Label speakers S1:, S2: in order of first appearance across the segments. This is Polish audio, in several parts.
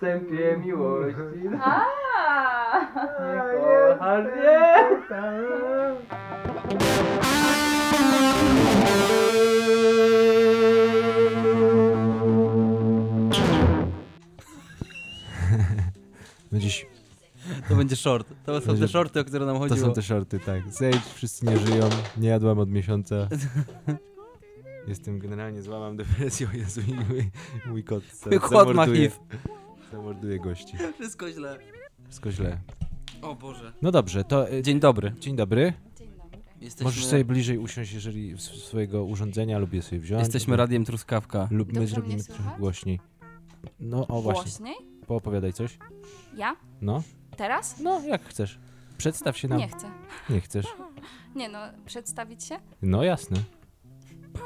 S1: Sępie miłości.
S2: A!
S1: Kocha, nie!
S3: Będziesz,
S4: To będzie short. To są te
S3: Będzie-
S4: shorty, o które nam
S3: to
S4: chodziło.
S3: są te shorty, tak. Zejdź, wszyscy nie żyją, nie jadłam od miesiąca. Jestem generalnie, złamam depresję, o Jezu, i mój, mój kot za-
S4: Mój kot ma
S3: zamorduje-
S4: HIV.
S3: Zamorduje gości.
S4: Wszystko źle.
S3: Wszystko źle.
S4: O Boże.
S3: No dobrze, to e,
S4: Dzień dobry.
S3: dzień dobry.
S4: Jesteśmy,
S3: Możesz sobie bliżej usiąść, jeżeli s- swojego urządzenia lub je sobie wziąć.
S4: Jesteśmy radiem truskawka.
S3: Lub my
S2: Dobrze
S3: zrobimy
S2: mnie
S3: trochę
S2: słychać?
S3: głośniej. No, o właśnie,
S2: Głośniej?
S3: poopowiadaj coś.
S2: Ja?
S3: No,
S2: Teraz?
S3: no, jak chcesz. Przedstaw się nam.
S2: Nie chcę.
S3: Nie chcesz.
S2: Nie no, przedstawić się?
S3: No jasne.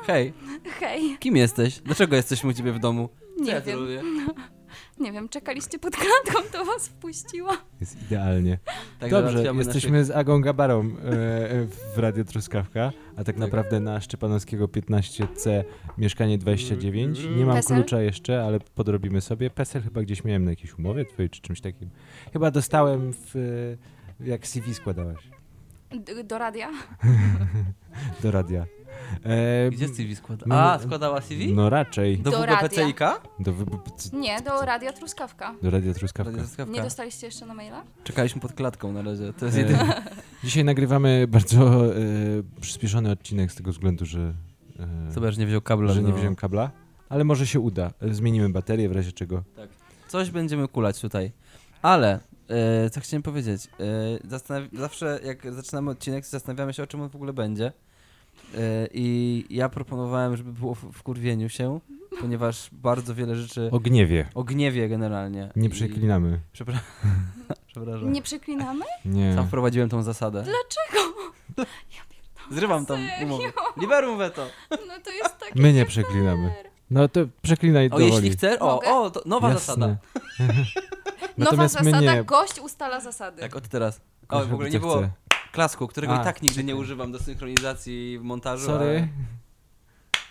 S4: Hej,
S2: Hej,
S4: kim jesteś? Dlaczego jesteśmy u ciebie w domu? Co
S2: nie
S4: ja tu
S2: wiem.
S4: robię?
S2: Nie wiem, czekaliście pod kratką, to was wpuściło.
S3: Jest idealnie.
S4: Tak
S3: Dobrze,
S4: załatwiamy
S3: jesteśmy z Agą Gabarą e, e, w Radio Truskawka, a tak naprawdę na Szczepanowskiego 15C, mieszkanie 29. Nie mam
S2: Pesel?
S3: klucza jeszcze, ale podrobimy sobie. Pesel chyba gdzieś miałem na jakiejś umowie twojej czy czymś takim. Chyba dostałem w, e, jak CV składałaś
S2: D- do radia?
S3: do radia. E,
S4: Gdzie CV składa?
S3: No,
S4: A, składała CV?
S3: No raczej.
S4: Do
S2: Do
S4: WPCIK?
S3: Do, wy- b- c-
S2: Nie, do radia Truskawka.
S3: do Radia Truskawka.
S4: Radio Truskawka.
S2: Nie dostaliście jeszcze na maila?
S4: Czekaliśmy pod klatką na razie. To jest
S3: E,
S4: jedyne.
S3: Dzisiaj nagrywamy bardzo e, przyspieszony odcinek z tego względu, że... e,
S4: Zobacz, nie wziął kabla.
S3: że nie
S4: no.
S3: wziąłem kabla, ale może się uda. Zmienimy baterię w razie czego.
S4: Coś będziemy kulać tutaj. Ale, e, co chciałem powiedzieć. E, zastanaw- zawsze jak zaczynamy odcinek, to zastanawiamy się, o czym on w ogóle będzie. E, I ja proponowałem, żeby było w, w kurwieniu się, ponieważ bardzo wiele rzeczy
S3: O gniewie.
S4: o gniewie generalnie.
S3: Nie
S4: I-
S3: przeklinamy.
S4: Przepraszam. Przepraszam.
S2: Nie przeklinamy?
S3: Nie.
S4: Sam wprowadziłem tą zasadę.
S2: Dlaczego?
S4: Zrywam tą
S2: Serio?
S4: umowę. Liberum veto.
S2: No to jest takie
S3: My nie
S2: nie
S3: przeklinamy. No to przeklinaj
S4: O,
S3: dowoli.
S4: jeśli chcesz. O,
S2: Mogę?
S4: o, to nowa
S3: Jasne.
S4: zasada.
S2: Nowa
S3: Natomiast my
S2: zasada,
S3: nie.
S2: gość ustala zasady.
S4: Tak, od teraz. O, w ogóle nie było
S3: Chce.
S4: klasku, którego
S3: A,
S4: i tak nigdy nie używam do synchronizacji w montażu. ale-
S3: Sorry.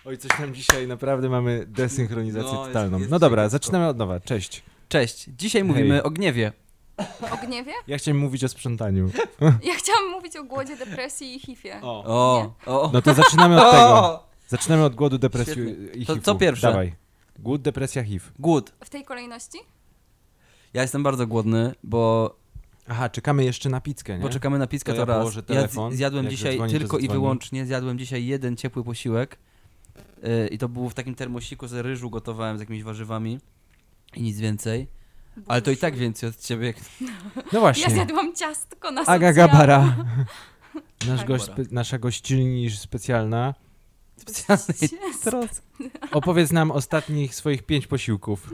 S3: Oj, coś tam dzisiaj naprawdę mamy desynchronizację
S4: No, jest-
S3: totalną.
S4: jest
S3: no dobra,
S4: ciężko.
S3: zaczynamy od nowa. Cześć.
S4: Cześć. Dzisiaj
S3: Hej.
S4: mówimy o gniewie. Tak.
S2: O gniewie?
S3: Ja chciałem mówić o sprzątaniu.
S2: Ja chciałam mówić o głodzie, depresji i hifie.
S3: O.
S4: O, o.
S3: No to zaczynamy od tego.
S4: o!
S3: Zaczynamy od głodu, depresji
S4: Świetnie.
S3: i
S4: To
S3: HIV-u.
S4: co pierwsze?
S3: Dawaj. Głód, depresja, HIV.
S4: Głód.
S2: W tej kolejności?
S4: Ja jestem bardzo głodny, bo
S3: Aha, czekamy jeszcze na pizzkę, nie?
S4: poczekamy na pizzkę
S3: To
S4: to,
S3: ja
S4: raz.
S3: położę telefon,
S4: ja z- zjadłem
S3: jak
S4: dzisiaj
S3: zadzwoni, to
S4: tylko i
S3: zadzwoni.
S4: wyłącznie, zjadłem dzisiaj jeden ciepły posiłek. Yy, I to był w takim termosiku z ryżu gotowałem z jakimiś warzywami. I nic więcej. Ale to i tak więcej od ciebie.
S3: No
S2: Ja
S3: właśnie.
S2: zjadłam ciastko na
S3: Aga
S2: socjalu.
S3: Gabara. Nasz
S4: Tak.
S3: gość, spe- nasza gościnni specjalna.
S2: Ciastko.
S3: Opowiedz nam ostatnich swoich pięć posiłków,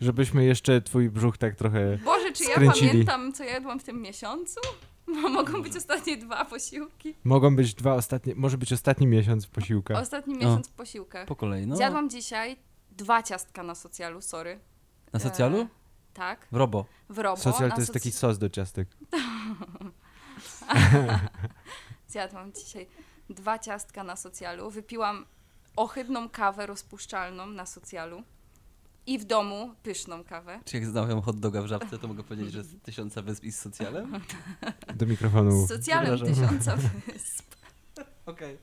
S3: żebyśmy jeszcze twój brzuch tak trochę...
S2: Boże, czy ja
S3: Skręcili.
S2: pamiętam, co jadłam w tym miesiącu? Bo Mogą być ostatnie dwa posiłki.
S3: Mogą być dwa ostatnie, może być ostatni miesiąc posiłka.
S2: Ostatni miesiąc w posiłkach.
S4: Po kolei, no.
S2: Zjadłam dzisiaj dwa ciastka na socjalu, sorry.
S4: Na socjalu?
S2: E, tak,
S4: W robo.
S2: w robo.
S3: Socjal
S2: na
S3: to jest
S2: soc-
S3: taki sos do ciastek.
S2: Zjadłam dzisiaj dwa ciastka na socjalu, wypiłam ohydną kawę rozpuszczalną na socjalu i w domu pyszną kawę.
S4: Czy jak znałem hot doga w żabce, to mogę powiedzieć, że z tysiąca wysp i z socjalem?
S3: Do mikrofonu.
S2: Z socjalem
S4: No, przepraszam.
S2: tysiąca wysp.
S4: Okej.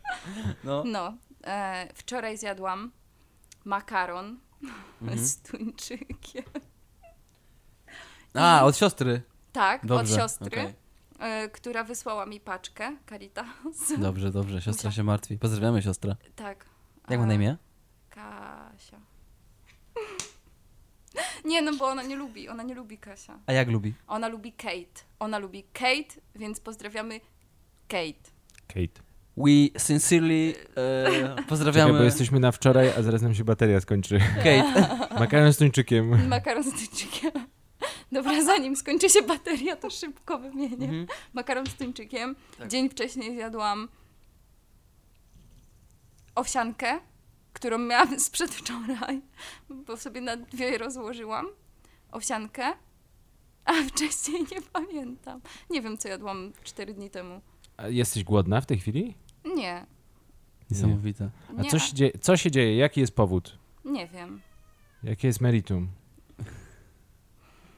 S4: No.
S2: No, e, wczoraj zjadłam makaron
S4: Mhm.
S2: z tuńczykiem.
S4: A, od siostry.
S2: Tak,
S4: Dobrze.
S2: od siostry,
S4: okej.
S2: e, która wysłała mi paczkę Caritas.
S4: Dobrze, dobrze. Siostra się martwi. Pozdrawiamy siostrę.
S2: Tak.
S4: Jak ma
S2: A,
S4: na imię?
S2: Kasia. Nie, no bo ona nie lubi, ona nie lubi Kasia.
S4: A jak lubi?
S2: Ona lubi Kate. Ona lubi Kate, więc pozdrawiamy Kate.
S3: Kate.
S4: We sincerely e, pozdrawiamy
S3: Czekaj, bo jesteśmy na wczoraj, a zaraz nam się bateria skończy.
S4: Kate.
S3: Makaron z tuńczykiem.
S2: Makaron z tuńczykiem. Dobra, zanim skończy się bateria, to szybko wymienię.
S4: Mhm.
S2: Makaron z tuńczykiem.
S4: Tak.
S2: Dzień wcześniej zjadłam owsiankę, którą miałam z przedwczoraj, bo sobie na dwie rozłożyłam. Owsiankę, A wcześniej nie pamiętam. Nie wiem, co jadłam 4 dni temu.
S3: A Jesteś głodna w tej chwili?
S2: Nie.
S4: Niesamowite.
S3: A
S2: Nie,
S3: co się, dzieje, co się dzieje? Jaki jest powód?
S2: nie wiem.
S3: Jakie jest meritum?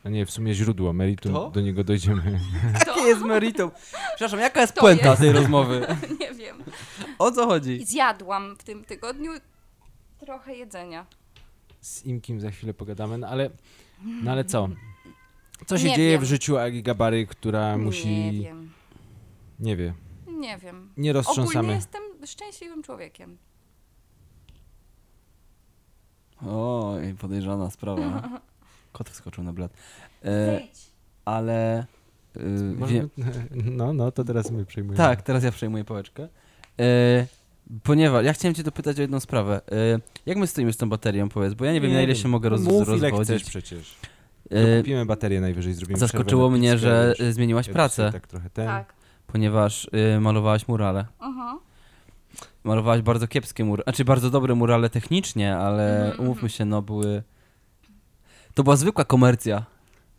S3: A nie, w sumie źródło. Meritum,
S4: Kto?
S3: do niego dojdziemy.
S2: Kto?
S4: Jakie jest meritum? Przepraszam, jaka jest
S2: To
S4: puenta
S2: jest-
S4: tej rozmowy?
S2: nie wiem.
S4: O co chodzi?
S2: Zjadłam w tym tygodniu trochę jedzenia.
S3: Z Imkim za chwilę pogadamy, no ale, no ale co? Co się
S2: Nie
S3: dzieje w
S2: wiem.
S3: życiu Agi Gabary, która musi...
S2: Nie wiem.
S3: Nie wie.
S2: Nie wiem.
S3: Nie
S2: Ogólnie
S3: roztrząsamy.
S2: jestem szczęśliwym człowiekiem.
S4: Oj, podejrzana sprawa. Kot wskoczył na blat. E, ale... y, wiem-
S3: Możemy... No, no, to teraz my przejmujemy.
S4: Tak, teraz ja przejmuję pałeczkę. E, ponieważ ja chciałem cię dopytać o jedną sprawę. E, jak my stoimy z tą baterią, powiedz, bo ja nie wiem, na ile się mogę roz,
S3: No Mów, ile chcesz
S4: rozwodzić.
S3: przecież. No,
S4: E,
S3: Kupimy baterię najwyżej, zrobimy
S4: zaskoczyło
S3: przerwę na
S4: mnie,
S3: pizzkę
S4: że
S3: już.
S4: e, zmieniłaś
S3: Ja tu
S4: pracę,
S3: sobie Tak trochę ten.
S2: Tak.
S4: ponieważ e, malowałaś murale.
S2: Aha.
S4: Malowałaś bardzo kiepskie murale, znaczy bardzo dobre murale technicznie, ale
S2: Mhm,
S4: umówmy się, no były... To była zwykła komercja.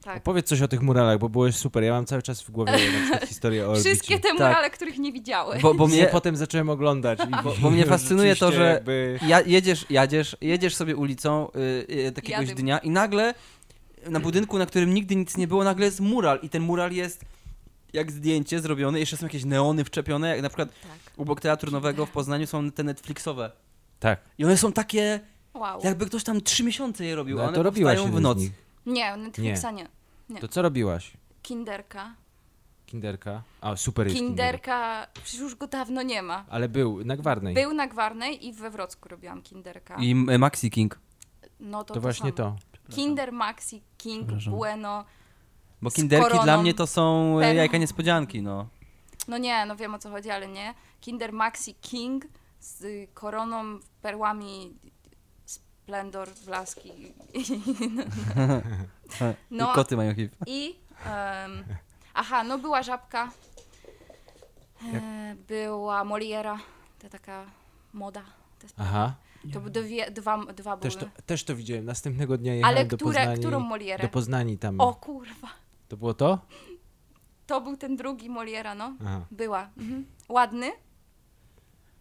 S2: Tak.
S3: Powiedz coś o tych muralach, bo byłeś super. Ja mam cały czas w głowie na przykład historię o orbicie.
S2: Wszystkie te
S4: Tak.
S2: murale, których nie widziały.
S4: Bo, bo
S3: Bo mnie
S4: mnie...
S3: potem zacząłem oglądać. I,
S4: Bo- bo mnie fascynuje to,
S3: rzeczywiście
S4: że-
S3: Jakby...
S4: Ja, jedziesz, jadziesz, jedziesz sobie ulicą y, y, takiegoś
S2: Jadę.
S4: dnia i nagle na budynku, na którym nigdy nic nie było, nagle jest mural i ten mural jest jak zdjęcie zrobione, jeszcze są jakieś neony wczepione, jak na przykład
S2: Tak.
S4: obok Teatru Nowego w Poznaniu są te Netflixowe.
S3: Tak.
S4: I one są takie,
S2: Wow.
S4: jakby ktoś tam trzy miesiące je robił,
S3: No,
S4: a
S3: a
S4: one
S3: to robiłaś
S4: powstają
S3: jeden
S4: w noc.
S3: Z nich.
S2: Nie, Netflixa nie. Nie.
S3: To co robiłaś?
S2: Kinderka.
S3: Kinderka. A, super jest Kinderka.
S2: Kinderka, przecież już go dawno nie ma.
S3: Ale był, na Gwarnej.
S2: Był na Gwarnej i we Wrocku robiłam Kinderka.
S4: I e, Maxi King.
S2: No to,
S3: To właśnie
S2: samo.
S3: to.
S2: Kinder Maxi, King,
S4: Przepraszam.
S2: Bueno.
S4: Bo
S2: Z
S4: kinderki dla
S2: koroną,
S4: mnie to są e,
S2: perłą.
S4: jajka niespodzianki, no.
S2: No nie, no wiem o co chodzi, ale nie. Kinder Maxi, King z y, koroną, perłami, splendor, blaski. No.
S4: I koty mają HIV.
S2: I. em, aha, no była żabka. E, była Moliera, ta taka moda. te sprawy.
S3: Aha.
S2: To dwie, dwa, dwa były.
S3: Też to, też to widziałem. Następnego dnia jechałem
S2: ale
S3: do
S2: które,
S3: Poznania.
S2: którą
S3: i- Do
S2: Molierę?
S3: Poznani tam.
S2: O kurwa,
S3: To było to?
S2: to był ten drugi Moliera, no.
S3: Aha.
S2: Była. Mhm. Ładny?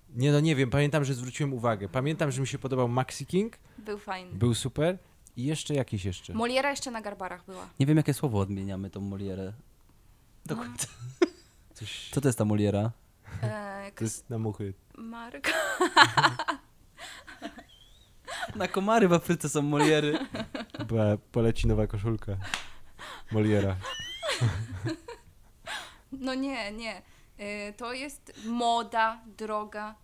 S3: Nie, no nie wiem. Pamiętam, że zwróciłem uwagę. Pamiętam, że mi się podobał Maxi King.
S2: Był fajny.
S3: Był super. I jeszcze jakiś jeszcze.
S2: Moliera jeszcze na garbarach była.
S4: Nie wiem, jakie słowo odmieniamy tą molierę. Do końca.
S2: No.
S3: Coś...
S4: Co to jest ta moliera?
S2: E,
S3: To jest na muchy.
S2: Mark.
S4: Na komary w Afryce są moliery.
S3: Chyba poleci nowa koszulka. Moliera.
S2: No nie, nie. E, to jest moda, droga,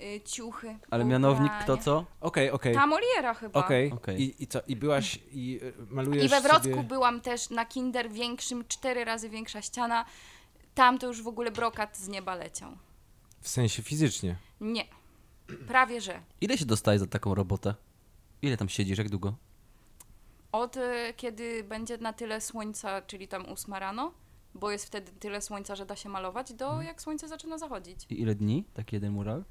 S2: e, ciuchy.
S4: Ale mianownik
S2: ubrania.
S4: kto co?
S3: Okej, okej.
S2: Ta Moliera chyba.
S3: Okej.
S4: Okej.
S3: I, I co? I byłaś i e, malujesz
S2: I we Wrocku
S3: sobie...
S2: byłam też na kinder większym, cztery razy większa ściana. Tam to już w ogóle brokat z nieba leciał.
S3: W sensie fizycznie.
S2: Nie. Prawie że.
S4: Ile się dostaje za taką robotę? Ile tam siedzisz, jak długo?
S2: Od y, kiedy będzie na tyle słońca, czyli tam ósma rano, bo jest wtedy tyle słońca, że da się malować,
S4: Mhm.
S2: do jak słońce zaczyna zachodzić.
S4: I ile dni? Taki jeden mural?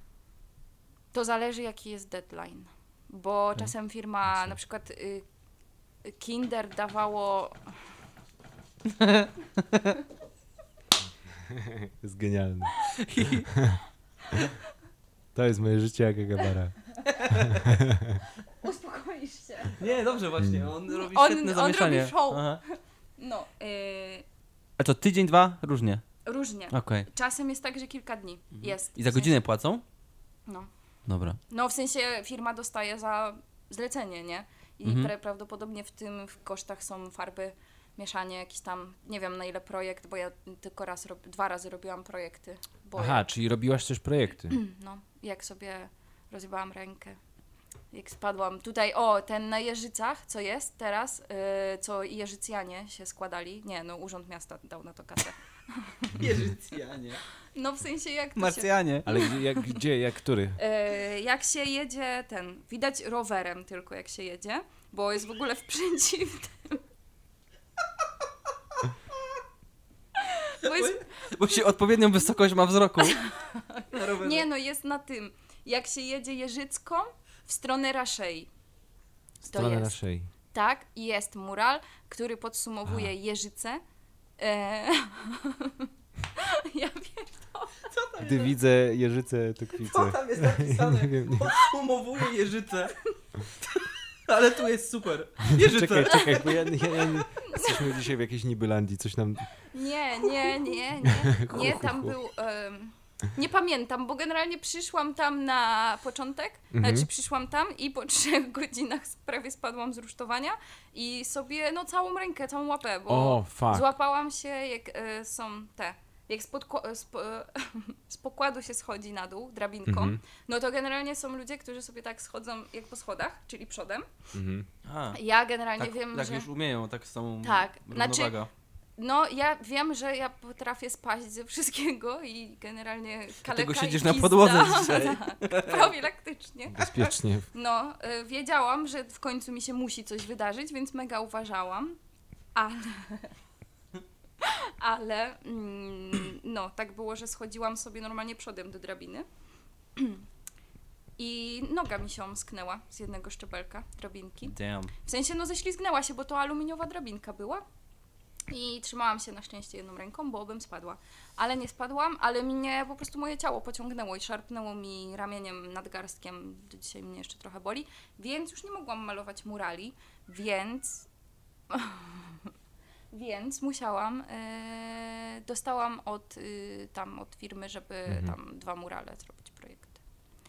S2: To zależy, jaki jest deadline. Bo
S4: Mhm.
S2: czasem firma, na przykład y, Kinder dawało
S3: Jest genialny. to jest moje życie jak Gabara.
S2: Uspokoisz się.
S4: Nie, dobrze właśnie, on robi
S2: On-
S4: świetne
S2: on
S4: zamieszanie.
S2: robi show.
S4: Aha.
S2: No, y,
S4: A to tydzień, dwa? Różnie.
S2: różnie.
S4: Okej.
S2: Czasem jest tak, że kilka dni jest.
S4: Mhm. I za godzinę płacą?
S2: No.
S4: Dobra.
S2: No, w sensie firma dostaje za zlecenie, nie? I
S4: Mhm.
S2: pra- prawdopodobnie w tym w kosztach są farby, mieszanie, jakiś tam, nie wiem na ile projekt, bo ja tylko raz, rob, dwa razy robiłam projekty. Bo
S3: Aha, czyli robiłaś też projekty.
S2: No, jak sobie rozjebałam rękę, jak spadłam. Tutaj, o, ten na Jeżycach, co jest teraz, yy, co Jeżycjanie się składali. Nie, no Urząd Miasta dał na to kasę.
S4: Jeżycjanie.
S2: No, w sensie jak to się...
S4: Marcjanie.
S3: Ale gdzie, jak, gdzie, jak który?
S2: E, jak się jedzie ten, widać rowerem tylko jak się jedzie, bo jest w ogóle w przeciwnym. Bo jest,
S4: Bo się odpowiednią wysokość ma wzroku.
S2: nie no, jest na tym. Jak się jedzie Jeżycką w stronę Raszej. To
S3: Strona
S2: jest.
S3: naszej.
S2: Tak, jest mural, który podsumowuje Jeżyce. E... ja wiem.
S3: Gdy widzę jeżycę, to kwicę.
S4: tam jest napisane?
S3: Nie wiem, nie.
S4: Podsumowuje jeżyce. Ale tu jest super. Jeżyce.
S3: Czekaj, czekaj, bo ja, ja, ja nie... Jesteśmy dzisiaj w jakiejś Nibylandii, coś nam...
S2: Nie, nie, nie, nie.
S3: Hu,
S2: Nie,
S3: hu,
S2: tam
S3: hu.
S2: był. em, nie pamiętam, bo generalnie przyszłam tam na początek,
S3: Mhm.
S2: znaczy przyszłam tam i po trzech godzinach prawie spadłam z rusztowania i sobie no całą rękę, całą łapę, bo
S3: O, fuck.
S2: złapałam się jak e, są te, jak spod, sp, z pokładu się schodzi na dół drabinką,
S3: Mhm,
S2: no to generalnie są ludzie, którzy sobie tak schodzą jak po schodach, czyli przodem.
S3: mhm.
S4: A,
S2: Ja generalnie
S4: tak,
S2: wiem,
S4: tak
S2: że...
S4: już umieją, tak samą
S2: Tak,
S4: równowaga.
S2: No, ja wiem, że ja potrafię spaść ze wszystkiego i generalnie kaleka
S4: Dlatego
S2: i
S4: siedzisz na
S2: pizda.
S4: podłodze dzisiaj.
S2: Tak, profilaktycznie.
S3: Bezpiecznie.
S2: No, y, wiedziałam, że w końcu mi się musi coś wydarzyć, więc mega uważałam, ale... Ale, mm, no, tak było, że schodziłam sobie normalnie przodem do drabiny i noga mi się omsknęła z jednego szczebelka drabinki.
S4: Damn.
S2: W sensie, no ześlizgnęła się, bo to aluminiowa drabinka była. I trzymałam się na szczęście jedną ręką, bo bym spadła. Ale nie spadłam, ale mnie po prostu moje ciało pociągnęło i szarpnęło mi ramieniem nadgarstkiem. Do dzisiaj mnie jeszcze trochę boli, więc już nie mogłam malować murali, więc. więc musiałam. e, dostałam od, y, tam od firmy, żeby
S3: Mhm.
S2: tam dwa murale zrobić projekty.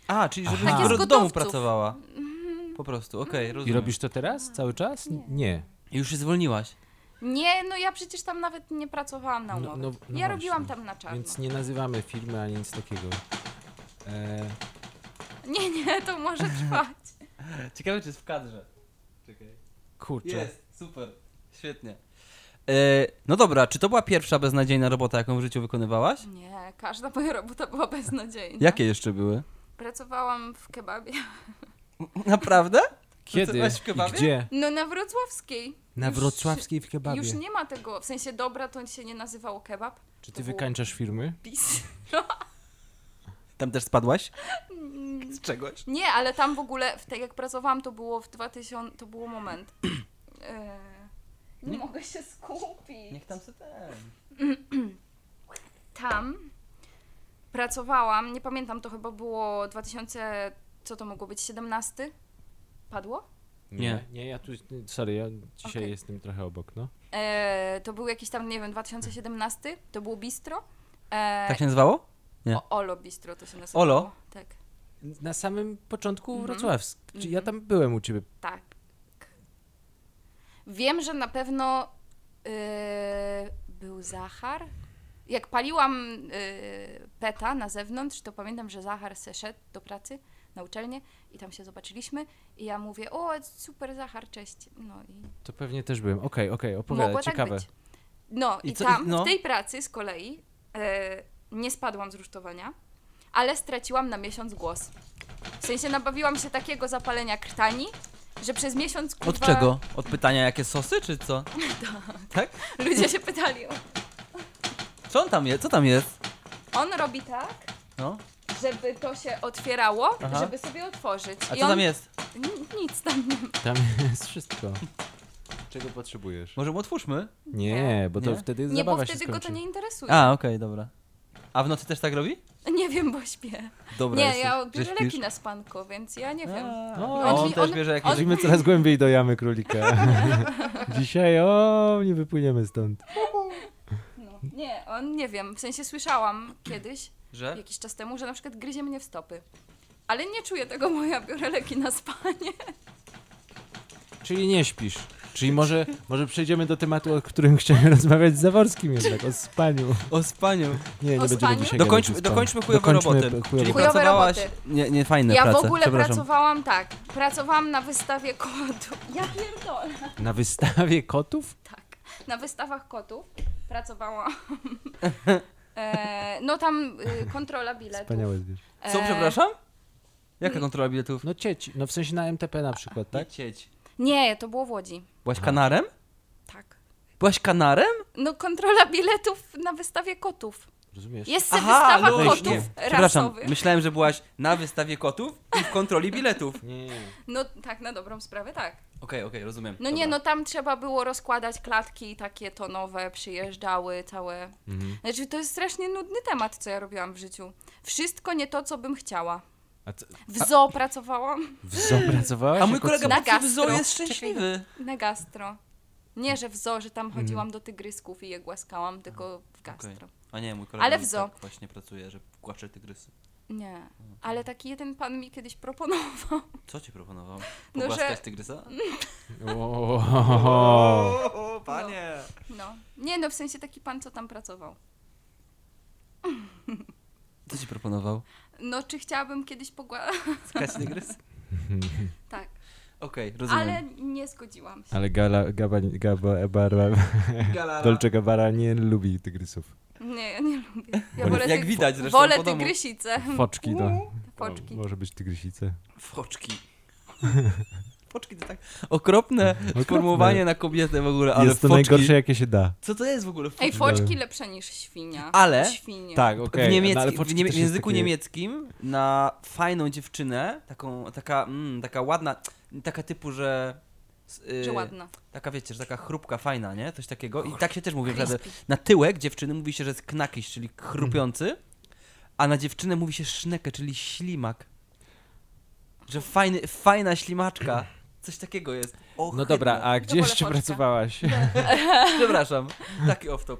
S4: A, czyli żebyś
S3: Aha.
S4: tak
S2: Tak
S4: do
S2: jest
S4: domu
S2: gotowców.
S4: pracowała.
S2: Mhm.
S4: Po prostu, okej,
S3: I
S4: rozumiem.
S3: robisz to teraz? Cały czas?
S2: Nie.
S3: Nie.
S4: Już się zwolniłaś.
S2: Nie, no ja przecież tam nawet nie pracowałam na
S3: No-
S2: umowę.
S3: no- no
S2: ja robiłam
S3: właśnie.
S2: tam na czarno.
S3: Więc nie nazywamy firmy ani nic takiego. E,
S2: Nie, nie, to może trwać.
S4: Ciekawe, czy jest w kadrze. Czekaj.
S3: kurczę.
S4: Jest, super, świetnie. E, no dobra, czy to była pierwsza beznadziejna robota, jaką w życiu wykonywałaś?
S2: Nie, każda moja robota była beznadziejna.
S4: Jakie jeszcze były?
S2: Pracowałam w kebabie.
S4: Naprawdę?
S3: Kiedy
S4: Pracowałaś w
S3: i
S4: kebabie?
S3: gdzie?
S2: No na wrocławskiej.
S3: Na
S2: Już-
S3: wrocławskiej w kebabie.
S2: Już nie ma tego, w sensie dobra to się nie nazywało kebab.
S3: Czy ty
S2: to było-
S3: wykańczasz firmy?
S2: Pis.
S4: Tam też spadłaś?
S2: Mm,
S4: Z czegoś?
S2: Nie, ale tam w ogóle, w tej, jak pracowałam, to było w 2000, to było moment. E, nie,
S4: Nie-
S2: mogę się skupić.
S4: Niech tam se ten.
S2: tam pracowałam, nie pamiętam, to chyba było 2000, co to mogło być, 17? Padło?
S4: Nie.
S3: Nie, ja tu, sorry, ja dzisiaj
S2: Okej.
S3: jestem trochę obok, no.
S2: E, to był jakiś tam, nie wiem, 2017, to było bistro. E,
S4: Tak się nazywało? Nie.
S2: o, Olo bistro to się nazywało.
S4: Olo?
S2: Tak,
S3: Na samym początku
S2: Mhm.
S3: wrocławsk. Czy Ja
S2: Mhm.
S3: tam byłem u ciebie.
S2: tak. Wiem, że na pewno e, był Zachar. Jak paliłam e, peta na zewnątrz, to pamiętam, że Zachar se szedł do pracy na uczelnię i tam się zobaczyliśmy i ja mówię, o super Zachar, cześć. No i
S3: To pewnie też byłem. Okej, okej, opowiadaj,
S2: Mogło
S3: ciekawe.
S2: Tak być. No i,
S4: I co-
S2: tam,
S4: i- no.
S2: w tej pracy z kolei e, nie spadłam z rusztowania, ale straciłam na miesiąc głos. W sensie nabawiłam się takiego zapalenia krtani, że przez miesiąc kurwa,
S4: Od czego? Od pytania, jakie sosy, czy co? tak.
S2: ludzie się pytali. o-
S4: Co on tam jest? Co tam jest?
S2: On robi tak,
S4: No.
S2: żeby to się otwierało,
S4: Aha.
S2: żeby sobie otworzyć.
S4: A
S2: I
S4: co
S2: on...
S4: tam jest?
S2: Ni- Nic tam nie ma.
S3: Tam jest wszystko. Czego potrzebujesz?
S4: Może mu otwórzmy?
S3: Nie, bo to
S4: Nie?
S3: wtedy
S2: Nie,
S3: zabawa
S2: bo
S3: się
S2: wtedy
S3: skończy.
S2: go to nie interesuje.
S4: A, okej, dobra. A w nocy też tak robi?
S2: Nie wiem, bo śpię.
S4: Dobra,
S2: nie,
S4: jesteś,
S2: ja
S4: że
S2: biorę
S4: śpisz?
S2: leki na spanko, więc ja nie wiem.
S4: A,
S3: No,
S4: a on,
S2: on-
S4: też
S2: on-
S4: bierze jakieś...
S2: on-
S3: Chodzimy coraz głębiej do jamy królika. Dzisiaj, o, nie wypłyniemy stąd.
S2: No. Nie, on nie wiem. W sensie słyszałam kiedyś,
S4: Że?
S2: jakiś czas temu, że na przykład gryzie mnie w stopy. Ale nie czuję tego, bo ja biorę leki na spanie.
S3: Czyli nie śpisz. Czyli może, może przejdziemy do tematu, o którym chciałem rozmawiać z Zaworskim jednak, o spaniu.
S4: O spaniu.
S3: Nie, nie
S2: O
S3: będziemy
S2: spaniu?
S3: dzisiaj
S4: Dokończ,
S3: gadać o spaniu.
S4: dokończmy chujowe
S3: Dokończmy
S4: roboty.
S3: p- chujowe-
S4: Czyli
S2: Chujowe
S4: pracowałaś...
S2: roboty.
S4: Nie, nie, fajne
S2: ja
S4: prace.
S2: w ogóle
S4: Przepraszam.
S2: pracowałam tak. Pracowałam na wystawie kotów. Ja pierdolę.
S3: Na wystawie kotów?
S2: Tak. Na wystawach kotów pracowałam. E, no tam y, kontrola biletów.
S3: Wspaniałe zwierzę.
S2: E,
S4: Co, przepraszam? Jaka kontrola biletów?
S3: No cieć, no w sensie na MTP na przykład, tak?
S4: Cieć.
S2: Nie, to było w Łodzi.
S4: Byłaś kanarem?
S2: Tak.
S4: Byłaś kanarem?
S2: No kontrola biletów na wystawie kotów.
S3: Rozumiesz?
S2: Jest se
S4: Aha,
S2: wystawa
S4: luźnie.
S2: kotów
S4: Przepraszam,
S2: rasowych.
S4: myślałem, że byłaś na wystawie kotów i w kontroli biletów. Okej,
S3: Nie, nie, nie.
S2: No tak, na dobrą sprawę, tak.
S4: okej, rozumiem.
S2: No nie, no tam trzeba było rozkładać klatki takie tonowe, przyjeżdżały całe.
S3: Mhm.
S2: Znaczy to jest strasznie nudny temat, co ja robiłam w życiu. Wszystko nie to, co bym chciała.
S3: A co-
S2: W zoo pracowałam
S3: W zoo
S2: no
S3: pracowałeś?
S4: A mój
S3: jako
S4: kolega
S2: Na
S4: pracy w zoo
S2: gastro.
S4: jest szczęśliwy.
S2: na gastro. Nie, że w zoo, że tam
S4: Mhm.
S2: chodziłam do tygrysków i je głaskałam, tylko w gastro.
S4: A nie, mój kolega
S2: Ale w
S4: mi
S2: zoo.
S4: tak właśnie pracuje, że płacze tygrysy.
S2: Nie,
S4: No
S2: ale taki jeden pan mi kiedyś proponował.
S4: Co ci proponował?
S2: No, że-
S4: Pogłaskać tygrysa?
S3: co- Ohohoho.
S4: o, panie!
S2: No. Nie, no w sensie taki pan, co tam pracował.
S4: Co ci proponował?
S2: No, czy chciałabym kiedyś pogła...
S4: Skać tygrys?
S2: tak,
S4: Okej, rozumiem.
S2: ale nie zgodziłam się.
S3: Ale Gala, Gaba, Gaba, Barba,
S4: Galara.
S3: Dolce Gabbana nie lubi tygrysów.
S2: Nie, ja nie lubię. Ja
S4: Bo
S2: wolę
S4: jak
S2: tyg-
S4: widać zresztą po
S2: Wolę
S4: domu.
S2: tygrysice.
S3: Foczki to.
S2: Foczki.
S3: Może być tygrysice.
S4: Foczki. Foczki to tak okropne, sformułowanie na kobietę w ogóle, ale
S3: Jest to
S4: foczki.
S3: najgorsze jakie się da.
S4: Co to jest w ogóle foczki?
S2: Ej, foczki lepsze niż świnia.
S4: Ale-
S2: Świnie.
S3: Tak, okej.
S4: w,
S3: no
S4: niemiecki,
S3: ale
S4: w,
S3: foczki
S4: niemie-
S3: też
S4: w
S3: jest
S4: języku
S3: takie-
S4: niemieckim na fajną dziewczynę, taką, taka, mm, taka ładna, taka typu, że... s- y,
S2: Że ładna.
S4: Taka wiecie, że taka chrupka fajna, nie? Coś takiego. I tak się też mówi, że na tyłek dziewczyny mówi się, że jest knakiś, czyli chrupiący, a na dziewczynę mówi się sznekę, czyli ślimak. Że fajny, fajna ślimaczka. Coś takiego jest.
S3: No
S4: Ohydne.
S3: dobra, a gdzie
S2: wolę
S3: jeszcze
S2: foczka.
S3: pracowałaś?
S4: Przepraszam, taki off-top.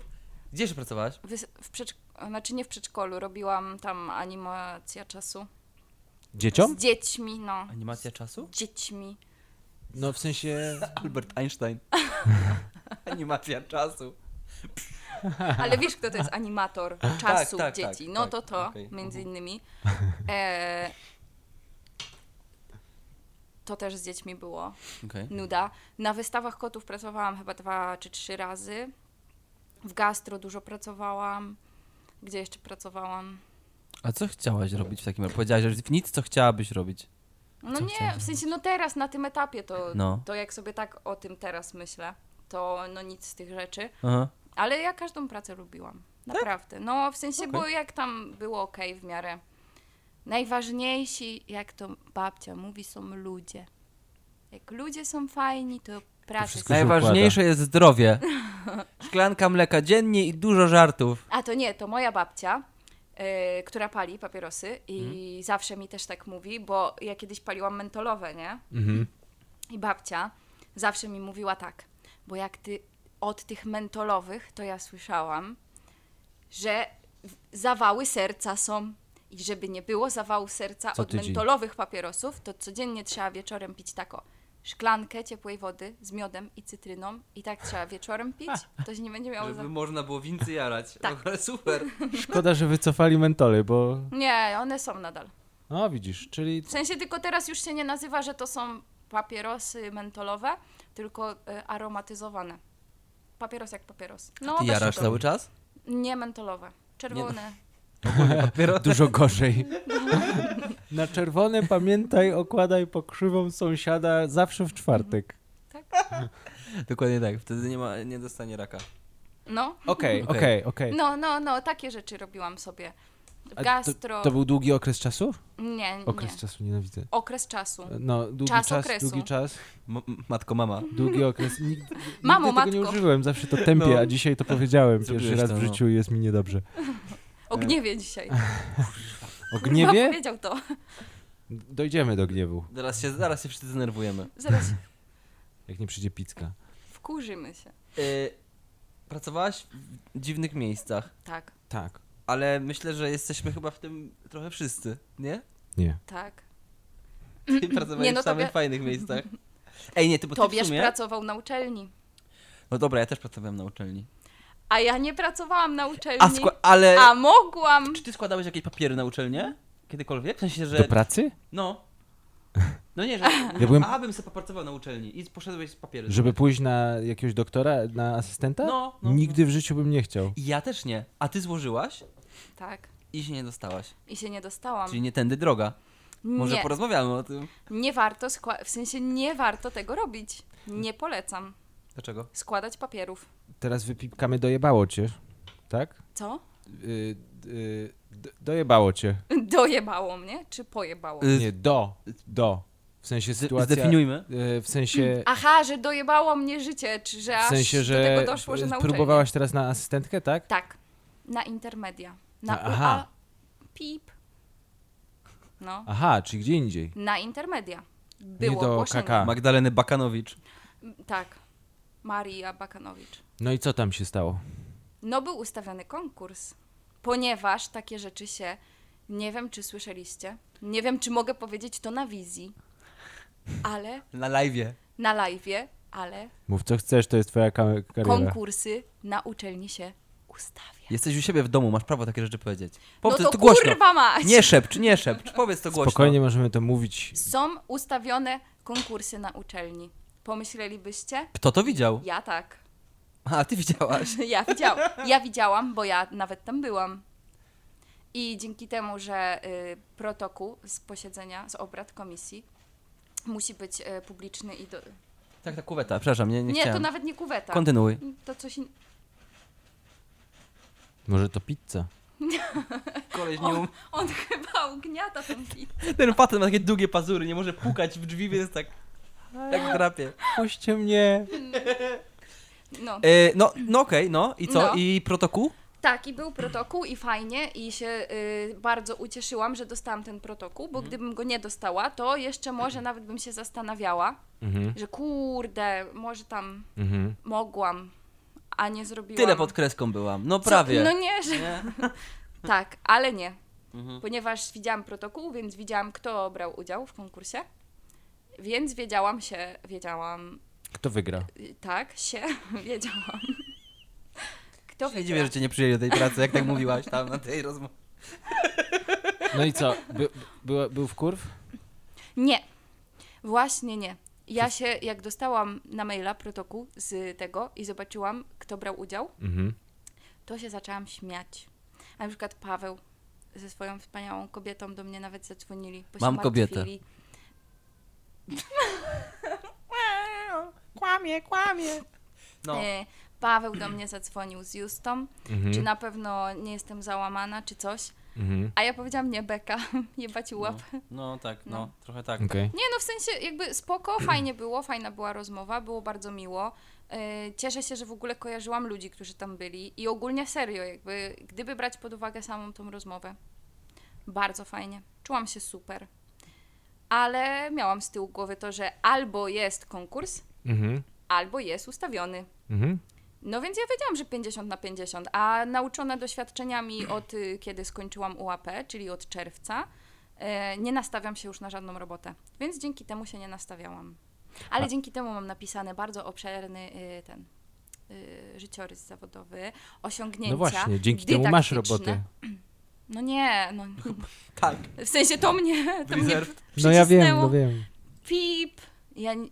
S4: Gdzie jeszcze pracowałaś?
S2: Wy- W przedszk- znaczy nie w przedszkolu, robiłam tam animacja czasu.
S3: Dzieciom?
S2: Z dziećmi, no.
S4: Animacja czasu?
S2: Z dziećmi.
S3: No w sensie...
S4: Albert Einstein. Animacja czasu.
S2: Ale wiesz, kto to jest animator czasu
S4: tak,
S2: dzieci.
S4: tak,
S2: no
S4: tak,
S2: to to,
S4: okej,
S2: między innymi. E... To też z dziećmi było.
S4: Okej.
S2: Nuda. Na wystawach kotów pracowałam chyba dwa czy trzy razy. W gastro dużo pracowałam. Gdzie jeszcze pracowałam?
S4: A co chciałaś robić w takim razie? Powiedziałaś, że nic, co chciałabyś robić.
S2: No
S4: Co
S2: nie,
S4: chciałaś
S2: w sensie no teraz na tym etapie to,
S4: No.
S2: to jak sobie tak o tym teraz myślę, to no nic z tych rzeczy.
S4: Aha.
S2: Ale ja każdą pracę lubiłam. Naprawdę. No, w sensie, bo jak tam było ok w miarę. Najważniejsi, jak to babcia mówi, są ludzie. Jak ludzie są fajni, to praca
S3: wszystko
S2: jest...
S3: się-
S4: Najważniejsze jest zdrowie. Szklanka mleka dziennie i dużo żartów.
S2: A to nie, to moja babcia, y, która pali papierosy i
S3: Mhm.
S2: zawsze mi też tak mówi, bo ja kiedyś paliłam mentolowe, nie?
S3: Mhm.
S2: I babcia zawsze mi mówiła tak, bo jak ty od tych mentolowych, to ja słyszałam, że w- zawały serca są. I żeby nie było zawału serca
S3: Co
S2: od
S3: tydzień.
S2: mentolowych papierosów, to codziennie trzeba wieczorem pić tako. Szklankę ciepłej wody z miodem i cytryną i tak trzeba wieczorem pić, to się nie będzie miało za...
S4: Żeby można było wincy jarać.
S2: Tak.
S4: Tak. Ale super.
S3: Szkoda, że wycofali mentole, bo...
S2: Nie, one są nadal.
S3: No widzisz, czyli...
S2: W sensie tylko teraz już się nie nazywa, że to są papierosy mentolowe, tylko e, aromatyzowane. Papieros jak papieros. No,
S4: Ty
S2: weź
S4: jarasz
S2: to.
S4: cały czas?
S2: Nie mentolowe. Czerwone.
S3: Dużo gorzej. Na czerwone pamiętaj, okładaj po krzywą sąsiada zawsze w czwartek.
S4: Dokładnie tak. Wtedy nie, ma, nie dostanie raka.
S2: No,
S3: Okej,
S4: Okej.
S3: okej, okej.
S2: no, no, no, takie rzeczy robiłam sobie.
S3: A
S2: Gastro.
S3: To, to był długi okres czasu?
S2: Nie, nie.
S3: Okres czasu nienawidzę.
S2: Okres czasu.
S4: E,
S3: No, długi
S2: Czas
S3: czas,
S2: okresu.
S3: długi czas,
S4: M- m- matko, mama.
S3: długi okres. Nigdy,
S2: Mamo,
S3: nigdy tego nie
S2: matko.
S3: użyłem, zawsze to tępię,
S4: No.
S3: a dzisiaj to powiedziałem pierwszy
S4: Zrobiłeś
S3: raz
S4: to,
S3: w
S4: no.
S3: życiu i jest mi niedobrze.
S4: e.
S2: O gniewie dzisiaj.
S3: O
S2: Kurwa,
S3: gniewie?
S2: powiedział to.
S3: Dojdziemy do gniewu,
S4: Zaraz się, zaraz się wszyscy zdenerwujemy.
S2: Zaraz
S3: jak nie przyjdzie picka.
S2: wkurzymy się.
S4: Y, pracowałaś w dziwnych miejscach,
S2: Tak,
S3: Tak.
S4: ale myślę, że jesteśmy chyba w tym trochę wszyscy, nie?
S3: Nie.
S2: tak.
S4: Ty pracowałeś
S2: no
S4: w samych
S2: tobie-
S4: fajnych miejscach. Ej, nie, ty, bo ty w
S2: Tobiasz
S4: sumie...
S2: pracował na uczelni.
S4: No dobra, ja też pracowałem na uczelni.
S2: A ja nie pracowałam na
S4: A,
S2: uczelni.
S4: skła- e, ale...
S2: A mogłam.
S4: Czy ty składałeś jakieś papiery na uczelnię? Kiedykolwiek? W sensie,
S3: Do
S4: że...
S3: pracy?
S4: No. No nie, że... Ja
S3: byłem-
S4: A, bym sobie popracował na uczelni i poszedłeś z papiery.
S3: Żeby pójść na jakiegoś doktora, na asystenta?
S4: No, no,
S3: Nigdy w życiu bym nie chciał.
S4: I Ja też nie. A ty złożyłaś
S2: Tak.
S4: i się nie dostałaś.
S2: I się nie dostałam.
S4: Czyli nie tędy droga. Może
S2: nie,
S4: porozmawiamy o tym.
S2: nie warto, skła- w sensie nie warto tego robić. Nie polecam
S4: Dlaczego?
S2: składać papierów.
S3: Teraz wypipkamy dojebało cię, tak?
S2: Co?
S3: Yy, y, d- dojebało cię.
S2: Dojebało mnie, czy pojebało?
S4: Y,
S3: Nie, do, do. W sensie
S4: Z,
S3: sytuacja...
S4: zdefiniujmy.
S3: y, W sensie...
S2: Aha, że dojebało mnie życie, czy że
S3: W
S2: Mm, aż
S3: sensie,
S2: do
S3: że
S2: tego doszło, że
S3: y,
S2: na uczelni.
S3: próbowałaś teraz na asystentkę, tak?
S2: Tak, na intermedia. Na
S3: Aha.
S2: UA. Pip. No,
S3: Aha, czyli gdzie indziej.
S2: na intermedia. Było
S3: do
S2: ogłoszenie.
S3: KK.
S4: Magdaleny Bakanowicz.
S2: Tak, Maria Bakanowicz.
S3: No i co tam się stało?
S2: No był ustawiony konkurs, ponieważ takie rzeczy się, nie wiem czy słyszeliście, nie wiem czy mogę powiedzieć to na wizji, ale
S4: Na live'ie.
S2: na live'ie, ale
S3: Mów co chcesz, to jest twoja ka- kariera.
S2: konkursy na uczelni się ustawia.
S4: Jesteś u siebie w domu, masz prawo takie rzeczy powiedzieć.
S2: No
S4: Powiedz
S2: to
S4: to głośno.
S2: kurwa mać!
S4: Nie szepcz, nie szepcz. Powiedz
S2: no.
S4: to głośno.
S3: Spokojnie możemy to mówić.
S2: Są ustawione konkursy na uczelni. Pomyślelibyście?
S4: Kto to widział?
S2: Ja tak.
S4: A, ty widziałaś.
S2: Ja, widział, ja widziałam, bo ja nawet tam byłam. I dzięki temu, że y, protokół z posiedzenia, z obrad komisji musi być y, publiczny i do...
S4: Tak, ta kuweta, przepraszam, nie, nie,
S2: Nie,
S4: chciałem.
S2: to nawet nie kuweta.
S4: Kontynuuj.
S2: to coś in...
S3: Może to pizza.
S4: Koleś
S2: on, on chyba ugniata ten pit.
S4: Ten facet ma takie długie pazury, nie może pukać w drzwi, więc tak... Tak drapie.
S3: Puśćcie mnie.
S2: No.
S4: E, no, no okej, no. I co?
S2: No.
S4: I protokół?
S2: Tak, i był protokół i fajnie i się y, bardzo ucieszyłam, że dostałam ten protokół,
S4: Mhm.
S2: bo gdybym go nie dostała, to jeszcze może nawet bym się zastanawiała,
S3: Mhm,
S2: że kurde, może tam
S3: mhm.
S2: mogłam, a nie zrobiłam.
S4: Tyle pod kreską byłam. No
S2: Co-
S4: prawie.
S2: No nie, że...
S4: Nie?
S2: Tak, ale nie.
S4: Mhm.
S2: Ponieważ widziałam protokół, więc widziałam, kto brał udział w konkursie. Więc wiedziałam się, wiedziałam,
S3: Kto wygra?
S2: y, tak, się, wiedziałam. Kto
S4: To się nie dziwię,
S2: wygra?
S4: że cię nie przyjęli do tej pracy, jak tak mówiłaś tam na tej rozmowie.
S3: No i co? By, była- był w kurw?
S2: Nie, właśnie nie. Ja się, jak dostałam na maila protokół z tego i zobaczyłam, kto brał udział,
S3: Mhm.
S2: to się zaczęłam śmiać. A na przykład Paweł ze swoją wspaniałą kobietą do mnie nawet zadzwonili. Bo
S4: Mam
S2: się
S4: kobietę.
S2: martwili.
S4: Kłamie, kłamie. No.
S2: E, Paweł do mnie zadzwonił z Justą, czy
S3: Mhm.
S2: na pewno nie jestem załamana, czy coś.
S3: mhm.
S2: A ja powiedziałam, nie, Beka, jebać łap.
S4: No tak, no,
S2: No.
S4: trochę tak.
S3: Okej.
S2: Nie, no w sensie jakby spoko, fajnie było, fajna była rozmowa, było bardzo miło. E, Cieszę się, że w ogóle kojarzyłam ludzi, którzy tam byli i ogólnie serio, jakby gdyby brać pod uwagę samą tą rozmowę. Bardzo fajnie, czułam się super. Ale miałam z tyłu głowy to, że albo jest konkurs,
S3: Mhm.
S2: albo jest ustawiony.
S3: Mhm.
S2: No więc ja wiedziałam, że 50 na 50, a nauczona doświadczeniami od y, kiedy skończyłam UAP, czyli od czerwca, e, nie nastawiam się już na żadną robotę. Więc dzięki temu się nie nastawiałam. Ale
S3: A-
S2: dzięki temu mam napisany bardzo obszerny y, ten y, życiorys zawodowy, osiągnięcia.
S3: No właśnie, dzięki temu masz
S2: dydaktyczne.
S3: robotę.
S2: No nie, no,
S4: Tak.
S2: w sensie to mnie, to mnie
S4: Blizzard.
S3: No ja wiem,
S2: przycisnęło.
S3: no wiem.
S2: pip. Ja, ni-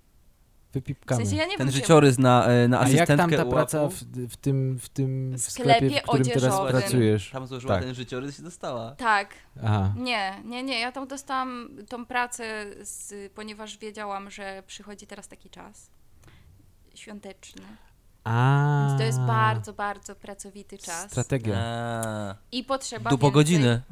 S2: w
S3: Wypipkamy.
S2: sensie ja nie
S4: Ten
S2: wiem, czy-
S4: życiorys na, e, na
S3: A jak
S4: asystentkę
S3: tam ta
S4: u
S3: praca
S4: łapu?
S3: w, w tym, w tym
S2: Sklepie
S3: sklepie, w którym teraz
S2: odzieżowym.
S3: pracujesz?
S4: Tam złożyła
S3: Tak.
S4: ten życiorys i się dostała.
S2: Tak,
S3: Aha.
S2: Nie, nie, nie. Ja tam dostałam tą pracę, z, ponieważ wiedziałam, że przychodzi teraz taki czas świąteczny.
S3: A.
S2: Więc to jest bardzo, bardzo pracowity czas.
S3: Strategia.
S4: Eee,
S2: I potrzeba.
S4: dupo
S2: więcej-
S4: godziny.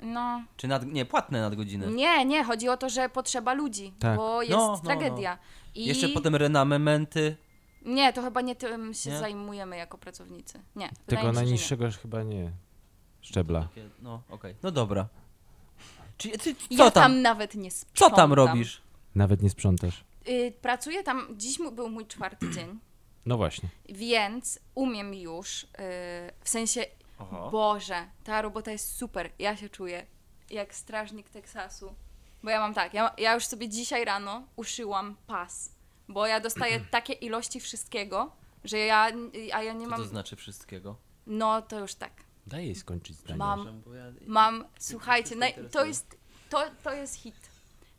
S2: No.
S4: Czy nad, nie, płatne nadgodziny.
S2: Nie, nie. Chodzi o to, że potrzeba ludzi,
S3: Tak.
S2: bo jest
S4: no, no.
S2: tragedia. I
S4: Jeszcze potem renamenty.
S2: Nie, to chyba nie tym się
S4: Nie?
S2: zajmujemy jako pracownicy. Nie. wydaje mi
S3: Tego
S2: się, że nie.
S3: najniższego chyba nie. Szczebla.
S4: Takie, No, okej. No dobra. Czy, czy, co
S2: Ja
S4: tam?
S2: tam nawet nie
S4: Co
S2: sprzątam.
S4: tam robisz?
S3: Nawet nie sprzątasz.
S2: Y, pracuję tam. Dziś mu- był mój czwarty dzień.
S3: No właśnie.
S2: Więc umiem już, y, w sensie, Boże, ta robota jest super. Ja się czuję jak strażnik Teksasu. Bo ja mam tak, ja, ja już sobie dzisiaj rano uszyłam pas, bo ja dostaję takie ilości wszystkiego, że ja, a ja nie
S4: Co to
S2: mam,
S4: znaczy wszystkiego?
S2: no to już tak.
S3: Daj jej skończyć zdanie.
S2: Mam,
S4: Bo ja-
S2: mam, słuchajcie, naj, to
S4: interesuje.
S2: jest, to, to jest hit.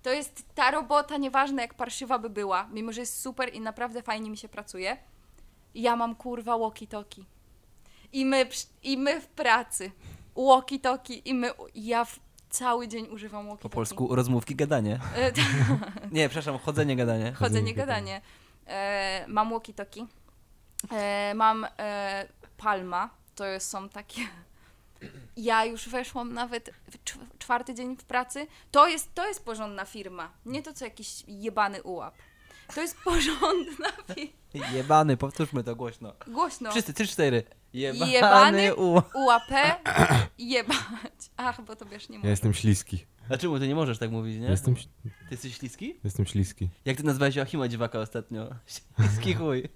S2: To jest ta robota, nieważne jak parszywa by była, mimo że jest super i naprawdę fajnie mi się pracuje. Ja mam kurwa walkie-talkie. I my, przy- I my w pracy. Walkie-talkie i my, ja w, cały dzień używam walkie-talkie.
S4: Po polsku rozmówki, gadanie.
S2: E, tak,
S4: Nie, przepraszam, chodzenie, gadanie.
S2: chodzenie, gadanie. E, mam walkie-talkie. E, mam e, palma, to są takie Ja już weszłam nawet w czw- czwarty dzień w pracy. To jest, to jest porządna firma. Nie to, co jakiś jebany ułap. To jest porządna firma.
S4: Jebany, powtórzmy to głośno.
S2: Głośno.
S4: Wszyscy, trzy, cztery.
S2: No. Jebany
S4: Jebany u...
S2: UAP jebać. Ach, bo to wiesz nie
S3: Ja
S2: mówię.
S3: jestem śliski.
S4: Dlaczego ty nie możesz tak mówić, nie?
S3: Jestem, ś-
S4: Ty jesteś śliski?
S3: jestem śliski.
S4: Jak ty nazwałeś Joachima Dziwaka ostatnio? Śliski chuj.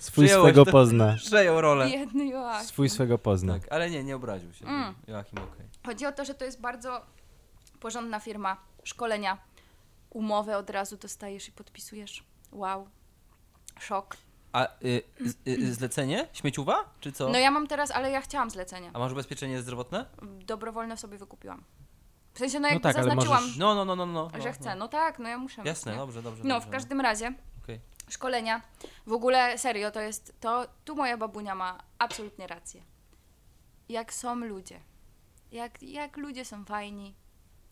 S3: Swój
S4: Przyjąłeś
S3: swego
S4: to.
S3: pozna.
S4: Przejął rolę.
S2: Biedny Joachim.
S3: Swój swego pozna.
S4: Tak, ale nie, nie obraził się.
S2: Mm.
S4: Joachim, okej.
S2: Chodzi o to, że to jest bardzo porządna firma, szkolenia, umowę od razu dostajesz i podpisujesz. Wow, szok.
S4: A y, z- y, zlecenie? Śmieciuwa? Czy co?
S2: No ja mam teraz, ale ja chciałam zlecenie.
S4: A masz ubezpieczenie zdrowotne?
S2: Dobrowolne sobie wykupiłam. W sensie, no
S3: No
S2: jak
S3: tak, ale
S2: zaznaczyłam,
S4: No, no, no, no. no no,
S2: że chcę. No tak, no ja muszę.
S4: No.
S2: mieć,
S4: Jasne,
S2: nie?
S4: dobrze, dobrze.
S2: No,
S4: dobrze,
S2: w każdym razie
S4: Okej.
S2: szkolenia, w ogóle serio, to jest to, tu moja babunia ma absolutnie rację. Jak są ludzie, jak, jak ludzie są fajni,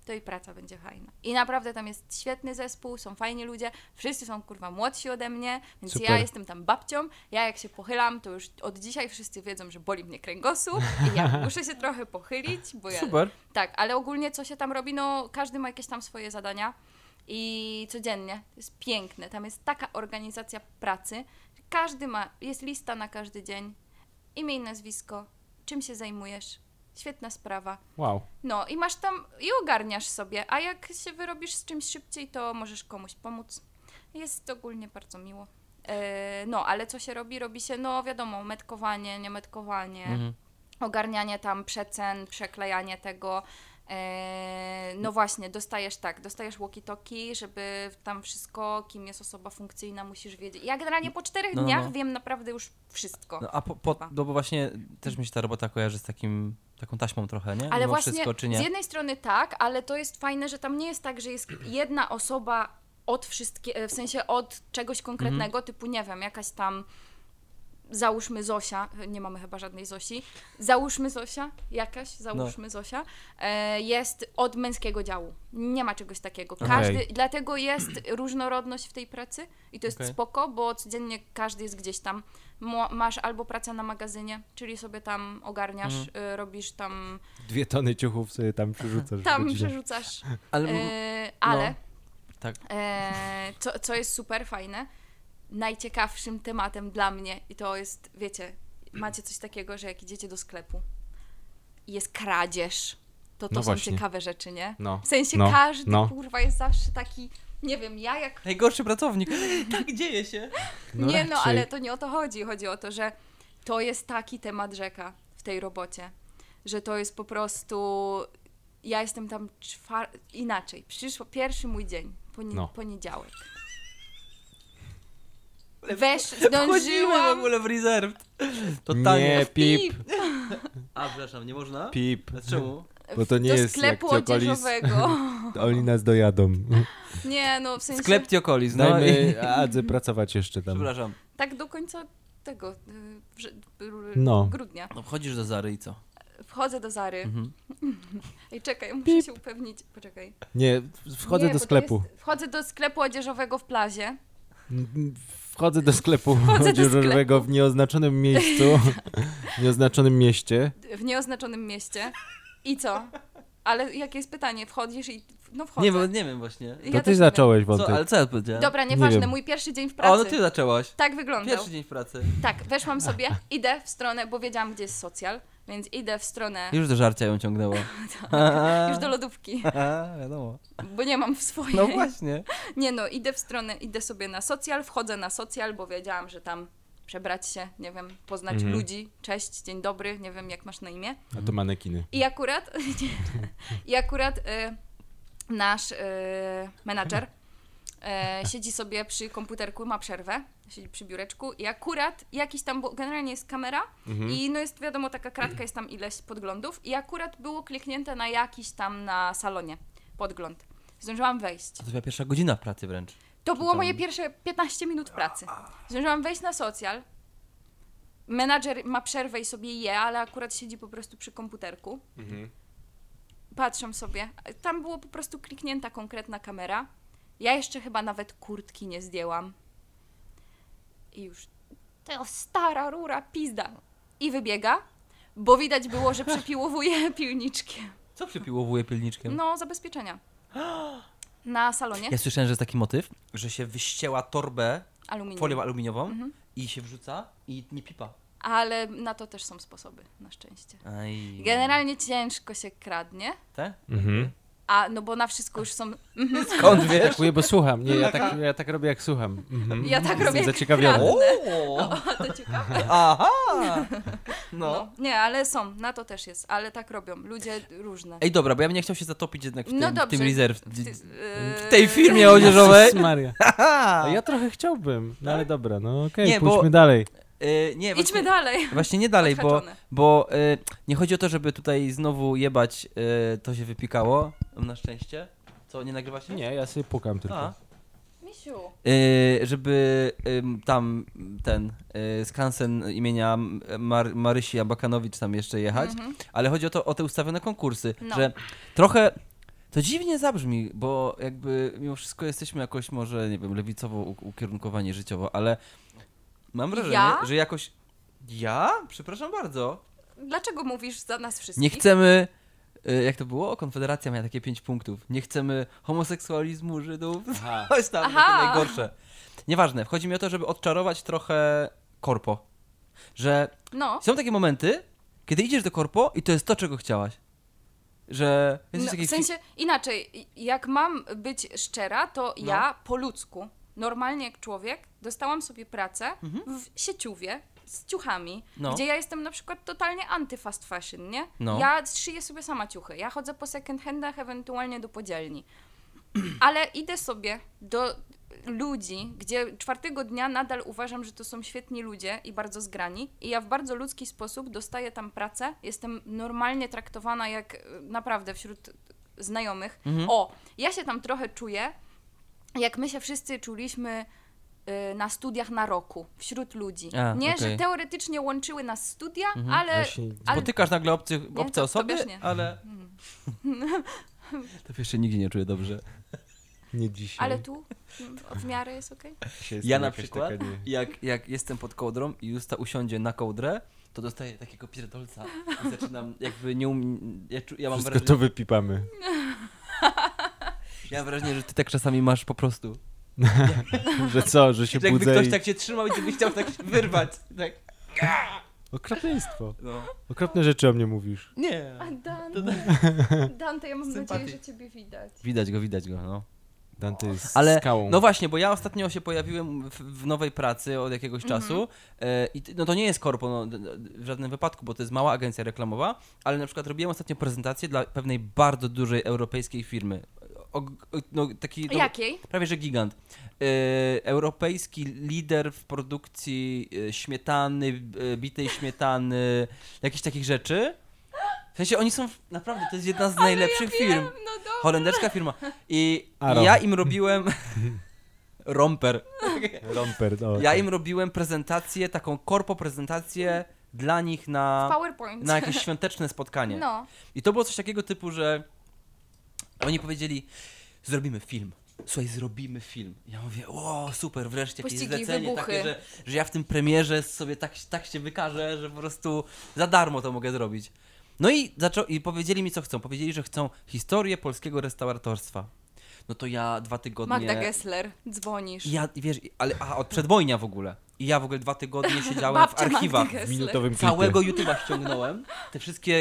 S2: to i praca będzie fajna. I naprawdę tam jest świetny zespół, są fajni ludzie, wszyscy są kurwa młodsi ode mnie, więc ja
S3: Super.
S2: jestem tam babcią, ja jak się pochylam, to już od dzisiaj wszyscy wiedzą, że boli mnie kręgosłup i ja muszę się trochę pochylić, bo ja
S3: No,
S5: Super.
S2: tak, ale ogólnie co się tam robi, no każdy ma jakieś tam swoje zadania i codziennie. To jest piękne. Tam jest taka organizacja pracy. Każdy ma, jest lista na każdy dzień, imię i nazwisko, czym się zajmujesz. Świetna sprawa.
S3: Wow.
S2: No i masz tam i ogarniasz sobie, a jak się wyrobisz z czymś szybciej, to możesz komuś pomóc. Jest ogólnie bardzo miło. E, No, ale co się robi? Robi się, no wiadomo, metkowanie, niemetkowanie,
S4: Mhm.
S2: ogarnianie tam przecen, przeklejanie tego. E, No właśnie, dostajesz tak, dostajesz walkie-talkie, żeby tam wszystko, kim jest osoba funkcyjna, musisz wiedzieć. Ja generalnie po czterech
S4: No, no,
S2: dniach
S4: no.
S2: wiem naprawdę już wszystko.
S4: No a po, po,
S2: Chyba.
S4: no bo właśnie też mi się ta robota kojarzy z takim, taką taśmą trochę, nie?
S2: Ale
S4: Mimo
S2: właśnie
S4: wszystko, czy nie?
S2: z jednej strony tak, ale to jest fajne, że tam nie jest tak, że jest jedna osoba od wszystkie, w sensie od czegoś
S4: Mhm.
S2: konkretnego, typu nie wiem, jakaś tam załóżmy Zosia, nie mamy chyba żadnej Zosi, załóżmy Zosia, jakaś, załóżmy
S4: No.
S2: Zosia, e, jest od męskiego działu. Nie ma czegoś takiego. Każdy, dlatego jest różnorodność w tej pracy i to jest
S4: Okej.
S2: spoko, bo codziennie każdy jest gdzieś tam. Mo- masz albo pracę na magazynie, czyli sobie tam ogarniasz,
S4: Mhm.
S2: e, robisz tam
S3: Dwie tony ciuchów sobie tam przerzucasz. w
S2: tam
S3: godzinę.
S2: przerzucasz.
S4: Ale,
S2: E,
S3: No.
S2: ale
S4: Tak.
S2: e, co, co jest super fajne, najciekawszym tematem dla mnie i to jest, wiecie, macie coś takiego, że jak idziecie do sklepu i jest kradzież, to to
S3: No
S2: są
S3: właśnie.
S2: ciekawe rzeczy, nie?
S3: No.
S2: W sensie
S3: No.
S2: każdy
S3: No.
S2: kurwa jest zawsze taki, nie wiem, ja jak
S4: Najgorszy pracownik. tak dzieje się.
S3: No
S2: nie, no
S3: raczej.
S2: ale to nie o to chodzi. Chodzi o to, że to jest taki temat rzeka w tej robocie, że to jest po prostu. Ja jestem tam czwar... inaczej. Przyszło pierwszy mój dzień, poni-
S3: No.
S2: poniedziałek. Wesz, zdążyłam.
S4: Chodzimy w ogóle w reserved. Totalnie.
S3: Nie, pip,
S4: A, przepraszam, nie można?
S3: pip.
S4: A czemu?
S3: Bo to nie
S2: do
S3: jest jak
S2: sklepu
S3: Ciokolis.
S2: odzieżowego.
S3: Oni nas dojadą.
S2: Nie, no w sensie
S4: Sklep Tiokolis, no i...
S3: Dajmy Adze pracować jeszcze tam.
S4: Przepraszam.
S2: tak do końca tego y, wrze- y,
S3: No.
S2: grudnia.
S4: No wchodzisz do Zary i co?
S2: Wchodzę do Zary.
S4: Mhm.
S2: Ej, czekaj, muszę się upewnić. Poczekaj.
S3: Nie, wchodzę
S2: Nie,
S3: do
S2: bo to
S3: sklepu.
S2: Jest, wchodzę do sklepu odzieżowego w plazie.
S3: Mm, Wchodzę do sklepu
S2: Wchodzę do
S3: odzieżowego w nieoznaczonym miejscu, w nieoznaczonym mieście.
S2: w nieoznaczonym mieście. I co? Ale jakie jest pytanie? Wchodzisz i. No wchodzę.
S4: Nie, bo, nie wiem właśnie.
S2: Ja
S3: To
S2: też nie
S3: ty zacząłeś
S4: Co, ale
S3: wątek.
S4: co ja powiedziałem?
S2: Dobra,
S3: Nie
S2: nieważne,
S3: wiem.
S2: mój pierwszy dzień w
S4: O,
S2: pracy.
S4: no ty zaczęłaś.
S2: Tak wyglądał.
S4: Pierwszy dzień w pracy.
S2: Tak, weszłam sobie, idę w stronę, bo wiedziałam, gdzie jest socjal, więc idę w stronę
S4: Już do żarcia ją ciągnęło.
S2: już do lodówki,
S4: A, wiadomo.
S2: bo nie mam w swojej.
S4: No właśnie.
S2: Nie no, idę w stronę, idę sobie na socjal, wchodzę na socjal, bo wiedziałam, że tam przebrać się, nie wiem, poznać
S3: Mhm.
S2: ludzi, cześć, dzień dobry, nie wiem jak masz na imię.
S3: A to manekiny.
S2: I akurat, i akurat y, nasz y, menadżer y, siedzi sobie przy komputerku, ma przerwę, siedzi przy biureczku i akurat jakiś tam, bo generalnie jest kamera
S4: Mhm.
S3: Hmm?
S2: i no jest wiadomo taka kratka, jest tam ileś podglądów i akurat było kliknięte na jakiś tam na salonie podgląd. Zdążyłam wejść.
S4: To była pierwsza godzina pracy wręcz.
S2: To było
S4: tam-
S2: moje pierwsze 15 minut pracy. Zdążyłam wejść na socjal. Menadżer ma przerwę i sobie je, ale akurat siedzi po prostu przy komputerku.
S4: Mhm.
S2: Patrzę sobie. Tam było po prostu kliknięta konkretna kamera. Ja jeszcze chyba nawet kurtki nie zdjęłam. I już. To stara rura, pizda. I wybiega. bo widać było, że przypiłowuje pilniczkiem.
S4: Co przypiłowuje pilniczkiem?
S2: No, zabezpieczenia. Na salonie
S4: Ja słyszałem, że jest taki motyw, że się wyścięła torbę folią
S2: aluminium.
S4: aluminiową
S2: Mhm.
S4: i się wrzuca i nie pipa.
S2: Ale na to też są sposoby, na szczęście.
S4: Aj.
S2: Generalnie ciężko się kradnie,
S4: Te?
S3: Mhm.
S2: a no bo na wszystko już są.
S4: Skąd wiesz?
S3: Dziękuję, bo słucham. Nie, ja tak, ja tak robię, jak słucham. Mhm.
S2: Ja tak robię.
S3: Jestem
S2: jak
S3: zaciekawiony.
S4: O!
S2: kradnę. To ciekawe.
S4: Aha! No.
S2: No. Nie, ale są, na to też jest, ale tak robią. Ludzie różne.
S4: Ej, dobra, bo ja bym nie chciał się zatopić jednak w tym,
S2: No
S4: w tym
S2: dobrze.
S4: rezerw.
S2: W ty- yy,
S4: W tej firmie odzieżowej.
S3: Jezus Maria.
S4: No
S3: A ja trochę chciałbym, no ale dobra, no okej,
S4: Nie, bo-
S3: pójdźmy dalej.
S4: Y, nie,
S2: Idźmy
S4: właśnie,
S2: dalej.
S4: właśnie nie dalej, bo,
S2: Odhaczone.
S4: bo y, nie chodzi o to, żeby tutaj znowu jebać y, to się wypikało, na szczęście. Co, nie nagrywa się?
S3: Nie, ja sobie pukam
S4: A.
S3: tylko.
S2: Misiu.
S4: Y, żeby ym, tam ten y, Skansen imienia Mar- Marysi Abakanowicz tam jeszcze jechać,
S2: Mhm.
S4: ale chodzi o, to, o te ustawione konkursy,
S2: No.
S4: że trochę to dziwnie zabrzmi, bo jakby mimo wszystko jesteśmy jakoś może, nie wiem, lewicowo u- ukierunkowani życiowo, ale mam wrażenie,
S2: Ja?
S4: że jakoś... Ja? Przepraszam bardzo.
S2: Dlaczego mówisz za nas wszystkich?
S4: Nie chcemy... y, Jak to było? Konfederacja miała takie pięć punktów. Nie chcemy homoseksualizmu Żydów.
S3: Aha.
S4: Coś tam,
S2: Aha.
S4: Aha. najgorsze. Nieważne, chodzi mi o to, żeby odczarować trochę korpo. Że
S2: No,
S4: są takie momenty, kiedy idziesz do korpo i to jest to, czego chciałaś. Że jesteś
S2: no
S4: taki...
S2: w sensie inaczej, i- jak mam być szczera, to
S4: No.
S2: ja po ludzku, normalnie jak człowiek, dostałam sobie pracę w sieciuwie z ciuchami,
S4: Mhm. No.
S2: gdzie ja jestem na przykład totalnie anty-fast fashion, nie?
S4: No.
S2: Ja szyję sobie sama ciuchy, ja chodzę po second handach, ewentualnie do podzielni. Ale idę sobie do ludzi, gdzie czwartego dnia nadal uważam, że to są świetni ludzie i bardzo zgrani, i ja w bardzo ludzki sposób dostaję tam pracę. Jestem normalnie traktowana jak e, naprawdę wśród znajomych.
S4: Mhm.
S2: O, ja się tam trochę czuję, jak my się wszyscy czuliśmy e, na studiach na roku wśród ludzi.
S4: A,
S2: nie, że
S4: okej. Mhm,
S2: teoretycznie łączyły nas studia, ale.
S3: Właśnie-
S2: ale
S4: Spotykasz nagle obcy, obce
S2: to-
S4: osoby,
S2: to wiesz, nie. Hmm.
S4: ale... to jeszcze nigdzie nie czuję dobrze.
S3: Nie dzisiaj.
S2: Ale tu mm, w miarę jest okej?
S3: Dzisiaj
S4: Ja
S3: jestem
S4: na
S3: jakaś
S4: przykład,
S3: taka nie-
S4: jak, jak jestem pod kołdrą i Justa usiądzie na kołdrę, to dostaję takiego pierdolca i zaczynam jakby nie um... ja, czu... ja mam
S3: Wszystko
S4: wrażenie,
S3: to wypipamy.
S4: ja mam wrażenie, że ty tak czasami masz po prostu.
S3: Że co, że się
S4: Że jakby
S3: budzę
S4: ktoś
S3: i...
S4: tak cię trzymał i ty byś chciał tak się wyrwać. Tak.
S3: Okropieństwo.
S4: No.
S3: Okropne rzeczy o mnie mówisz.
S4: Nie.
S2: A Dante, Dante, ja mam
S4: Sympatii.
S2: nadzieję, że ciebie widać.
S4: Widać go, widać go, no.
S3: Dante jest
S4: Ale,
S3: skałą.
S4: no właśnie, bo ja ostatnio się pojawiłem w, w nowej pracy od jakiegoś czasu e, i ty- no to nie jest korpo no, d- d- w żadnym wypadku, bo to jest mała agencja reklamowa, ale na przykład robiłem ostatnio prezentację dla pewnej bardzo dużej europejskiej firmy. O, o- no, taki, no,
S2: Jakiej?
S4: Prawie że gigant. E, europejski lider w produkcji e, śmietany, e, bitej śmietany, jakichś takich rzeczy. W sensie oni są w, naprawdę, to jest jedna z najlepszych
S2: Wiem,
S4: firm.
S2: no dobra.
S4: Holenderska firma. I
S3: Aro.
S4: ja im robiłem. Romper.
S3: Romper, o, tak.
S4: Ja im robiłem prezentację, taką korpo prezentację dla nich na,
S2: PowerPoint.
S4: na jakieś świąteczne spotkanie.
S2: No.
S4: I to było coś takiego typu, że oni powiedzieli, zrobimy film. Słuchaj, zrobimy film. Ja mówię, o, super, wreszcie jakieś
S2: Pościgi,
S4: zlecenie
S2: wybuchy.
S4: takie, że, że ja w tym premierze sobie tak, tak się wykażę, że po prostu za darmo to mogę zrobić. No i, zaczą- i powiedzieli mi, co chcą. Powiedzieli, że chcą historię polskiego restauratorstwa. No to ja dwa tygodnie...
S2: Magda Gessler, dzwonisz.
S4: I Ja, i wiesz, i- ale a, od przedwojnia w ogóle. I ja w ogóle dwa tygodnie siedziałem w
S2: Babcia Magdy
S4: archiwach.
S3: w
S2: Gessler.
S3: minutowym klipie.
S4: Całego YouTube'a ściągnąłem. Te wszystkie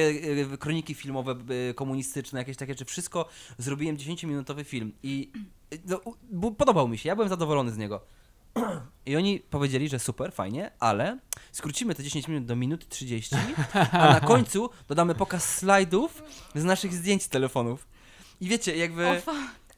S4: y, kroniki filmowe y, komunistyczne, jakieś takie rzeczy, wszystko zrobiłem 10-minutowy film i y, no, u- bu- podobał mi się, ja byłem zadowolony z niego. I oni powiedzieli, że super, fajnie, ale skrócimy te 10 minut do minuty 30, a na końcu dodamy pokaz slajdów z naszych zdjęć z telefonów. I wiecie, jakby.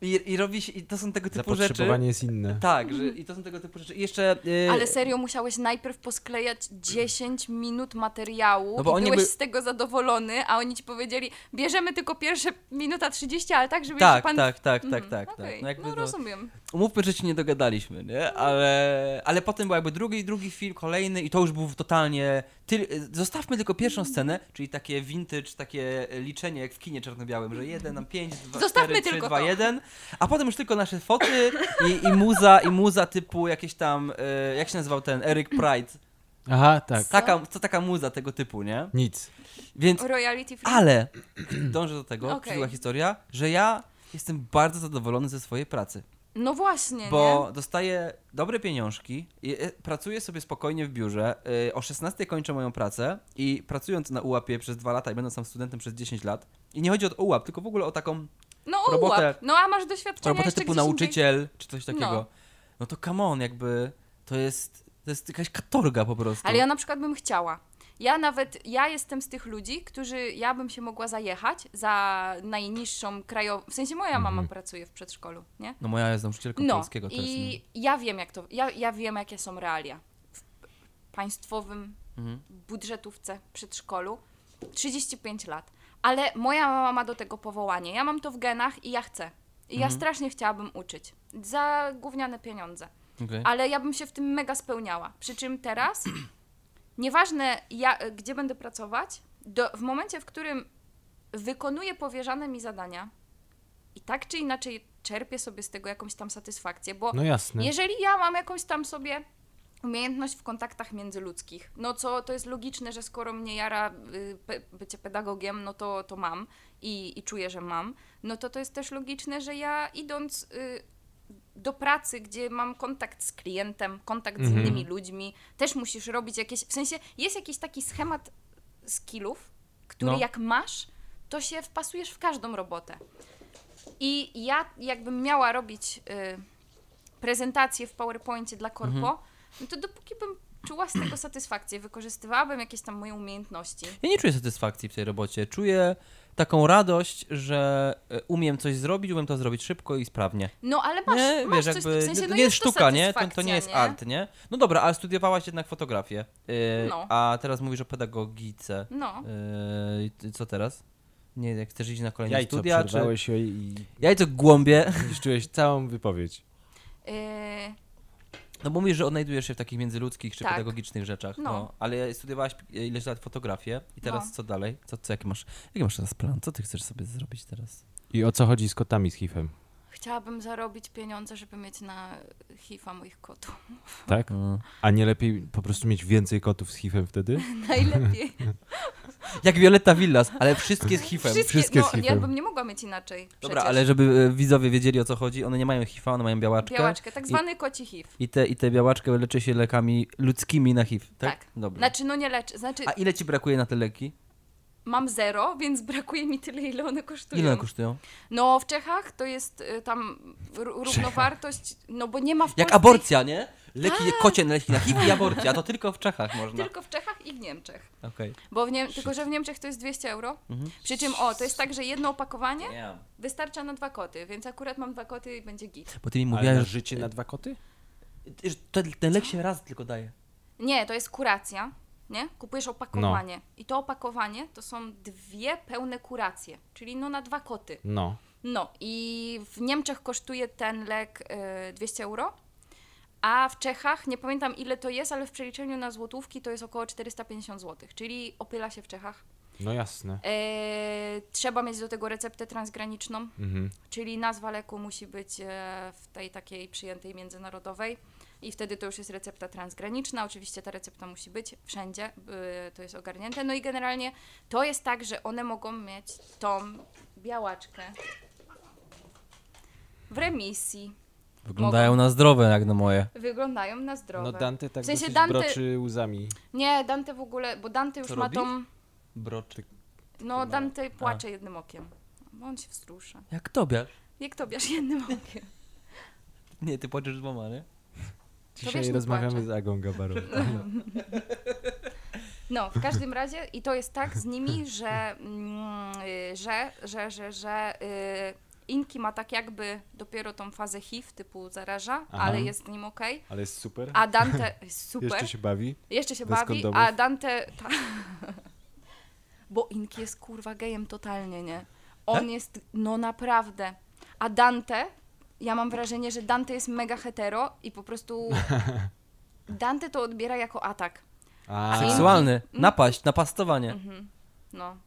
S4: I, i robi się, i to są tego typu rzeczy.
S3: Zapotrzebowanie jest inne.
S4: Tak, że, i to są tego typu rzeczy. I jeszcze. y,
S2: Ale serio, musiałeś najpierw posklejać 10 minut materiału
S4: No bo
S2: i
S4: oni
S2: byłeś
S4: by-
S2: z tego zadowolony, a oni ci powiedzieli, bierzemy tylko pierwsze minuta 30, ale tak, żeby
S4: tak,
S2: jeszcze pan...
S4: tak, tak,
S2: Mhm,
S4: tak, tak, tak.
S2: okej.
S4: No, jakby
S2: no
S4: to-
S2: rozumiem.
S4: Umówmy, że się nie dogadaliśmy, nie? Ale, ale potem był jakby drugi, drugi film, kolejny i to już był totalnie... Ty... Zostawmy tylko pierwszą scenę, czyli takie vintage, takie liczenie jak w kinie czarno-białym, że 1 na 5, 2,
S2: Zostawmy
S4: 4, 3,
S2: tylko
S4: 2,
S2: to.
S4: 1, a potem już tylko nasze foty i, i muza, i muza typu jakieś tam... e, Jak się nazywał ten? Eric Pride.
S6: Aha, tak.
S4: Taka, co taka muza tego typu, nie?
S3: Nic.
S4: Więc,
S2: Royalty free.
S4: ale dążę do tego,
S2: Okej.
S4: okay. historia, że ja jestem bardzo zadowolony ze swojej pracy.
S2: No właśnie,
S4: Bo dostaję dobre pieniążki, i, e, pracuję sobie spokojnie w biurze, y, o 16 kończę moją pracę i pracując na ułapie przez dwa lata i będąc tam studentem przez 10 lat, i nie chodzi o ułap, tylko w ogóle o taką
S2: nie? No o
S4: robotę-
S2: łap. No a masz doświadczenie
S4: robotę
S2: jeszcze
S4: typu
S2: gdzieś indziej.
S4: nauczyciel czy coś takiego.
S2: No.
S4: No. to come on, jakby to jest, to jest jakaś katorga po prostu.
S2: Ale ja na przykład bym chciała. Ja nawet, ja jestem z tych ludzi, którzy, ja bym się mogła zajechać za najniższą krajową, w sensie moja mama
S4: Mhm.
S2: pracuje w przedszkolu, nie?
S4: No moja jest nauczycielką
S2: No
S4: polskiego też.
S2: i ja wiem jak to, ja, ja wiem jakie są realia. W p- państwowym
S4: Mhm.
S2: budżetówce przedszkolu 35 lat. Ale moja mama ma do tego powołanie. Ja mam to w genach i ja chcę. I ja
S4: Mhm.
S2: strasznie chciałabym uczyć. Za gówniane pieniądze.
S4: no. Okej.
S2: Ale ja bym się w tym mega spełniała. Przy czym teraz, nieważne ja, gdzie będę pracować, do, w momencie, w którym wykonuję powierzane mi zadania i tak czy inaczej czerpię sobie z tego jakąś tam satysfakcję, bo
S6: No jasne.
S2: jeżeli ja mam jakąś tam sobie umiejętność w kontaktach międzyludzkich, no co to jest logiczne, że skoro mnie jara y, pe, bycie pedagogiem, no to, to mam i, i czuję, że mam, no to to jest też logiczne, że ja idąc y, do pracy, gdzie mam kontakt z klientem, kontakt
S4: Mhm.
S2: z innymi ludźmi, też musisz robić jakieś, w sensie jest jakiś taki schemat skillów, który
S4: No.
S2: jak masz, to się wpasujesz w każdą robotę. I ja jakbym miała robić y, prezentację w PowerPoincie dla korpo,
S4: Mhm.
S2: no to dopóki bym czuła z tego satysfakcję, wykorzystywałabym jakieś tam moje umiejętności.
S4: Ja nie czuję satysfakcji w tej robocie. Czuję taką radość, że e, umiem coś zrobić, umiem to zrobić szybko i sprawnie.
S2: No ale masz,
S4: nie,
S2: masz
S4: wiesz,
S2: coś,
S4: jakby
S2: w sensie,
S4: to
S2: no
S4: nie jest
S2: to
S4: sztuka, nie? To, to nie
S2: satysfakcja,
S4: jest art, nie? No dobra, ale studiowałaś jednak fotografię. e,
S2: No.
S4: A teraz mówisz o pedagogice.
S2: No,
S4: E, i ty- co teraz? Nie, jak chcesz iść na kolejne
S3: Jajco
S4: studia, czy...
S3: przerwałeś się i
S4: Jajco głąbie.
S3: zniszczyłeś całą wypowiedź.
S2: Yy,
S4: No bo mówisz, że odnajdujesz się w takich międzyludzkich czy
S2: Tak.
S4: pedagogicznych rzeczach.
S2: No.
S4: No. Ale studiowałaś ileś lat fotografię i teraz
S2: No.
S4: co dalej? Co, co, jaki masz, jaki masz teraz plan? Co ty chcesz sobie zrobić teraz?
S3: I o co chodzi z kotami z hifem?
S2: chciałabym zarobić pieniądze, żeby mieć na HIV-a moich kotów.
S3: Tak?
S4: Mm.
S3: A nie lepiej po prostu mieć więcej kotów z hifem wtedy?
S2: Najlepiej.
S4: Jak Violetta Villas, ale wszystkie z HIV-em.
S2: Wszystkie,
S3: Wszystkie
S2: no,
S3: z HIV-em.
S2: ja bym nie mogła mieć inaczej. Przecież.
S4: Dobra, ale żeby e, widzowie wiedzieli o co chodzi, one nie mają HIV-a, one mają białaczkę.
S2: Białaczkę, tak zwany koci HIV.
S4: I te, I te białaczkę leczy się lekami ludzkimi na HIV, tak?
S2: Tak.
S4: Dobra.
S2: Znaczy, no nie leczy. Znaczy,
S4: A ile ci brakuje na te leki?
S2: mam zero, więc brakuje mi tyle, ile one kosztują.
S4: Ile one kosztują?
S2: No, w Czechach to jest y, tam r- równowartość, no bo nie ma w
S4: Jak
S2: Polsce
S4: aborcja, nie? Leki, kocie leki na HIV i aborcja, to tylko w Czechach
S2: ich
S4: można.
S2: Tylko w Czechach i w Niemczech.
S4: Okej.
S2: Bo w Niem- tylko, że w Niemczech to jest 200 euro.
S4: Mhm.
S2: Przy czym, o, to jest tak, że jedno opakowanie
S4: Nie.
S2: wystarcza na dwa koty, więc akurat mam dwa koty i będzie git.
S4: Bo ty mi mówiłaś, że
S3: życie na dwa koty?
S4: Ty- że Ten, ten lek się raz tylko daje.
S2: Nie, to jest kuracja, nie? Kupujesz opakowanie. I to opakowanie to są dwie pełne kuracje, czyli no na dwa koty.
S3: No.
S2: No i w Niemczech kosztuje ten lek y, 200 euro, a w Czechach, nie pamiętam ile to jest, ale w przeliczeniu na złotówki to jest około 450 zł, czyli opyla się w Czechach.
S3: No jasne.
S2: Y, trzeba mieć do tego receptę transgraniczną,
S3: Mhm.
S2: czyli nazwa leku musi być e, w tej takiej przyjętej międzynarodowej i wtedy to już jest recepta transgraniczna. Oczywiście ta recepta musi być wszędzie, y, to jest ogarnięte. No i generalnie to jest tak, że one mogą mieć tą białaczkę w remisji.
S4: Wyglądają na zdrowe jak na moje.
S2: Wyglądają na zdrowe.
S3: No Dante tak
S2: W sensie
S3: dosyć
S2: Dante-
S3: broczy łzami.
S2: Nie, Dante w ogóle, bo Dante już
S4: Co
S2: ma
S4: robi?
S2: tą...
S4: Broczek.
S2: No, Dante płacze jednym okiem. Bo on się wzrusza.
S4: Jak tobie?
S2: Jak to bierz jednym okiem?
S4: Nie, ty płaczesz dwoma, nie?
S2: wiesz,
S3: Dzisiaj
S2: nie
S3: rozmawiamy
S2: płacze.
S3: z Agą Gabarą.
S2: No, w każdym razie i to jest tak z nimi, że, mm, y, że, że, że, że y, Inki ma tak jakby dopiero tą fazę HIV typu zaraża,
S3: Aha.
S2: ale jest z nim okej.
S3: Ale jest super.
S2: A Dante, super,
S3: Jeszcze się bawi. bez
S2: bawi,
S3: kondomów.
S2: a Dante, ta, bo Inki jest kurwa gejem totalnie, nie? On
S3: Tak?
S2: jest, no naprawdę, a Dante, ja mam wrażenie, że Dante jest mega hetero i po prostu Dante to odbiera jako atak.
S3: A,
S4: Tak. Seksualny, napaść, napastowanie.
S2: No.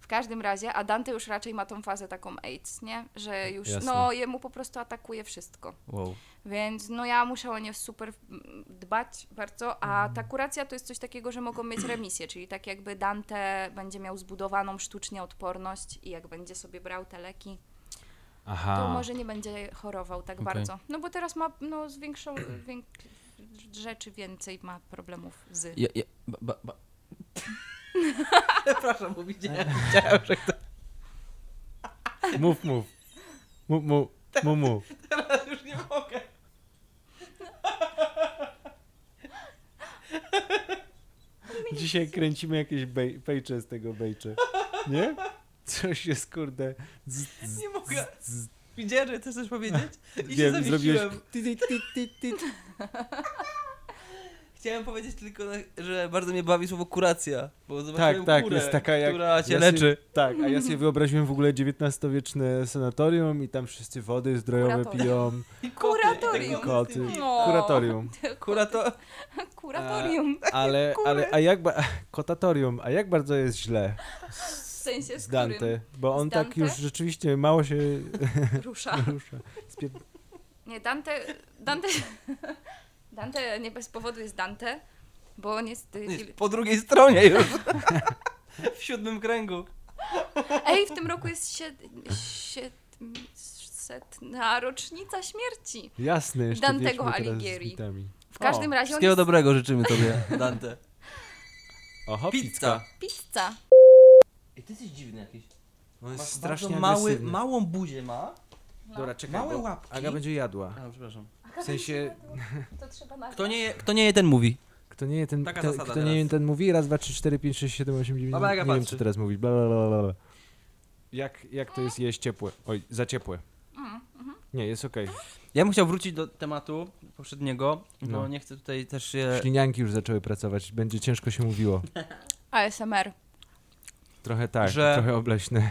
S2: W każdym razie, a Dante już raczej ma tą fazę taką AIDS, nie? Że już,
S3: Tak, Jasne.
S2: no, jemu po prostu atakuje wszystko.
S5: Wow.
S2: Więc no ja muszę o nie super mm, dbać bardzo, a
S3: Mhm.
S2: ta kuracja to jest coś takiego, że mogą mieć remisję, czyli tak jakby Dante będzie miał zbudowaną sztucznie odporność i jak będzie sobie brał te leki,
S3: Aha.
S2: to może nie będzie chorował tak
S5: Okej.
S2: bardzo. No bo teraz ma no, z większą wiek, rzeczy więcej ma problemów z.
S5: Ja, ja, ba, ba, ba.
S4: Przepraszam, bo widziałem, widziałem, że ktoś
S3: Mów, mów. Mów, mów. Mów, mów.
S4: teraz już nie mogę.
S3: Dzisiaj kręcimy jakieś bej- pejcze z tego bejcze. Nie? Coś jest kurde. Z, z,
S4: Nie mogę. Widziałem, że chcesz coś powiedzieć i się
S3: wiem, zrobiłeś.
S4: zawiesiłem.
S3: Ty, ty, ty, ty, ty.
S4: Chciałem powiedzieć tylko, że bardzo mnie bawi słowo kuracja, bo
S3: Tak,
S4: zobaczyłem
S3: tak,
S4: kurę,
S3: jest taka jak.
S4: która cię
S3: ja sobie-
S4: leczy.
S3: tak, a ja sobie wyobraziłem w ogóle XIX-wieczne sanatorium i tam wszyscy wody zdrojowe
S2: Kuratorium.
S3: piją
S4: I koty,
S2: Kuratorium.
S4: i
S3: i
S4: koty.
S3: koty.
S2: No.
S3: Kuratorium.
S4: Kurato...
S2: Kuratorium.
S3: Ale, ale a jak. Ba- kotatorium, a jak bardzo jest źle
S2: W sensie z
S3: z Dante? Bo
S2: Z
S3: on tak
S2: Dante?
S3: już rzeczywiście mało się
S2: którym rusza.
S3: rusza. Spier-
S2: Nie, Dante. Dante. Dante nie bez powodu jest Dante, bo on jest. y, fil-
S4: Po drugiej stronie już. w siódmym kręgu.
S2: Ej, w tym roku jest sied... siedmsetna rocznica śmierci.
S3: Jasne, jeszcze
S2: Dantego
S3: wiedźmy teraz z
S2: Alighieri.
S3: mitami.
S2: W każdym razie on
S5: Wszystkiego
S2: jest
S5: dobrego życzymy tobie.
S4: Dante.
S3: Oho, pizza.
S4: Pizza.
S2: pizza.
S4: I ty jesteś dziwny jakiś.
S3: No jest
S4: Masz
S3: strasznie
S4: bardzo mały,
S3: agresywny.
S4: małą buzię ma.
S3: Dobra, czekaj,
S4: Małe
S3: bo
S4: łapki.
S3: Aga będzie jadła.
S4: A, przepraszam.
S3: W sensie,
S2: To trzeba na.
S4: Kto nie je, kto nie je ten mówi.
S3: kto nie je ten,
S4: Taka
S3: kto,
S4: zasada
S3: kto nie je
S4: teraz.
S3: ten mówi, raz, dwa, trzy, cztery, pięć, sześć, siedem, osiem, dziewięć,
S4: Baba Jaga
S3: nie wiem
S4: patrzy.
S3: co teraz mówić, bla, bla, bla, bla, bla. Jak, jak to jest jeść ciepłe? Oj, za ciepłe.
S2: mhm.
S3: Nie, jest okej.
S4: Ja bym chciał wrócić do tematu poprzedniego, bo
S3: No.
S4: nie chcę tutaj też e, się...
S3: E- Ślinianki już zaczęły pracować, będzie ciężko się mówiło.
S2: ASMR.
S3: Trochę tak,
S4: Że-
S3: trochę obleśne.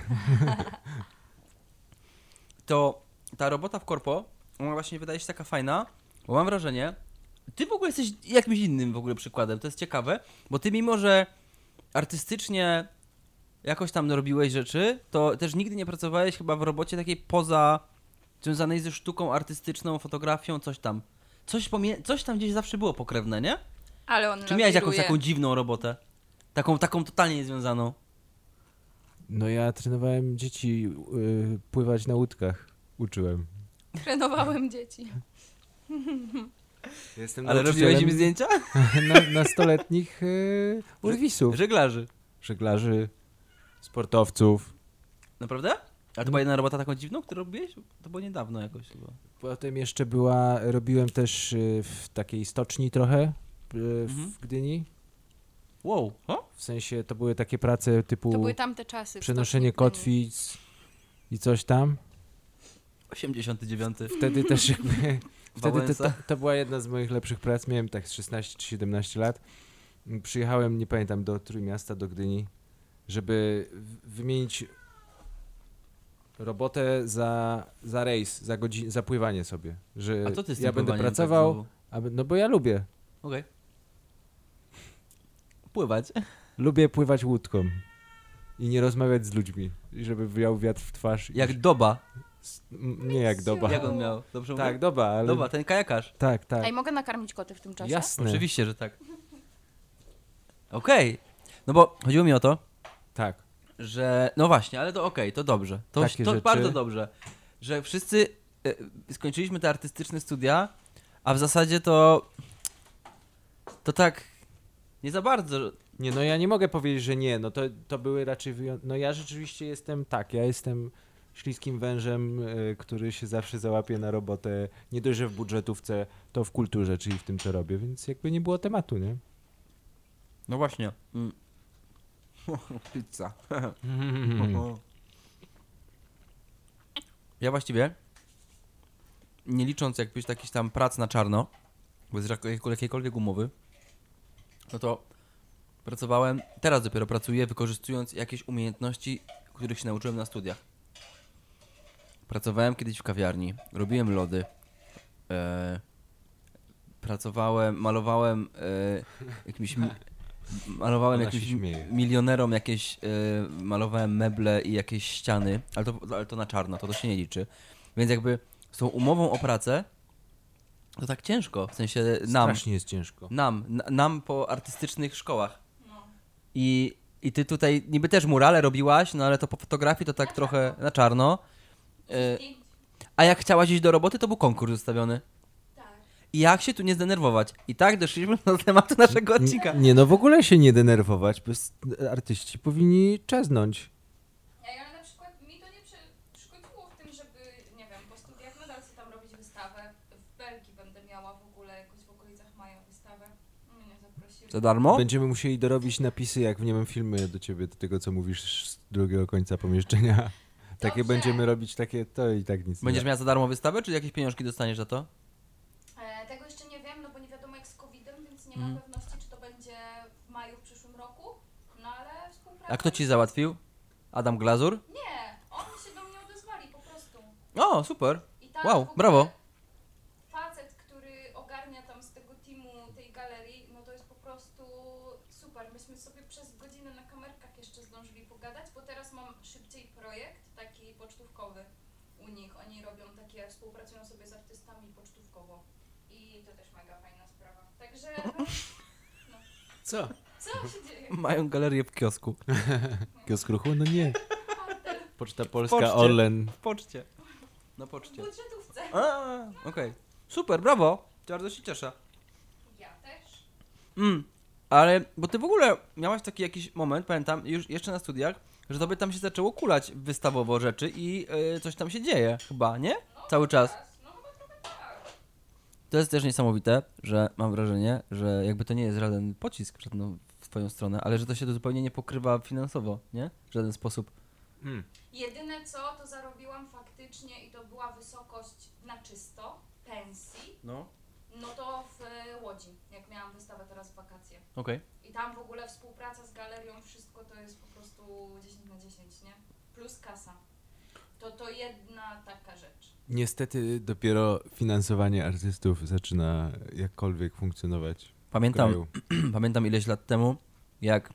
S4: To ta robota w korpo, ona właśnie wydaje się taka fajna, bo mam wrażenie, ty w ogóle jesteś jakimś innym w ogóle przykładem, to jest ciekawe, bo ty mimo, że artystycznie jakoś tam robiłeś rzeczy, to też nigdy nie pracowałeś chyba w robocie takiej poza, związanej ze sztuką artystyczną, fotografią, coś tam. Coś, pomie- coś tam gdzieś zawsze było pokrewne, nie?
S2: Ale on.
S4: Czy miałeś jakąś
S2: nawiruje.
S4: taką dziwną robotę? Taką, taką totalnie niezwiązaną.
S3: No ja trenowałem dzieci y, pływać na łódkach. Uczyłem.
S2: Trenowałem dzieci.
S3: Jestem
S4: Ale robiłeś im zdjęcia?
S3: na, nastoletnich y, urwisów.
S4: Żeglarzy.
S3: Żeglarzy, sportowców.
S4: Naprawdę?
S3: No.
S4: A to była jedna robota taką dziwną, którą robiłeś? To było niedawno jakoś chyba.
S3: Potem jeszcze była, robiłem też y, w takiej stoczni trochę y, w
S4: Mhm.
S3: Gdyni.
S4: Wow. O?
S3: W sensie to były takie prace typu
S2: To były tamte czasy. w
S3: przenoszenie
S2: stoczni
S3: kotwic i coś tam.
S4: 89.
S3: Wtedy też jakby, wtedy to,
S4: Wałęsa.
S3: to, to była jedna z moich lepszych prac, miałem tak z 16 czy 17 lat. M, Przyjechałem, nie pamiętam, do Trójmiasta, do Gdyni, żeby w- wymienić robotę za, za rejs, za, godzin, za pływanie sobie. Że
S4: A to ty z tym
S3: ja będę
S4: pływaniem tak
S3: pracował,
S4: znowu.
S3: a, b- no bo ja lubię.
S4: Okej. Pływać.
S3: Lubię pływać łódką i nie rozmawiać z ludźmi, i żeby wiał wiatr w twarz. i
S4: Jak
S3: ż-
S4: doba.
S3: s- m- nie jak doba.
S4: Jak on miał? Dobrze
S3: Tak,
S4: mówię?
S3: doba, ale
S4: Doba, ten kajakarz.
S3: tak,
S2: Gdyni. Ej,
S3: tak.
S2: mogę nakarmić koty w tym czasie?
S3: Jasne.
S4: Oczywiście, że tak. Okej. No bo chodziło mi o to,
S3: Tak.
S4: że. No właśnie, ale to okej, to dobrze. To,
S3: Takie
S4: to
S3: rzeczy.
S4: bardzo dobrze. Że wszyscy e, skończyliśmy te artystyczne studia, a w zasadzie to. To tak. Nie za bardzo.
S3: Nie, no ja nie mogę powiedzieć, że nie, no to, to były raczej wyjątki. No ja rzeczywiście jestem tak, ja jestem śliskim wężem, y, który się zawsze załapie na robotę, nie dość, że w budżetówce, to w kulturze, czyli w tym, co robię, więc jakby nie było tematu, nie?
S4: No właśnie. Mm. Pizza. Ja właściwie, nie licząc jakbyś jakichś tam prac na czarno, bez jak- jakiejkolwiek umowy, no to pracowałem, teraz dopiero pracuję, wykorzystując jakieś umiejętności, których się nauczyłem na studiach. Pracowałem kiedyś w kawiarni, robiłem lody, e, pracowałem, malowałem e, jakimś... mi- malowałem
S3: Ona
S4: jakimś
S3: się śmieje.
S4: milionerom jakieś, y, malowałem meble i jakieś ściany, ale to, ale to na czarno, to, to się nie liczy. Więc jakby z tą umową o pracę to tak ciężko, w sensie nam,
S3: Strasznie jest ciężko.
S4: nam, na- nam po artystycznych szkołach. I, I ty tutaj niby też murale robiłaś, no ale to po fotografii to tak trochę na czarno. Y, a jak chciałaś iść do roboty, to był konkurs ustawiony.
S2: tak.
S4: I jak się tu nie zdenerwować? I tak doszliśmy do tematu naszego odcinka.
S3: Nie no, w ogóle się nie denerwować, bo s- artyści powinni czeznąć.
S2: Ej, ale na przykład mi to nie przeszkodziło w tym, żeby, nie wiem, po studiach nadal sobie tam robić wystawę. W Belgii będę miała w ogóle jakoś w okolicach maja wystawę. Mnie nie zaprosili.
S4: Za darmo?
S3: Będziemy musieli dorobić napisy, jak w niemym filmie do ciebie, do tego, co mówisz z drugiego końca pomieszczenia. Takie
S2: Dobrze.
S3: będziemy robić, takie to i tak nic
S4: Będziesz
S3: nie
S4: miała za darmo wystawę, czy jakieś pieniążki dostaniesz za to?
S2: E, tego jeszcze nie wiem, no bo nie wiadomo jak z COVID-em, więc nie
S4: Mhm.
S2: mam pewności, czy to będzie w maju w przyszłym roku. No ale współpraca...
S4: A kto ci załatwił? Adam Glazur?
S2: Nie, oni się do mnie odezwali po prostu.
S4: O, super.
S2: I tam
S4: Wow,
S2: w ogóle
S4: brawo.
S2: Facet, który ogarnia tam z tego teamu tej galerii, no to jest po prostu super. Myśmy sobie przez godzinę na kamerkach jeszcze zdążyli pogadać, bo teraz mam szybciej projekt taki pocztówkowy u nich. Oni robią takie, współpracują sobie z artystami pocztówkowo. I to też mega fajna sprawa. Także
S3: Co?
S2: co się dzieje?
S4: Mają galerię w kiosku.
S3: Kiosk ruchu? No nie. Poczta Polska,
S4: Poczcie.
S3: Orlen.
S4: W poczcie. Na
S2: W
S4: poczcie.
S2: budżetówce.
S4: A, okej. Super, brawo. Bardzo się cieszę.
S2: Ja też.
S4: Mm. Ale, bo ty w ogóle miałaś taki jakiś moment, pamiętam, już jeszcze na studiach, że tobie tam się zaczęło kulać wystawowo rzeczy i y, coś tam się dzieje chyba, nie? Cały czas.
S2: No chyba trochę tak.
S4: To jest też niesamowite, że mam wrażenie, że jakby to nie jest żaden pocisk w żadną w twoją stronę, ale że to się to zupełnie nie pokrywa finansowo, nie? W żaden sposób.
S3: Hmm.
S2: Jedyne co, to zarobiłam faktycznie i to była wysokość na czysto pensji,
S4: No.
S2: no to w e, Łodzi, jak miałam wystawę teraz w wakacje.
S4: Okej.
S2: I tam w ogóle współpraca z galerią, wszystko to jest po prostu 10 na 10, nie? Plus kasa. To to jedna taka rzecz.
S3: Niestety dopiero finansowanie artystów zaczyna jakkolwiek funkcjonować. w
S4: Pamiętam,
S3: kraju.
S4: pamiętam ileś lat temu, jak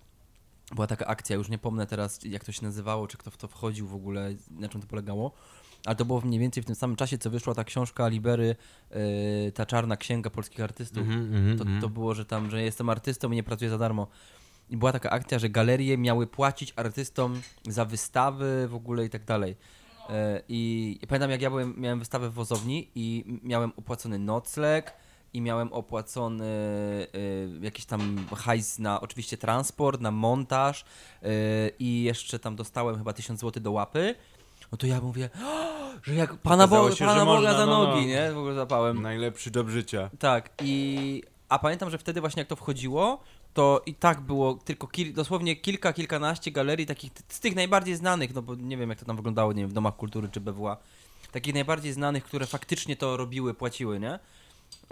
S4: była taka akcja, już nie pomnę teraz, jak to się nazywało, czy kto w to wchodził w ogóle, na czym to polegało, ale to było mniej więcej w tym samym czasie, co wyszła ta książka Libery, yy, ta czarna księga polskich artystów.
S3: Mhm, mhm,
S4: To,
S3: mhm.
S4: to było, że tam, że jestem artystą i nie pracuję za darmo. I była taka akcja, że galerie miały płacić artystom za wystawy w ogóle i tak dalej. E, I i pamiętam, jak ja byłem, miałem wystawę w Wozowni i m- miałem opłacony nocleg i miałem opłacony e, jakiś tam hajs na oczywiście transport, na montaż e, i jeszcze tam dostałem chyba 1000 zł do łapy. No to ja mówię, że jak Pana,
S3: Okazało
S4: Bo-
S3: się,
S4: Pana
S3: że
S4: Boga
S3: można,
S4: za
S3: no,
S4: nogi,
S3: no.
S4: nie? W ogóle zapałem.
S3: Najlepszy dob życia.
S4: Tak, i. A pamiętam, że wtedy właśnie jak to wchodziło, to i tak było tylko kil... dosłownie kilka, kilkanaście galerii takich t- z tych najbardziej znanych, no bo nie wiem jak to tam wyglądało, nie wiem, w domach kultury czy BWA. Takich najbardziej znanych, które faktycznie to robiły, płaciły, nie?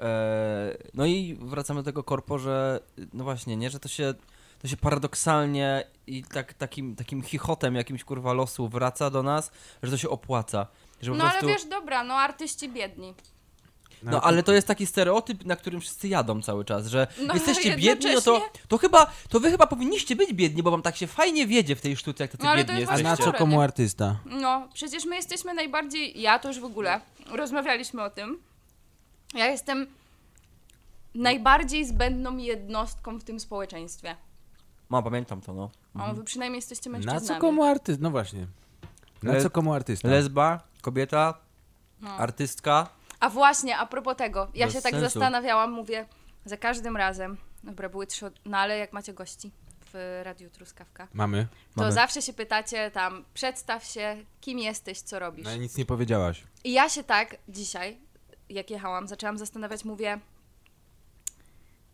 S4: Eee, no i wracamy do tego korpo, że no właśnie, nie, że to się to się paradoksalnie i tak, takim, takim chichotem jakimś kurwa losu wraca do nas, że to się opłaca. Że po
S2: No ale
S4: prostu...
S2: wiesz, dobra, no artyści biedni.
S4: No ale to jest taki stereotyp, na którym wszyscy jadą cały czas, że
S2: No, ale
S4: jesteście biedni, no to,
S2: jednocześnie-
S4: to chyba, to wy chyba powinniście być biedni, bo wam tak się fajnie wiedzie w tej sztuce, jak to ty
S2: No, ale to
S4: biedni
S2: jest
S3: A
S4: jesteście.
S3: na co
S2: Szczerze,
S3: komu
S2: nie?
S3: artysta?
S2: No, przecież my jesteśmy najbardziej. Ja to już w ogóle. Rozmawialiśmy o tym. Ja jestem najbardziej zbędną jednostką w tym społeczeństwie.
S4: No pamiętam to, no.
S2: O, wy przynajmniej jesteście
S3: Na
S2: mężczyznami.
S3: co komu artysta? No właśnie. Na
S4: Le-
S3: co komu
S4: Tak.
S3: artysta?
S4: Lesba, kobieta,
S2: No.
S4: artystka.
S2: A właśnie, a propos tego, ja
S4: Bez
S2: się tak
S4: sensu.
S2: zastanawiałam, mówię, za każym razem, dobra, były trzy, od- no ale jak macie gości w Radiu Truskawka,
S3: Mamy.
S2: to
S4: Mamy.
S2: zawsze się pytacie tam, przedstaw się, kim jesteś, co robisz.
S3: No i nic nie powiedziałaś.
S2: I ja się tak dzisiaj, jak jechałam, zaczęłam zastanawiać, mówię,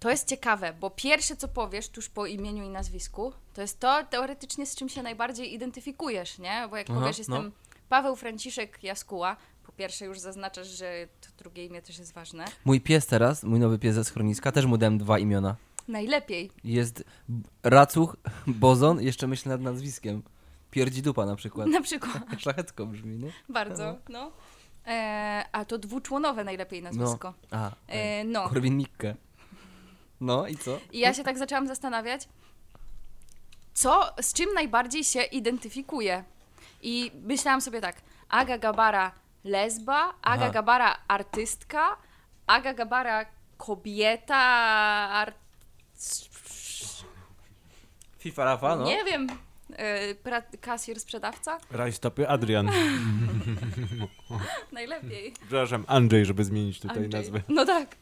S2: to jest ciekawe, bo pierwsze, co powiesz tuż po imieniu i nazwisku, to jest to teoretycznie, z czym się najbardziej identyfikujesz, nie? Bo jak
S4: Aha,
S2: powiesz,
S4: no.
S2: jestem Paweł Franciszek Jaskuła, po pierwsze już zaznaczasz, że to drugie imię też jest ważne.
S4: Mój pies teraz, mój nowy pies ze schroniska, też mu dałem dwa imiona.
S2: Najlepiej.
S4: Jest B- Racuch, Bozon, jeszcze myślę nad nazwiskiem. Pierdzi dupa na przykład.
S2: Na przykład.
S4: Szlachecko brzmi, nie?
S2: Bardzo,
S4: Tak.
S2: no. E, a to dwuczłonowe najlepiej nazwisko.
S4: A,
S2: E, no.
S4: Korwin Mikke. No i co?
S2: I ja się tak zaczęłam zastanawiać, co, z czym najbardziej się identyfikuje. I myślałam sobie tak, Aga Gabara lesba, Aga
S5: Aha.
S2: Gabara artystka, Aga Gabara kobieta, ar...
S4: FIFA Rafa, no.
S2: nie wiem, y, pra- kasjer, sprzedawca,
S3: Rajstopy Adrian.
S2: najlepiej.
S3: Przepraszam, Andrzej, żeby zmienić tutaj
S2: Andrzej.
S3: nazwę.
S2: No tak,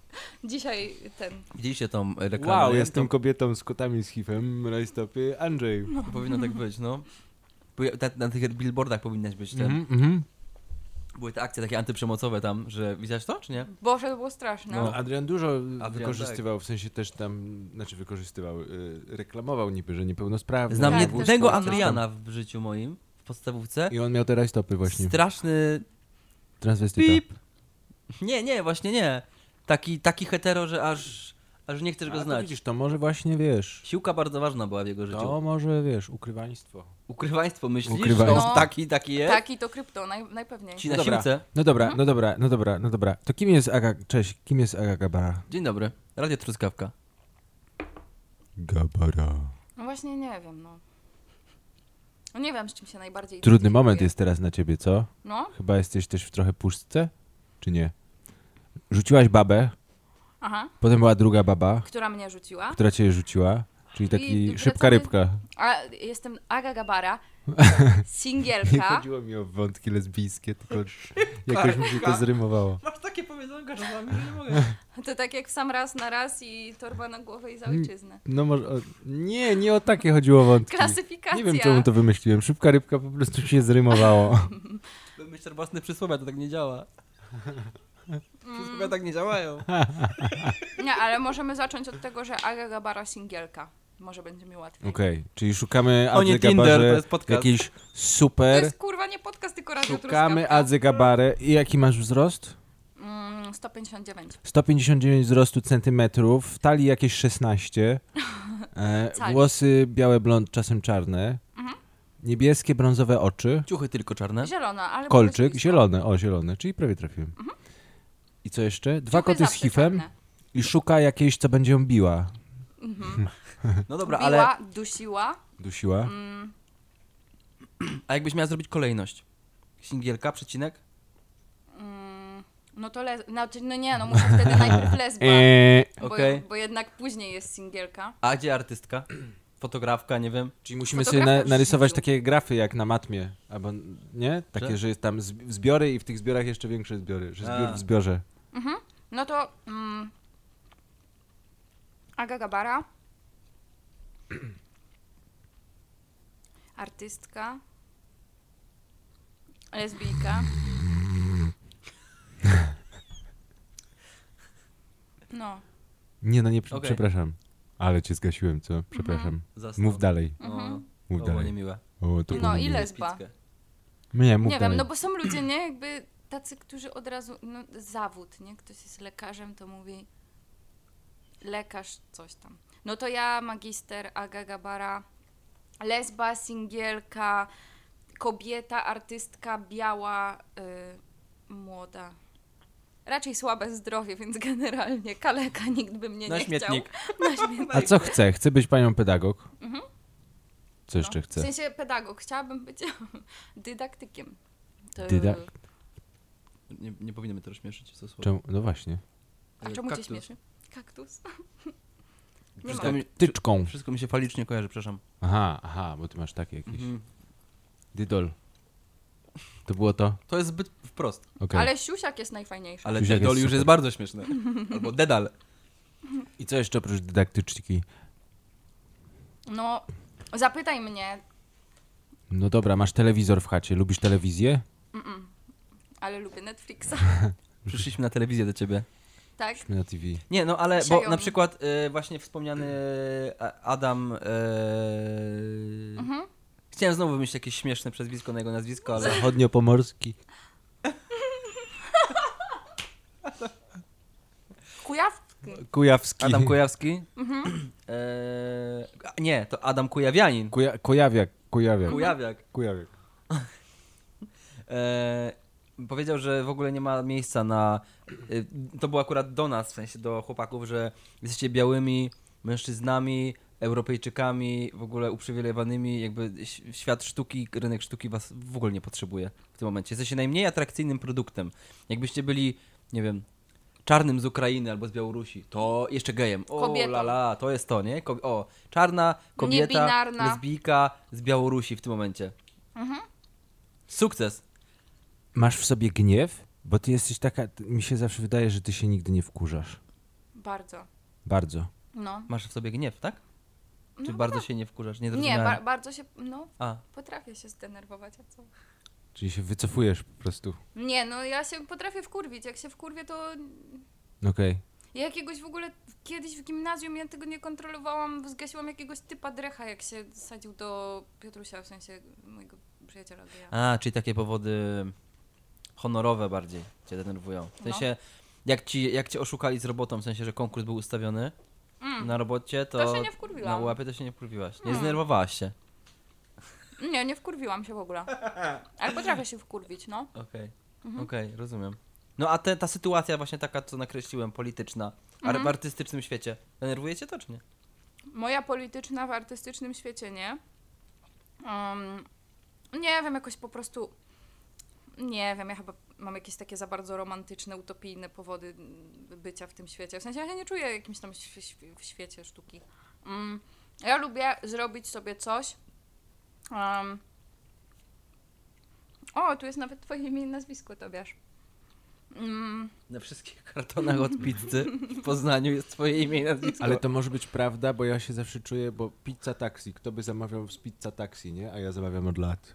S2: dzisiaj ten,
S4: Widzieliście tą reklamę?
S3: Wow,
S4: nie?
S3: jestem kobietą z kotami z hifem, rajstopy Andrzej.
S4: To Powinno tak być, no. Bo ja- Na, na tych billboardach powinnaś być ten.
S2: tak.
S3: Mhm, mhm.
S4: Były te akcje takie antyprzemocowe tam, że widziałeś to, czy nie?
S3: Tak,
S2: Boże, to było straszne.
S3: No, Adrian dużo
S4: Adrian,
S3: wykorzystywał, w sensie też tam, znaczy wykorzystywał, y, reklamował niby, że niepełnosprawny.
S4: Znam
S2: Tak,
S4: jednego
S2: też było.
S4: Adriana w życiu moim, w podstawówce.
S3: I on miał te rajstopy właśnie,
S4: Straszny
S3: transwestyta.
S4: pip. Nie, nie, właśnie nie. Taki, taki hetero, że aż, aż nie chcesz
S3: A,
S4: go
S3: to
S4: znać.
S3: Widzisz, No. to może właśnie, wiesz,
S4: Siłka bardzo ważna była w jego życiu.
S3: to może, wiesz, ukrywaństwo.
S4: Ukrywaństwo, myślisz?
S3: Ukrywaństwo.
S4: No, taki, taki jest.
S2: Taki to krypto, naj, najpewniej.
S4: Ci na
S3: Dobra.
S4: siłce.
S3: No dobra, no dobra, no dobra, no dobra. To kim jest Aga, cześć, kim jest Aga Gabara?
S4: Dzień dobry. Radio Truskawka.
S3: Gabara.
S2: No właśnie nie wiem, no. No nie wiem, z czym się najbardziej
S3: Trudny
S2: identyfikuję.
S3: moment jest teraz na ciebie, co?
S2: No,
S3: Chyba jesteś też w trochę puszce, czy nie? Rzuciłaś babę,
S2: aha,
S3: potem była druga baba,
S2: która mnie rzuciła.
S3: która cię rzuciła, czyli taki
S2: I
S3: szybka
S2: wracamy-
S3: rybka.
S2: A jestem Aga Gabara,
S3: Nie
S2: singielka.
S3: chodziło mi o wątki lesbijskie, tylko jakoś mi się to zrymowało.
S4: Masz takie powiedzonka czasami, że nie mogę.
S2: To tak jak w sam raz na raz i torba na głowę i za ojczyznę.
S3: No może... O... Nie, nie o takie chodziło wątki.
S2: Klasyfikacja.
S3: Nie wiem, czemu to wymyśliłem. Szybka rybka po prostu się zrymowało.
S4: Myślę, że własne przysłowia to tak nie działa. Przysłowia tak nie działają.
S2: Nie, ale możemy zacząć od tego, że Aga Gabara, singielka. Może będzie mi łatwiej.
S3: Okej, czyli szukamy
S4: O No nie,
S3: Adzy
S4: Tinder, to
S3: Gabarze
S4: jest podcast.
S3: jakiejś
S2: To
S3: super...
S2: jest kurwa nie podcast, tylko radio
S3: Szukamy
S2: Truskawka.
S3: Adzy Gabarę. I jaki masz wzrost?
S2: Mm, 159.
S3: 159 wzrostu centymetrów, talii jakieś 16, e,
S2: Cali.
S3: włosy białe, blond, czasem czarne,
S4: Mhm.
S3: niebieskie, brązowe oczy,
S4: Ciuchy tylko czarne.
S2: Zielona, ale...
S3: kolczyk,
S2: blisko.
S3: zielone, o zielone, czyli prawie trafiłem.
S2: Mhm.
S3: I co jeszcze? Dwa
S2: Ciuchy
S3: koty z
S2: zawsze
S3: hifem
S2: czarne.
S3: i szuka jakiejś, co będzie ją biła.
S4: No dobra,
S2: Biła,
S4: ale
S2: dusiła.
S3: Dusiła.
S2: Mm,
S4: a jakbyś miała zrobić kolejność? Singielka, przecinek?
S2: Mm, no to les... Znaczy, no nie, no muszę wtedy najpierw
S4: E,
S2: lesba,
S3: Eee,
S2: bo,
S4: okej.
S2: bo jednak później jest singielka.
S4: A gdzie artystka? Fotografka, nie wiem.
S3: czyli musimy sobie
S2: Fotografka
S3: na,
S2: już
S3: narysować
S2: rzucił.
S3: takie grafy jak na matmie, albo nie? Takie, że jest tam zb- zbiory i w tych zbiorach jeszcze większe zbiory, że zbiór
S4: Tak. A.
S3: w zbiorze.
S2: No to mm, Aga Gabara, artystka, lesbijka. No,
S3: Nie, no nie, pr-
S4: Okej.
S3: przepraszam. Ale cię zgasiłem, co? Przepraszam.
S4: Zasnął.
S3: Mów dalej.
S4: No,
S3: Mów
S4: to było
S3: dalej.
S4: niemiłe.
S3: O, to było
S2: Mhm. no i
S3: niemiłe.
S2: Mhm. lesba.
S4: Pickę.
S3: Nie, mów
S2: Nie wiem,
S3: dalej.
S2: no bo są ludzie, nie? Jakby tacy, którzy od razu. No, zawód, nie? Ktoś jest lekarzem, to mówi lekarz, coś tam. No to ja, magister Aga Gabara, lesba, singielka, kobieta, artystka, biała, y, młoda. Raczej słabe zdrowie, więc generalnie kaleka nikt by mnie
S4: Na
S2: nie
S4: No śmietnik.
S2: chciał. Na śmietnik.
S3: A co chce? Chce być panią pedagog? Co jeszcze
S2: Mhm. no. W
S3: chce?
S2: sensie pedagog, chciałabym być dydaktykiem. To-
S3: Dydak-
S4: Nie, nie powinienem to rozśmieszyć, co słowo.
S3: Czemu? No właśnie.
S2: A czemu
S4: Kaktus.
S2: cię śmieszy? Kaktus. Nie
S4: Wszystko
S2: ma.
S4: mi,
S3: Tyczką.
S4: wszystko mi się falicznie kojarzy, przepraszam.
S3: Aha, aha, bo ty masz takie jakieś. Dydol. To było to?
S4: To jest zbyt wprost.
S3: Okej.
S2: Ale siusiak jest najfajniejszy.
S4: Ale
S3: Już jak
S4: dedol
S3: jest
S4: już
S3: super.
S4: jest bardzo śmieszne. Albo dedal.
S3: I co jeszcze oprócz dydaktyczki?
S2: No, zapytaj mnie,
S3: No dobra, masz telewizor w chacie. Lubisz telewizję?
S2: ale lubię Netflixa.
S4: Przyszliśmy na telewizję do ciebie.
S2: Tak?
S3: Na TV.
S4: Nie, no ale, bo
S2: Przejął
S4: na
S2: mi.
S4: przykład y, właśnie wspomniany A- Adam... Y,
S2: Mhm.
S4: Chciałem znowu wymyślić jakieś śmieszne przezwisko na jego nazwisko, ale...
S3: Zachodniopomorski.
S2: Kujawski.
S3: Kujawski.
S4: Adam Kujawski?
S2: Mhm.
S4: E, a nie, to Adam Kujawianin.
S3: Kuja- Kujawiak. Kujawiak.
S4: Kujawiak.
S3: Kujawiak.
S4: E, powiedział, że w ogóle nie ma miejsca na. e, y, to było akurat do nas, w sensie do chłopaków, że jesteście białymi mężczyznami Europejczykami, w ogóle uprzywilejowanymi, jakby ś- świat sztuki, rynek sztuki was w ogóle nie potrzebuje w tym momencie. Jesteście najmniej atrakcyjnym produktem. Jakbyście byli, nie wiem, czarnym z Ukrainy albo z Białorusi, to jeszcze gejem. O,
S2: Kobietą.
S4: la la, to jest to, nie? Ko- o, czarna, kobieta,
S2: Niebinarna.
S4: lesbijka z Białorusi w tym momencie.
S2: Mhm.
S4: Sukces.
S3: Masz w sobie gniew? Bo ty jesteś taka, ty- mi się zawsze wydaje, że ty się nigdy nie wkurzasz.
S2: Bardzo.
S3: Bardzo.
S2: No.
S4: Masz w sobie gniew, tak?
S2: no
S4: Czy bardzo się nie wkurzasz? Nie,
S2: Nie,
S4: zrozumiałem.
S2: ba- bardzo się. No,
S4: A,
S2: potrafię się zdenerwować, a co?
S3: Czyli się wycofujesz po prostu.
S2: Nie, no ja się potrafię wkurwić. Jak się wkurwię, to
S3: Okej.
S2: Ja jakiegoś w ogóle kiedyś w gimnazjum ja tego nie kontrolowałam, zgasiłam jakiegoś typa drecha, jak się sadził do Piotrusia, w sensie mojego przyjaciela. Do ja.
S4: A, czyli takie powody honorowe bardziej cię denerwują.
S2: No.
S4: W sensie, jak, ci, jak cię oszukali z robotą, w sensie, że konkurs był ustawiony
S2: mm.
S4: na robocie, to,
S2: To się nie
S4: na
S2: wkurwiłam.
S4: łapie to się nie wkurwiłaś. Nie
S2: Mm.
S4: zdenerwowałaś się.
S2: Nie, nie wkurwiłam się w ogóle. Ale potrafię się wkurwić, no.
S4: Okej, okej, rozumiem. No a te, ta sytuacja właśnie taka, co nakreśliłem, polityczna,
S2: Mhm.
S4: ar- w artystycznym świecie, denerwuje cię to czy nie?
S2: Moja polityczna w artystycznym świecie, nie? Em, nie wiem, jakoś po prostu. Nie wiem, ja chyba mam jakieś takie za bardzo romantyczne, utopijne powody mm, bycia w tym świecie. W sensie ja się nie czuję jakimś tam świ- świ- w świecie sztuki. Mm, ja lubię zrobić sobie coś. em, o, tu jest nawet twoje imię i nazwisko, Tobiasz. Mm,
S4: Na wszystkich kartonach od pizzy w Poznaniu jest twoje imię i nazwisko.
S3: Ale to może być prawda, bo ja się zawsze czuję, bo pizza taxi, kto by zamawiał z pizza taxi, nie? A ja zamawiam od lat.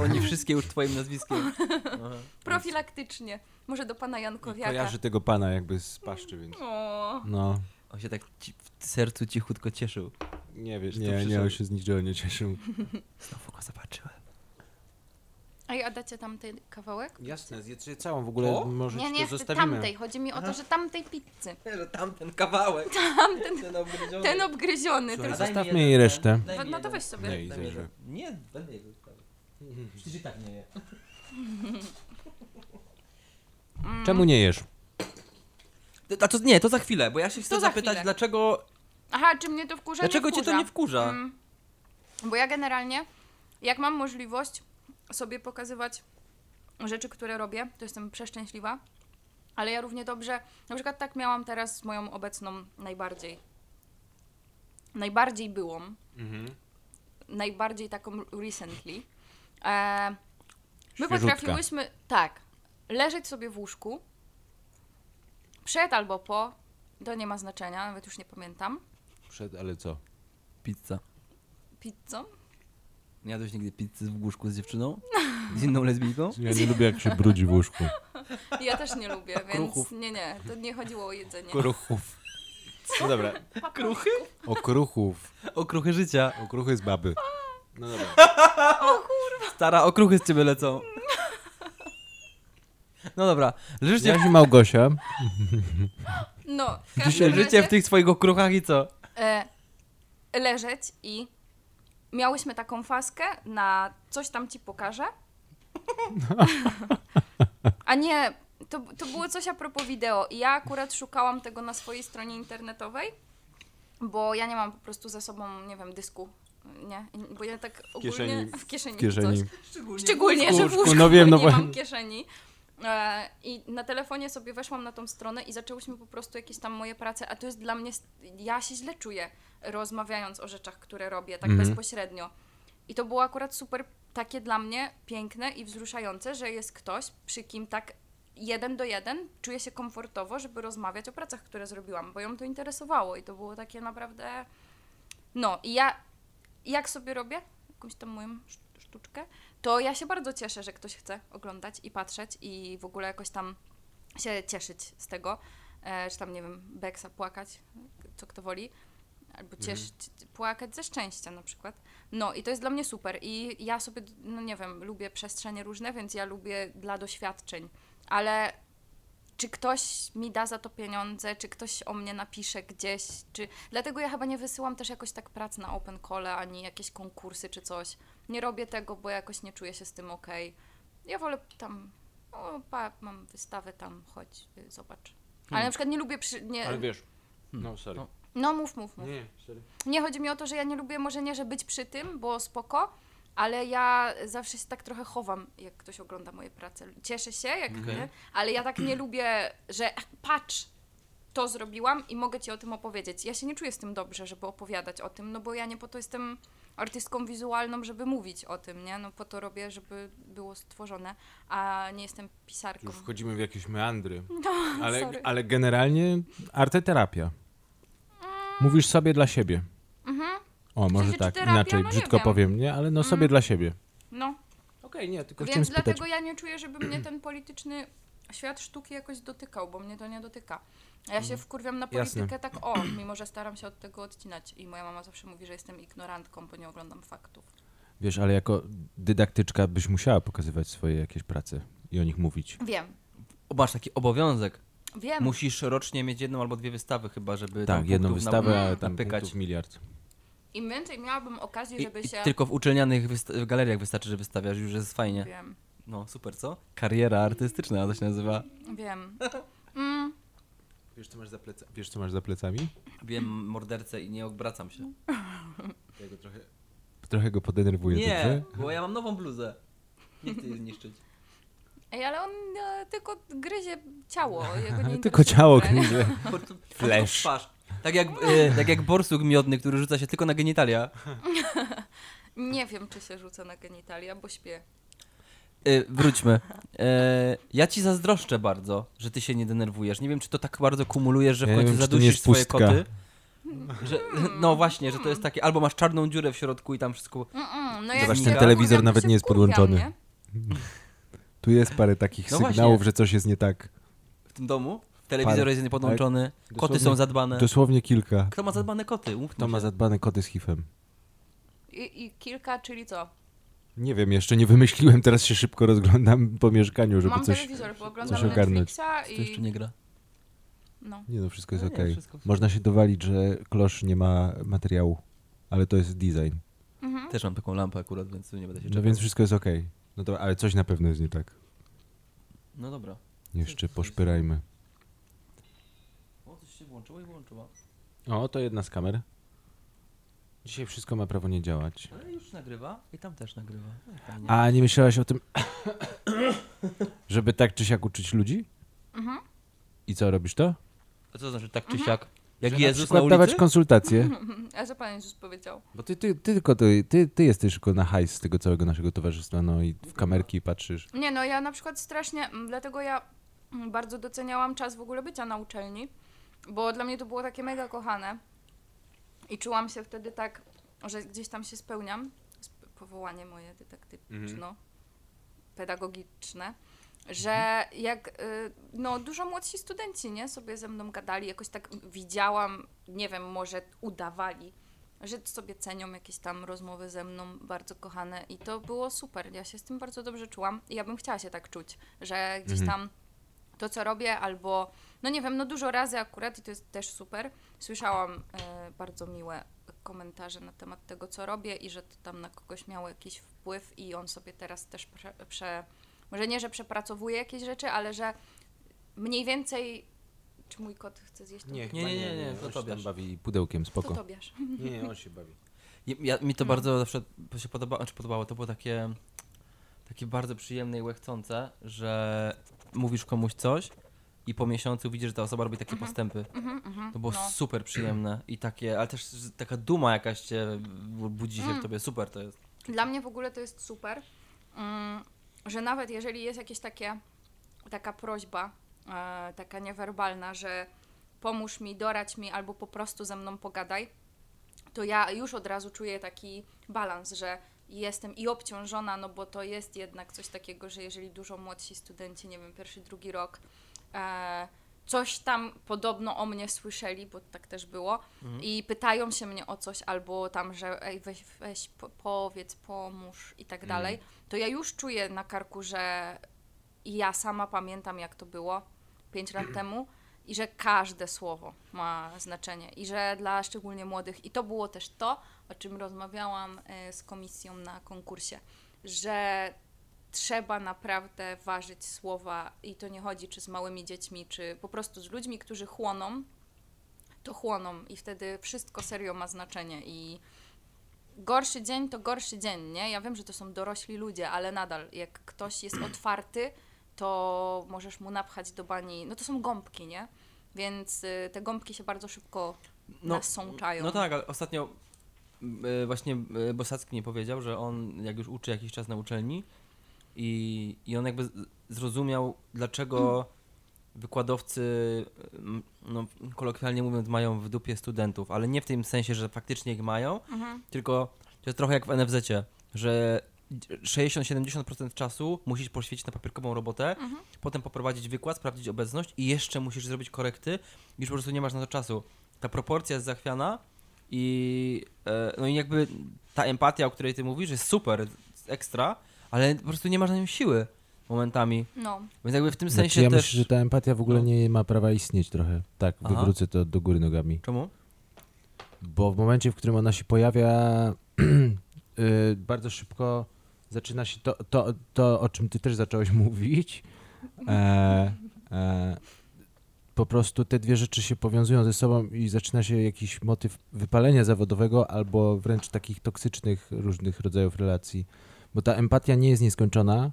S4: Oni wszystkie już twoim nazwiskiem. Aha.
S2: profilaktycznie. Może do pana
S3: I
S2: Jankowiaka.
S3: kojarzę tego pana jakby z paszczy, więc...
S2: O.
S3: No,
S4: On się tak ci- w sercu cichutko cieszył.
S3: nie wiesz,
S4: Że to
S3: nie, nie,
S4: przyszedł.
S3: on się z niczego nie cieszył.
S4: Znowu go zobaczyłem.
S2: Ej, a dacie tam ten kawałek?
S3: Jasne, zjedz je całą, w ogóle
S4: To?
S3: może
S2: Nie,
S3: ci
S2: nie,
S3: to
S2: chcę
S3: zostawimy.
S2: tamtej. Chodzi mi o to, że tamtej pizzy.
S4: Że tamten kawałek.
S2: Tamten,
S4: Ten obgryziony.
S2: ten obgryziony.
S3: Słuchaj,
S2: tylko-
S4: daj mi
S3: zostawmy
S4: jeden,
S3: jej
S4: ten.
S3: resztę.
S4: Daj mi
S2: No to
S4: jeden.
S2: weź sobie.
S3: Nie,
S4: Daj
S3: i
S4: mi
S3: zejrzę.
S4: jeden. Nie, będę jego zostawiał. Przecież i tak nie je.
S2: Mm.
S3: Czemu nie jesz?
S4: No, A to nie, to za chwilę, bo ja się chcę
S2: za
S4: zapytać,
S2: chwilę.
S4: dlaczego,
S2: Aha, czy mnie to wkurza?
S4: dlaczego
S2: nie
S4: cię
S2: wkurza.
S4: to nie wkurza?
S2: Mm, Bo ja generalnie, jak mam możliwość sobie pokazywać rzeczy, które robię, to jestem przeszczęśliwa. Ale ja równie dobrze, na przykład tak miałam teraz z moją obecną najbardziej. Najbardziej byłą. Najbardziej taką recently. E, my
S3: Świeżutka.
S2: potrafiłyśmy, tak, leżeć sobie w łóżku, przed albo po, to nie ma znaczenia, nawet już nie pamiętam,
S3: Przed, ale co?
S4: Pizza.
S2: pizzą,
S4: Nie jadłeś nigdy pizzy w łóżku z dziewczyną? Z inną lesbijką?
S3: Ja nie lubię, jak się brudzi w łóżku.
S2: Ja też nie lubię, więc
S4: Kruchów.
S2: nie, nie, to nie chodziło o jedzenie.
S3: Kruchów. No dobra.
S2: Kruchy?
S3: Okruchów.
S4: Okruchy życia.
S3: Okruchy z baby. No dobra.
S4: Stara, okruchy z ciebie lecą. No dobra, leżycie,
S3: Dzień Małgosia.
S2: No, w
S4: w,
S2: każdym
S4: leżycie
S2: razie
S4: w tych swoich okruchach i co?
S2: e, leżeć i miałyśmy taką faskę na coś tam ci pokażę. A nie, to, to było coś a propos wideo i ja akurat szukałam tego na swojej stronie internetowej, bo ja nie mam po prostu ze sobą, nie wiem, dysku, nie, bo ja tak ogólnie
S3: kieszeni.
S2: w kieszeni,
S3: W
S2: w
S3: kieszeni.
S2: Coś. Szczególnie,
S3: w
S2: że w
S3: łóżku,
S2: łóżku
S3: no wiem, no
S2: nie
S3: właśnie.
S2: mam kieszeni. E, I na telefonie sobie weszłam na tą stronę i zaczęłyśmy po prostu jakieś tam moje prace, a to jest dla mnie, st- ja się źle czuję rozmawiając o rzeczach, które robię tak
S3: Mhm.
S2: bezpośrednio. I to było akurat super takie dla mnie piękne i wzruszające, że jest ktoś, przy kim tak jeden do jeden czuję się komfortowo, żeby rozmawiać o pracach, które zrobiłam, bo ją to interesowało i to było takie naprawdę... No i ja jak sobie robię jakąś tam moją szt- sztuczkę, to ja się bardzo cieszę, że ktoś chce oglądać i patrzeć i w ogóle jakoś tam się cieszyć z tego, e, czy tam, nie wiem, beksa płakać, co kto woli, albo cieszyć, płakać ze szczęścia na przykład. No i to jest dla mnie super i ja sobie, no nie wiem, lubię przestrzenie różne, więc ja lubię dla doświadczeń, ale czy ktoś mi da za to pieniądze, czy ktoś o mnie napisze gdzieś, czy... Dlatego ja chyba nie wysyłam też jakoś tak prac na open call, ani jakieś konkursy czy coś. Nie robię tego, bo jakoś nie czuję się z tym okej. Ja wolę tam, o, pa, mam wystawę tam, chodź, y, zobacz. Ale na przykład nie lubię przy... Nie...
S3: Ale wiesz, Hmm. no sorry.
S4: No.
S2: No mów, mów, mów.
S3: Nie, sorry.
S2: Nie chodzi mi o to, że ja nie lubię może nie, że być przy tym, bo spoko, ale ja zawsze się tak trochę chowam, jak ktoś ogląda moje prace. Cieszę się, jak
S3: Mhm.
S2: nie, ale ja tak nie lubię, że patrz, to zrobiłam i mogę ci o tym opowiedzieć. Ja się nie czuję z tym dobrze, żeby opowiadać o tym, no bo ja nie po to jestem artystką wizualną, żeby mówić o tym, nie? No po to robię, żeby było stworzone, a nie jestem pisarką.
S3: Już wchodzimy w jakieś meandry.
S2: No,
S3: Ale,
S2: sorry.
S3: ale generalnie arteterapia. Mówisz sobie dla siebie. O, może
S2: Mm. Mhm. sensie, czy
S3: tak,
S2: terapia?
S3: inaczej,
S2: No nie
S3: brzydko
S2: wiem. Mm.
S3: powiem, nie? Ale no sobie dla siebie.
S2: No.
S3: Okej, nie, tylko chciałem
S2: Więc
S3: spytać.
S2: dlatego ja nie czuję, żeby mnie ten polityczny świat sztuki jakoś dotykał, bo mnie to nie dotyka. A ja się wkurwiam na
S3: Mhm. Jasne.
S2: politykę tak o, mimo że staram się od tego odcinać. I moja mama zawsze mówi, że jestem ignorantką, bo nie oglądam faktów.
S3: Wiesz, ale jako dydaktyczka byś musiała pokazywać swoje jakieś prace i o nich mówić.
S2: Wiem,
S4: O, Masz taki obowiązek.
S2: wiem.
S4: Musisz rocznie mieć jedną albo dwie wystawy chyba, żeby tam
S3: Tak, jedną
S4: punktów na-
S3: wystawę, ale tam
S4: napykać.
S3: punktów miliard.
S2: Im więcej miałabym okazji,
S4: I,
S2: żeby
S4: i
S2: się...
S4: tylko w uczelnianych wysta- galeriach wystarczy, że wystawiasz, już jest fajnie.
S2: Wiem,
S4: No, super, co? Kariera artystyczna to się nazywa.
S2: wiem.
S3: Wiesz co, masz za pleca- Wiesz, co masz za plecami?
S4: Wiem mordercę i nie obracam się.
S3: trochę... go podenerwuję,
S4: Nie,
S3: dobrze?
S4: bo ja mam nową bluzę. Nie chcę jej zniszczyć.
S2: Ej, ale on e, tylko gryzie ciało, jego nie
S3: Tylko ciało
S2: interesuje.
S3: gryzie.
S4: Po prostu- po prostu
S3: Flash.
S4: w twarz. Tak jak, e, tak jak borsuk miodny, który rzuca się tylko na genitalia.
S2: Nie wiem, czy się rzuca na genitalia, bo śpię.
S4: E, wróćmy. E, ja ci zazdroszczę bardzo, że ty się nie denerwujesz. Nie wiem, czy to tak bardzo kumulujesz, że w
S3: Ja nie
S4: końcu
S3: wiem, czy to nie
S4: zadusisz
S3: jest
S4: swoje
S3: pustka.
S4: koty. Że, no właśnie, że to jest takie, albo masz czarną dziurę w środku i tam wszystko...
S2: Mm-mm, no
S3: Zobacz,
S2: jak
S3: ten
S2: się
S3: telewizor
S2: wkurwiam, to
S3: nawet
S2: się
S3: nie jest
S2: wkurwiam,
S3: podłączony.
S2: nie?
S3: Tu jest parę takich
S4: No
S3: sygnałów,
S4: właśnie.
S3: że coś jest nie tak.
S4: w tym domu. Telewizor
S3: Parę.
S4: jest niepodłączony, koty
S3: Tak. Dosłownie-
S4: są zadbane.
S3: Dosłownie kilka.
S4: E. Kto ma zadbane koty? Umówmy
S3: Kto ma
S4: się.
S3: zadbane koty z hifem?
S2: I, I kilka, czyli co?
S3: Nie wiem, jeszcze nie wymyśliłem, teraz się szybko rozglądam po mieszkaniu, żeby
S2: Mam
S3: coś...
S2: telewizor, bo oglądam
S3: coś ogarnąć.
S2: Netflixa
S4: Kto jeszcze
S2: i...
S4: nie gra?
S2: No.
S3: Nie no, wszystko jest
S4: No nie,
S3: okej.
S4: wszystko w
S3: Można się dowalić, że klosz nie ma materiału, ale to jest design.
S4: Też mam taką lampę akurat, więc tu nie będę się
S3: No
S4: czepiał.
S3: więc wszystko jest okej. No to, ale coś na pewno jest nie tak.
S4: No dobra.
S3: Jeszcze poszpyrajmy.
S4: O, coś się włączyło i włączyło.
S3: O, to jedna z kamer. Dzisiaj wszystko ma prawo nie działać.
S4: Ale już nagrywa i tam też nagrywa. No i fajnie.
S3: A nie myślałaś o tym, żeby tak czy siak uczyć ludzi?
S4: Mhm.
S3: I co, robisz to?
S4: A co to znaczy tak czy siak? Jak
S3: Że
S4: Jezus
S3: przykład
S4: na ulicy?
S3: dawać konsultacje.
S4: Mhm.
S2: A co Pan Jezus powiedział?
S3: Bo ty, ty, ty tylko ty, ty, ty jesteś tylko na hajs z tego całego naszego towarzystwa, no i w kamerki patrzysz.
S2: Nie no, ja na przykład strasznie, m, dlatego ja m, bardzo doceniałam czas w ogóle bycia na uczelni, bo dla mnie to było takie mega kochane i czułam się wtedy tak, że gdzieś tam się spełniam, sp- powołanie moje
S4: Mhm.
S2: dydaktyczno-pedagogiczne, że
S4: Mhm.
S2: jak, y, no dużo młodsi studenci, nie, sobie ze mną gadali, jakoś tak widziałam, nie wiem, może udawali, że sobie cenią jakieś tam rozmowy ze mną, bardzo kochane i to było super, ja się z tym bardzo dobrze czułam i ja bym chciała się tak czuć, że gdzieś tam to, co robię, albo, no nie wiem, no dużo razy akurat i to jest też super, słyszałam e, bardzo miłe komentarze na temat tego, co robię i że to tam na kogoś miało jakiś wpływ i on sobie teraz też prze, prze może nie, że przepracowuje jakieś rzeczy, ale że mniej więcej, czy mój kot chce zjeść tą
S4: chyba nie, nie, nie, nie, to
S3: on się
S4: Tobiasz.
S3: tam bawi pudełkiem,
S2: To
S3: spoko.
S2: Tobiasz.
S3: Nie, nie, on się bawi.
S4: Ja, ja, mi to bardzo zawsze się podoba, znaczy podobało, to było takie, takie bardzo przyjemne i łechcące, że mówisz komuś coś i po miesiącu widzisz, że ta osoba robi takie postępy. To było
S2: no.
S4: super przyjemne i takie, ale też z- taka duma jakaś cię bu- budzi się w tobie, super to jest.
S2: Dla mnie w ogóle to jest super, mm, że nawet jeżeli jest jakieś takie, taka prośba, e, taka niewerbalna, że pomóż mi, doradź mi albo po prostu ze mną pogadaj, to ja już od razu czuję taki balans, że jestem i obciążona, no bo to jest jednak coś takiego, że jeżeli dużo młodsi studenci, nie wiem, pierwszy, drugi rok, e, coś tam podobno o mnie słyszeli, bo tak też było, i pytają się mnie o coś, albo tam, że ej, weź, weź po, powiedz, pomóż i tak dalej, to ja już czuję na karku, że i ja sama pamiętam, jak to było pięć lat temu i że każde słowo ma znaczenie i że dla szczególnie młodych, i to było też to, o czym rozmawiałam e, z komisją na konkursie, że trzeba naprawdę ważyć słowa i to nie chodzi czy z małymi dziećmi, czy po prostu z ludźmi, którzy chłoną to chłoną i wtedy wszystko serio ma znaczenie i gorszy dzień to gorszy dzień, nie? Ja wiem, że to są dorośli ludzie, ale nadal jak ktoś jest otwarty, to możesz mu napchać do bani, no to są gąbki, nie? Więc y, te gąbki się bardzo szybko
S4: No,
S2: nasączają.
S4: No tak, ale ostatnio e, właśnie e, Bosacki mi powiedział, że on jak już uczy jakiś czas na uczelni i, i on jakby z- zrozumiał, dlaczego wykładowcy, m, no, kolokwialnie mówiąc, mają w dupie studentów, ale nie w tym sensie, że faktycznie ich mają,
S2: Mhm.
S4: tylko to jest trochę jak w NFZ-cie, że 60-70% czasu musisz poświęcić na papierkową robotę, potem poprowadzić wykład, sprawdzić obecność i jeszcze musisz zrobić korekty, już po prostu nie masz na to czasu. Ta proporcja jest zachwiana i e, no i jakby ta empatia, o której ty mówisz, jest super, ekstra, ale po prostu nie masz na nią siły momentami.
S2: No,
S4: Więc jakby w tym
S3: Znaczy,
S4: sensie
S3: ja
S4: też... No.
S3: myślę, że ta empatia w ogóle nie ma prawa istnieć trochę. Tak,
S4: Aha.
S3: wywrócę to do góry nogami.
S4: Czemu?
S3: Bo w momencie, w którym ona się pojawia, y, bardzo szybko zaczyna się to, to, to, o czym ty też zacząłeś mówić. E, e, po prostu te dwie rzeczy się powiązują ze sobą i zaczyna się jakiś motyw wypalenia zawodowego albo wręcz takich toksycznych różnych rodzajów relacji. Bo ta empatia nie jest nieskończona,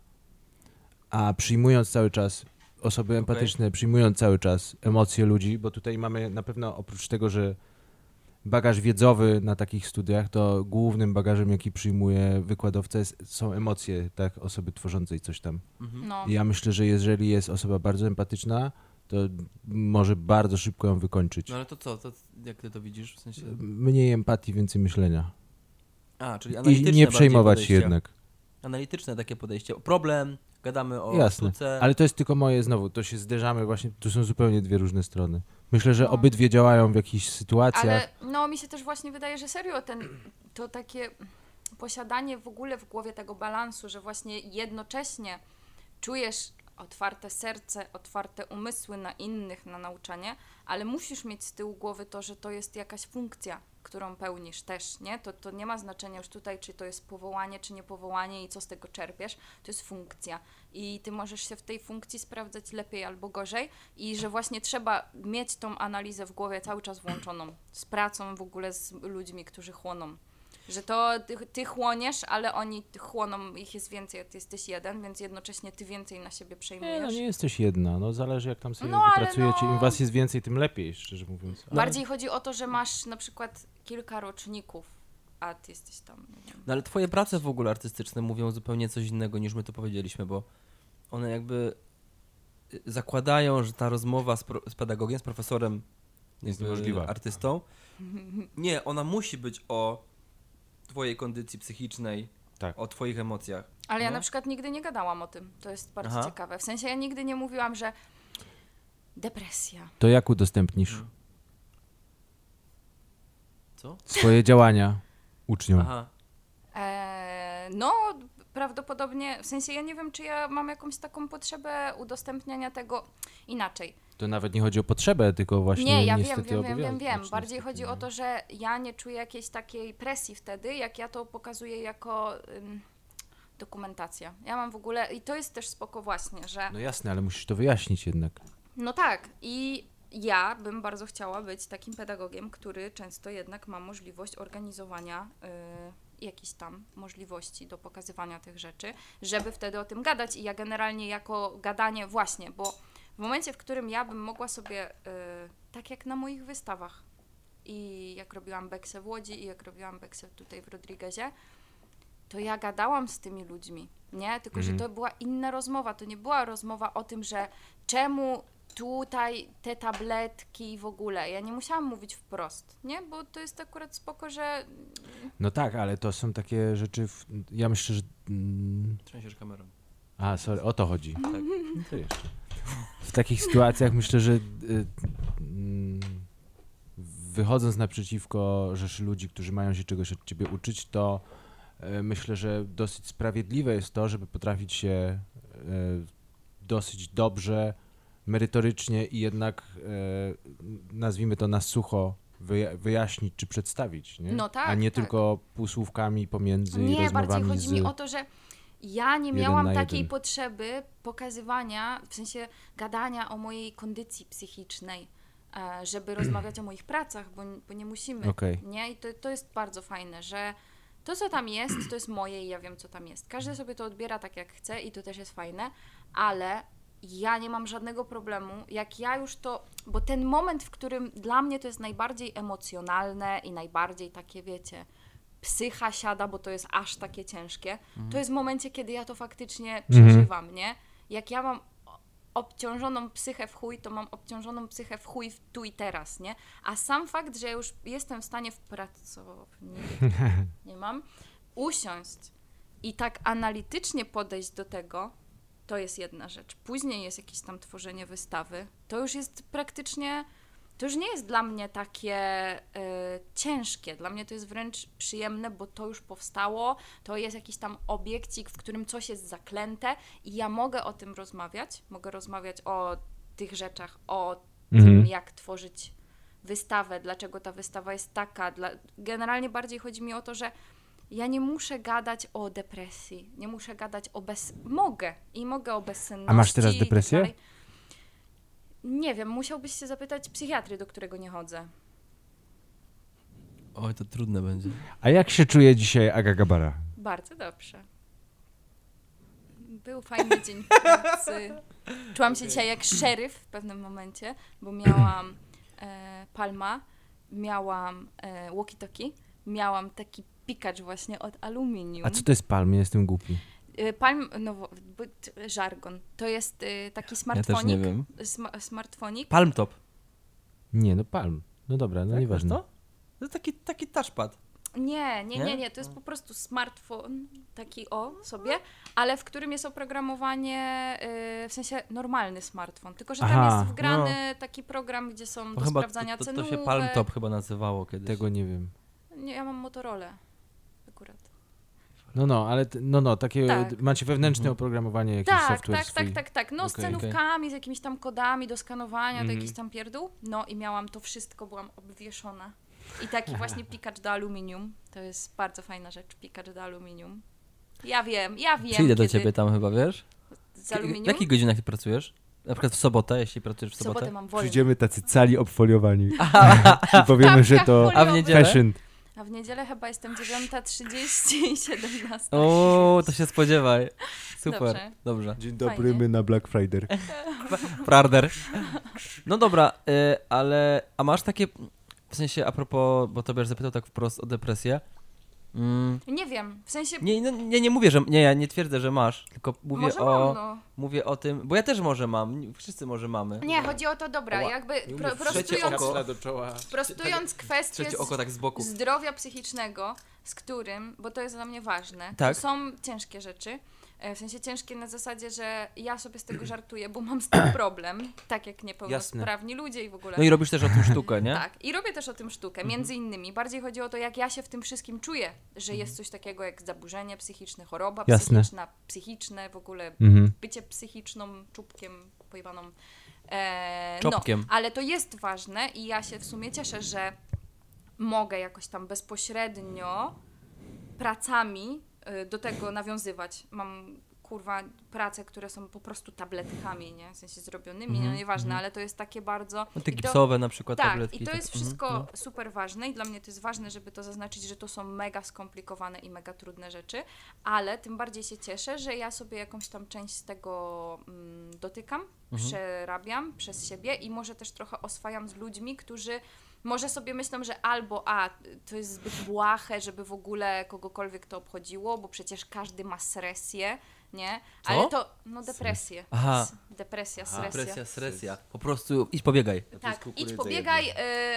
S3: a przyjmując cały czas osoby empatyczne, przyjmując cały czas emocje ludzi, bo tutaj mamy na pewno oprócz tego, że bagaż wiedzowy na takich studiach, to głównym bagażem, jaki przyjmuje wykładowca, jest, są emocje tak, osoby tworzącej coś tam.
S2: no.
S3: I Ja myślę, że jeżeli jest osoba bardzo empatyczna, to może bardzo szybko ją wykończyć.
S4: No ale to co? To, jak ty to widzisz? W sensie...
S3: Mniej empatii, więcej myślenia.
S4: A, czyli
S3: I
S4: analityczne
S3: nie
S4: bardziej
S3: przejmować się
S4: podejście.
S3: jednak.
S4: Analityczne takie podejście. Problem, gadamy o
S3: Jasne,
S4: sztuce.
S3: Ale to jest tylko moje znowu, to się zderzamy właśnie, to są zupełnie dwie różne strony. Myślę, że
S2: No.
S3: obydwie działają w jakichś sytuacjach.
S2: Ale no mi się też właśnie wydaje, że serio ten, to takie posiadanie w ogóle w głowie tego balansu, że właśnie jednocześnie czujesz otwarte serce, otwarte umysły na innych, na nauczanie, ale musisz mieć z tyłu głowy to, że to jest jakaś funkcja, którą pełnisz też, nie? To, to nie ma znaczenia już tutaj, czy to jest powołanie, czy nie powołanie i co z tego czerpiesz. To jest funkcja i ty możesz się w tej funkcji sprawdzać lepiej albo gorzej i że właśnie trzeba mieć tą analizę w głowie cały czas włączoną, z pracą w ogóle, z ludźmi, którzy chłoną. Że to ty, ty chłoniesz, ale oni chłoną, ich jest więcej, a ty jesteś jeden, więc jednocześnie ty więcej na siebie
S3: Nie, no
S2: przejmujesz.
S3: nie jesteś jedna, no zależy jak tam sobie
S2: No, ale
S3: wypracujecie.
S2: no-
S3: Im was jest więcej, tym lepiej, szczerze mówiąc.
S2: Bardziej chodzi o to, że masz na przykład kilka roczników, a ty jesteś tam. Nie wiem.
S4: No ale twoje prace w ogóle artystyczne mówią zupełnie coś innego niż my to powiedzieliśmy, bo one jakby y, zakładają, że ta rozmowa z, pro, z pedagogiem, z profesorem,
S3: Jest
S4: jakby
S3: niemożliwa.
S4: artystą, nie, ona musi być o twojej kondycji psychicznej,
S3: Tak.
S4: o twoich emocjach.
S2: Ale ja
S4: No.
S2: na przykład nigdy nie gadałam o tym. To jest bardzo
S4: Aha.
S2: ciekawe. W sensie ja nigdy nie mówiłam, że depresja.
S3: To jak
S4: No.
S3: udostępnisz
S4: Co?
S3: swoje działania uczniom?
S4: Aha.
S2: Eee, no, prawdopodobnie, w sensie ja nie wiem, czy ja mam jakąś taką potrzebę udostępniania tego inaczej.
S3: To nawet nie chodzi o potrzebę, tylko właśnie
S2: Nie, ja wiem,
S3: niestety
S2: wiem, wiem, wiem,
S3: obowiązek.
S2: wiem.
S3: Znaczy,
S2: Bardziej
S3: niestety,
S2: chodzi
S3: no.
S2: o to, że ja nie czuję jakiejś takiej presji wtedy, jak ja to pokazuję jako ym, dokumentacja. Ja mam w ogóle, i to jest też spoko właśnie, że
S3: No jasne, ale musisz to wyjaśnić jednak.
S2: no tak, i ja bym bardzo chciała być takim pedagogiem, który często jednak ma możliwość organizowania y, jakichś tam możliwości do pokazywania tych rzeczy, żeby wtedy o tym gadać. I ja generalnie jako gadanie właśnie, bo w momencie, w którym ja bym mogła sobie, y, tak jak na moich wystawach, i jak robiłam Beksę w Łodzi i jak robiłam Beksę tutaj w Rodriguezie, to ja gadałam z tymi ludźmi, nie? Tylko, że to była inna rozmowa, to nie była rozmowa o tym, że czemu tutaj te tabletki w ogóle. Ja nie musiałam mówić wprost, nie? Bo to jest akurat spoko, że
S3: No tak, ale to są takie rzeczy, w... ja myślę, że... mm,
S4: Trzęsiesz kamerą.
S3: A, sorry, o to chodzi.
S4: Tak.
S3: No to jeszcze. W takich sytuacjach myślę, że y, mm, wychodząc naprzeciwko rzeszy ludzi, którzy mają się czegoś od ciebie uczyć, to y, myślę, że dosyć sprawiedliwe jest to, żeby potrafić się y, dosyć dobrze, merytorycznie i jednak y, nazwijmy to na sucho wyja- wyjaśnić czy przedstawić, nie?
S2: No tak,
S3: a nie
S2: tak.
S3: tylko półsłówkami pomiędzy i
S2: nie, bardziej
S3: rozmowami
S2: chodzi
S3: z...
S2: mi o to, że ja nie
S3: jeden na
S2: miałam
S3: jeden.
S2: takiej potrzeby pokazywania, w sensie gadania o mojej kondycji psychicznej. e, żeby rozmawiać o moich pracach, bo, bo nie musimy.
S3: Okej.
S2: Nie? I to, to jest bardzo fajne, że to, co tam jest, to jest moje i ja wiem, co tam jest. Każdy sobie to odbiera tak, jak chce i to też jest fajne, ale ja nie mam żadnego problemu, jak ja już to, bo ten moment, w którym dla mnie to jest najbardziej emocjonalne i najbardziej takie, wiecie, psycha siada, bo to jest aż takie ciężkie, to jest w momencie, kiedy ja to faktycznie przeżywam, nie? Jak ja mam obciążoną psychę w chuj, to mam obciążoną psychę w chuj w tu i teraz, nie? A sam fakt, że ja już jestem w stanie w pracowni, nie mam, usiąść i tak analitycznie podejść do tego, to jest jedna rzecz. Później jest jakieś tam tworzenie wystawy. To już jest praktycznie, to już nie jest dla mnie takie y, ciężkie. Dla mnie to jest wręcz przyjemne, bo to już powstało. To jest jakiś tam obiekcik, w którym coś jest zaklęte i ja mogę o tym rozmawiać. Mogę rozmawiać o tych rzeczach, o tym,
S3: Mhm.
S2: jak tworzyć wystawę, dlaczego ta wystawa jest taka. Dla... Generalnie bardziej chodzi mi o to, że ja nie muszę gadać o depresji, nie muszę gadać o bez... Mogę i mogę o bezsenności.
S3: A masz teraz
S2: i tak
S3: depresję?
S2: dalej. Nie wiem, musiałbyś się zapytać psychiatry, do którego nie chodzę.
S4: Oj, to trudne będzie.
S3: A jak się czuje dzisiaj Aga Gabara?
S2: Bardzo dobrze. Był fajny dzień pracy. Czułam się dzisiaj jak szeryf w pewnym momencie, bo miałam e, palma, miałam e, walkie-talkie, miałam taki pikacz właśnie od aluminium.
S3: A co to jest palm? Ja jestem głupi.
S2: Y, Palm, no, wo- b- t- żargon. To jest y, taki
S4: Ja
S2: smartfonik.
S4: też nie wiem.
S2: Sma- smartfonik.
S4: Palm top.
S3: Nie, no palm. No dobra, no
S4: Tak,
S3: nieważne.
S4: masz To? to taki, taki touchpad.
S2: Nie, nie,
S4: Nie? No.
S2: nie, nie. To jest po prostu smartfon, taki o sobie, ale w którym jest oprogramowanie, y, w sensie normalny smartfon. Tylko, że tam
S3: Aha,
S2: jest wgrany taki program, gdzie są No do
S4: chyba
S2: sprawdzania
S4: no. to, to, to
S2: cenówek.
S4: się palm top chyba nazywało kiedyś.
S3: Tego nie wiem.
S2: Nie, ja mam Motorola akurat.
S3: No no, ale t- no no, takie
S2: Tak.
S3: macie wewnętrzne oprogramowanie jakieś
S2: Tak,
S3: software
S2: tak,
S3: swój.
S2: tak, tak, tak. No z
S3: Okej.
S2: cenówkami, z jakimiś tam kodami do skanowania,
S3: Mhm.
S2: do jakichś tam pierdół. No i miałam to wszystko, byłam obwieszona. I taki właśnie pikacz do aluminium. To jest bardzo fajna rzecz, pikacz do aluminium. Ja wiem, ja wiem.
S4: Przyjdę do
S2: kiedy
S4: ciebie tam chyba, wiesz?
S2: Z
S4: W
S2: aluminium.
S4: jakich godzinach ty pracujesz? Na przykład w sobotę, jeśli pracujesz w
S2: w sobotę
S4: sobotę.
S2: mam wolny.
S3: Przyjdziemy tacy cali obfoliowani. I
S2: Tak,
S3: powiemy, że to
S4: A w niedzielę?
S3: fashion.
S2: A w niedzielę chyba jestem 9.30 i 17.
S4: O, to się spodziewaj. Super,
S2: Dobrze.
S4: dobrze.
S3: Dzień
S2: Fajnie.
S3: dobry, my na Black Friday.
S4: Prarder. No dobra, y, ale a masz takie, w sensie a propos, bo Tobiasz zapytał tak wprost o depresję. Mm,
S2: Nie wiem, w sensie
S4: nie, no, nie, nie mówię, że, nie, ja nie twierdzę, że masz, tylko mówię
S2: może
S4: o,
S2: mam, no.
S4: mówię o tym, bo ja też może mam, wszyscy może mamy.
S2: Nie, chodzi o to, dobra,
S4: Ła-
S2: jakby
S4: nie
S2: pro,
S4: mów, trzecie
S2: prostując,
S4: oko.
S3: do czoła.
S2: prostując kwestię
S4: Trzecie
S2: z
S4: oko tak z boku.
S2: zdrowia psychicznego, z którym, bo to jest dla mnie ważne,
S4: Tak.
S2: to są ciężkie rzeczy. e, W sensie ciężkie na zasadzie, że ja sobie z tego żartuję, bo mam z tym problem, tak jak niepełnosprawni ludzie i w ogóle.
S4: No i robisz też o tym sztukę, nie? Mhm.
S2: Tak, i robię też o tym sztukę, między innymi. Bardziej chodzi o to, jak ja się w tym wszystkim czuję, że jest coś takiego jak zaburzenie psychiczne, choroba
S3: Jasne.
S2: psychiczna, psychiczne w ogóle,
S3: Mhm.
S2: bycie psychiczną czubkiem pojebaną. E,
S4: Czopkiem.
S2: No, ale to jest ważne i ja się w sumie cieszę, że mogę jakoś tam bezpośrednio pracami y, do tego nawiązywać. Mam kurwa prace, które są po prostu tabletkami, nie? W sensie zrobionymi, no nieważne, ale to jest takie bardzo...
S4: No, te
S2: i to-
S4: gipsowe na przykład
S2: tak,
S4: tabletki.
S2: i to jest
S4: mhm,
S2: wszystko
S4: no.
S2: super ważne i dla mnie to jest ważne, żeby to zaznaczyć, że to są mega skomplikowane i mega trudne rzeczy, ale tym bardziej się cieszę, że ja sobie jakąś tam część z tego mm, dotykam,
S4: Mhm.
S2: przerabiam przez siebie i może też trochę oswajam z ludźmi, którzy może sobie myślą, że albo a, to jest zbyt błahe, żeby w ogóle kogokolwiek to obchodziło, bo przecież każdy ma sresję, nie?
S4: Co?
S2: Ale to, no depresję.
S4: Aha.
S2: S- Depresja, sresja.
S4: Presja, stresja. Po prostu idź pobiegaj.
S2: Tak, idź pobiegaj, y,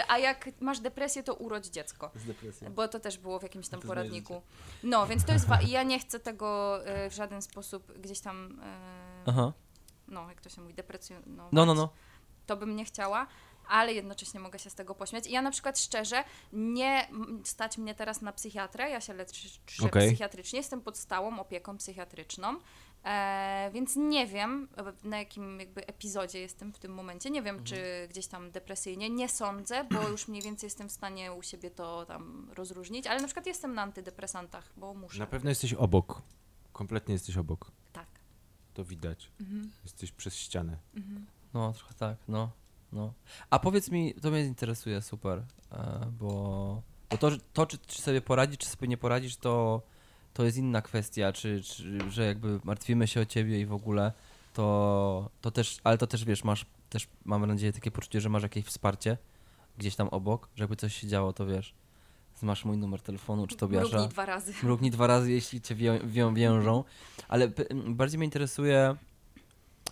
S2: a jak masz depresję, to urodź dziecko.
S4: Z depresją.
S2: Bo to też było w jakimś tam
S4: To
S2: poradniku. No, więc to jest. Wa- ja nie chcę tego y, w żaden sposób gdzieś tam. y,
S4: Aha.
S2: no, jak to się mówi, deprecjonować.
S4: No, no, no.
S2: To bym nie chciała, ale jednocześnie mogę się z tego pośmiać. I ja na przykład szczerze, nie m, stać mnie teraz na psychiatrę. Ja się leczę
S3: Okej.
S2: psychiatrycznie, jestem pod stałą opieką psychiatryczną. E, więc nie wiem, e, na jakim jakby epizodzie jestem w tym momencie. Nie wiem,
S4: Mhm.
S2: czy gdzieś tam depresyjnie. Nie sądzę, bo już mniej więcej jestem w stanie u siebie to tam rozróżnić. Ale na przykład jestem na antydepresantach, bo muszę.
S3: Na pewno jesteś obok. Kompletnie jesteś obok.
S2: Tak. Mhm.
S3: To widać. Jesteś przez ścianę.
S4: No, trochę tak, no. No. A powiedz mi, to mnie interesuje super, e, bo, bo to, że- to czy, czy sobie poradzisz, czy sobie nie poradzisz, to, to jest inna kwestia, czy, czy że jakby martwimy się o ciebie i w ogóle, to, to też, ale to też wiesz, masz też, mam nadzieję, takie poczucie, że masz jakieś wsparcie gdzieś tam obok, żeby coś się działo, to wiesz, masz mój numer telefonu, czy Tobiasza.
S2: Mrugnij dwa razy.
S4: Mrugnij dwa razy, jeśli cię wią, wią, wiążą. Ale p- bardziej mnie interesuje,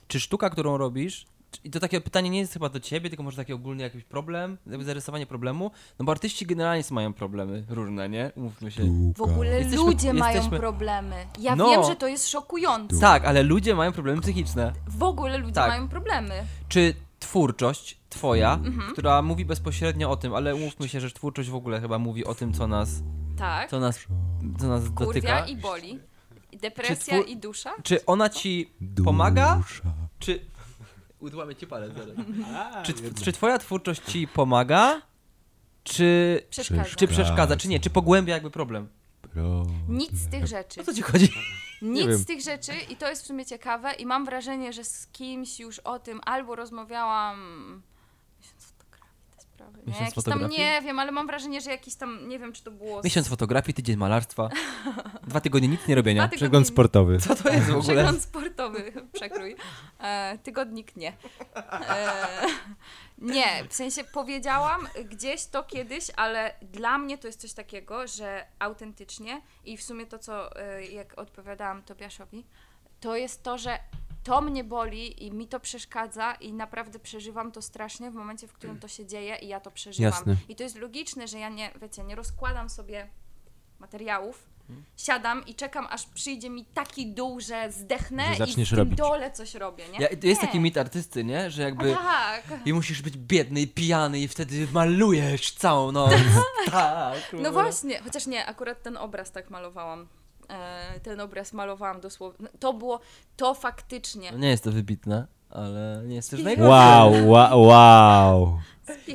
S4: czy sztuka, którą robisz, czy- i to takie pytanie nie jest chyba do ciebie, tylko może taki ogólny jakiś problem, jakby zarysowanie problemu, no bo artyści generalnie mają problemy różne, nie? Umówmy się.
S2: W ogóle
S4: Jesteśmy-
S2: ludzie mają
S4: jesteśmy-
S2: problemy. Ja
S4: No.
S2: wiem, że to jest szokujące.
S4: Tak, ale ludzie mają problemy psychiczne.
S2: W ogóle ludzie
S4: Tak.
S2: mają problemy.
S4: Czy twórczość twoja,
S2: Mhm.
S4: która mówi bezpośrednio o tym, ale umówmy się, że twórczość w ogóle chyba mówi o tym, co nas,
S2: Tak.
S4: co nas, co nas
S2: Kurwia
S4: dotyka.
S2: i boli. I Depresja
S4: Czy twór-
S2: i dusza?
S4: Czy ona ci pomaga? Czy... Udłamię ci palec zaraz. Czy, tw- czy twoja twórczość ci pomaga? Czy,
S2: Przeszkadza.
S4: czy przeszkadza, czy nie? Czy pogłębia jakby problem?
S2: Nic z tych rzeczy.
S4: O co ci chodzi?
S2: Nic z tych rzeczy i to jest w sumie ciekawe i mam wrażenie, że z kimś już o tym albo rozmawiałam miesiąc fotografii te sprawy. Nie,
S4: Miesiąc
S2: jakiś
S4: fotografii?
S2: tam nie wiem, ale mam wrażenie, że jakiś tam nie wiem czy to było z-
S4: Miesiąc fotografii, tydzień malarstwa, dwa tygodnie nic nie robienia.
S2: Dwa
S3: Przegląd
S2: tygodnie-
S3: sportowy.
S4: Co to jest w ogóle?
S2: Przegląd sportowy, przekrój. E, tygodnik nie. E, nie, w sensie powiedziałam gdzieś to kiedyś, ale dla mnie to jest coś takiego, że autentycznie i w sumie to, co e, jak odpowiadałam Tobiaszowi, to jest to, że to mnie boli i mi to przeszkadza i naprawdę przeżywam to strasznie w momencie, w którym to się dzieje i ja to przeżywam.
S3: Jasne.
S2: I to jest logiczne, że ja nie, wiecie, nie rozkładam sobie materiałów, siadam i czekam, aż przyjdzie mi taki dół, że zdechnę
S3: Że
S2: i w
S3: zaczniesz
S2: tym
S3: robić.
S2: dole coś robię, nie?
S4: Ja, to jest
S2: Nie.
S4: taki mit artysty, nie? Że jakby
S2: Tak.
S4: i musisz być biedny i pijany i wtedy malujesz całą noc. Tak.
S2: No właśnie, chociaż nie, akurat ten obraz tak malowałam. E, Ten obraz malowałam dosłownie. No, To było, to faktycznie.
S4: No Nie jest to wybitne, ale nie jest też najgorsze.
S3: Wow, wow, wow.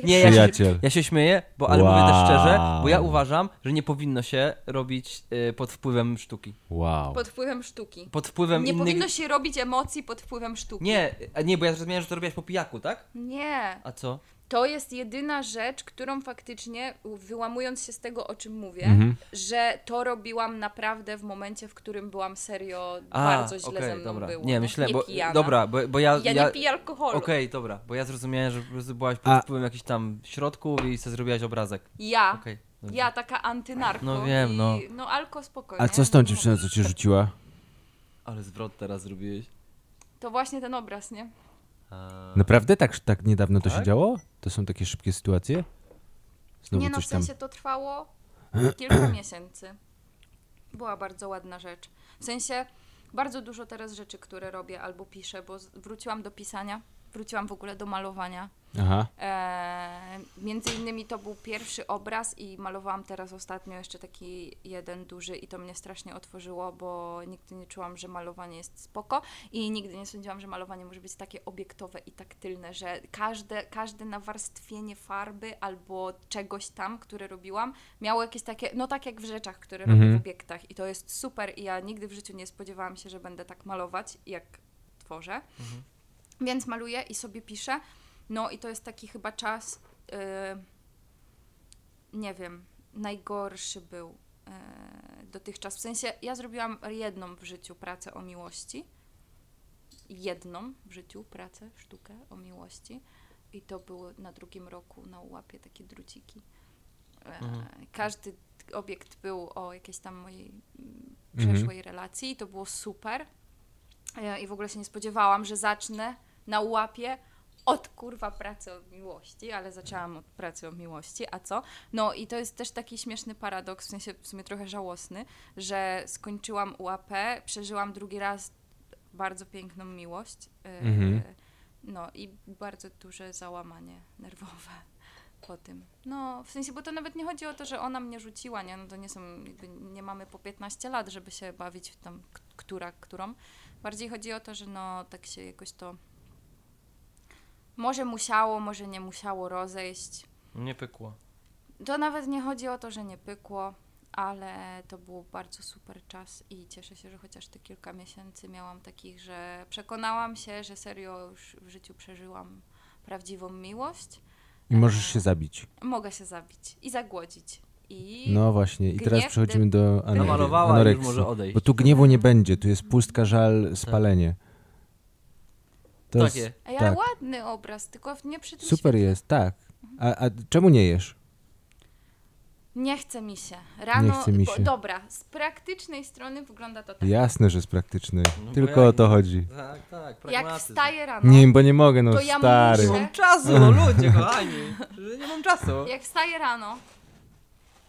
S4: Nie, ja się,
S3: Przyjaciel.
S4: ja się śmieję, bo ale mówię też
S3: Wow.
S4: szczerze, bo ja uważam, że nie powinno się robić y, pod wpływem sztuki.
S3: Wow.
S2: Pod wpływem sztuki.
S4: Pod wpływem
S2: Nie
S4: innych...
S2: powinno się robić emocji pod wpływem sztuki.
S4: Nie, a nie, bo ja zrozumiałem, że to robiłaś po pijaku, tak?
S2: Nie.
S4: A co?
S2: To jest jedyna rzecz, którą faktycznie, wyłamując się z tego, o czym mówię,
S4: Mhm.
S2: że to robiłam naprawdę w momencie, w którym byłam serio
S4: A,
S2: bardzo źle
S4: okej,
S2: ze mną
S4: dobra.
S2: było. No,
S4: Nie, myślę,
S2: nie
S4: bo...
S2: pijana.
S4: Dobra, bo, bo ja...
S2: Ja, nie piję alkoholu.
S4: Okej, dobra, bo ja zrozumiałem, że po prostu byłaś pod
S3: A-
S4: wpływem jakichś tam środków i sobie zrobiłaś obrazek.
S2: Ja,
S4: Okej. dobrze.
S2: ja taka antynarko.
S4: No wiem,
S2: i,
S4: no.
S2: No alko spokojnie.
S3: A co z tą dziewczyną, co cię rzuciła?
S4: Ale zwrot teraz zrobiłeś.
S2: To właśnie ten obraz, nie?
S4: A...
S3: Naprawdę tak, tak niedawno to się
S4: No. Tak?
S3: działo? To są takie szybkie sytuacje? Znowu
S2: nie no, w
S3: coś tam.
S2: sensie to trwało kilka miesięcy. Była bardzo ładna rzecz. W sensie bardzo dużo teraz rzeczy, które robię albo piszę, bo z- wróciłam do pisania, wróciłam w ogóle do malowania.
S3: Aha.
S2: E, między innymi to był pierwszy obraz i malowałam teraz ostatnio jeszcze taki jeden duży i to mnie strasznie otworzyło, bo nigdy nie czułam, że malowanie jest spoko i nigdy nie sądziłam, że malowanie może być takie obiektowe i taktylne, że każde, każde nawarstwienie farby albo czegoś tam, które robiłam, miało jakieś takie, no tak jak w rzeczach, które robię w obiektach i to jest super i ja nigdy w życiu nie spodziewałam się, że będę tak malować, jak tworzę. Więc maluję i sobie piszę. No i to jest taki chyba czas, yy, nie wiem, najgorszy był yy, dotychczas. W sensie ja zrobiłam jedną w życiu pracę o miłości. Jedną w życiu pracę, sztukę o miłości. I to było na drugim roku na łapie takie druciki. E, Każdy obiekt był o jakiejś tam mojej mm,
S3: Mhm.
S2: przeszłej relacji i to było super. E, I w ogóle się nie spodziewałam, że zacznę na łapie od kurwa pracy o miłości, ale zaczęłam od pracy o miłości, a co? No i to jest też taki śmieszny paradoks, w sensie w sumie trochę żałosny, że skończyłam łapę, przeżyłam drugi raz bardzo piękną miłość. e,
S3: Mhm.
S2: No i bardzo duże załamanie nerwowe po tym. No, w sensie, bo to nawet nie chodzi o to, że ona mnie rzuciła, nie? No to nie są, jakby nie mamy po 15 lat, żeby się bawić w tam, k- która, którą. Bardziej chodzi o to, że no tak się jakoś to może musiało, może nie musiało rozejść.
S4: Nie pykło.
S2: To nawet nie chodzi o to, że nie pykło, ale to był bardzo super czas i cieszę się, że chociaż te kilka miesięcy miałam takich, że przekonałam się, że serio już w życiu przeżyłam prawdziwą miłość,
S3: I możesz się zabić.
S2: mogę się zabić i zagłodzić. I
S3: No właśnie, i teraz
S2: Gniew,
S3: przechodzimy do ano-
S4: Namalowała i już
S3: anoreksji.
S4: może odejść. Tak.
S3: Bo tu gniewu nie będzie, tu jest pustka, żal, spalenie. To
S4: Takie.
S3: jest-
S2: A ja
S3: tak.
S2: ładny obraz, tylko nie przy tym
S3: Super
S2: świetle.
S3: jest, tak. A, a czemu nie jesz?
S2: Nie chce mi się. Rano,
S3: chce mi się.
S2: Bo, dobra, z praktycznej strony wygląda to tak.
S3: Jasne, że z praktycznej.
S4: No bo
S3: Tylko
S4: ja
S3: o to
S4: nie-
S3: chodzi.
S4: Tak, tak,
S2: Jak
S4: pragmatyzm.
S2: wstaję rano,
S3: Nie, bo nie mogę, no
S2: To ja
S3: stary.
S4: Nie
S2: muszę-
S4: mam czasu, no ludzie, kochani. Że Nie mam czasu.
S2: jak wstaję rano,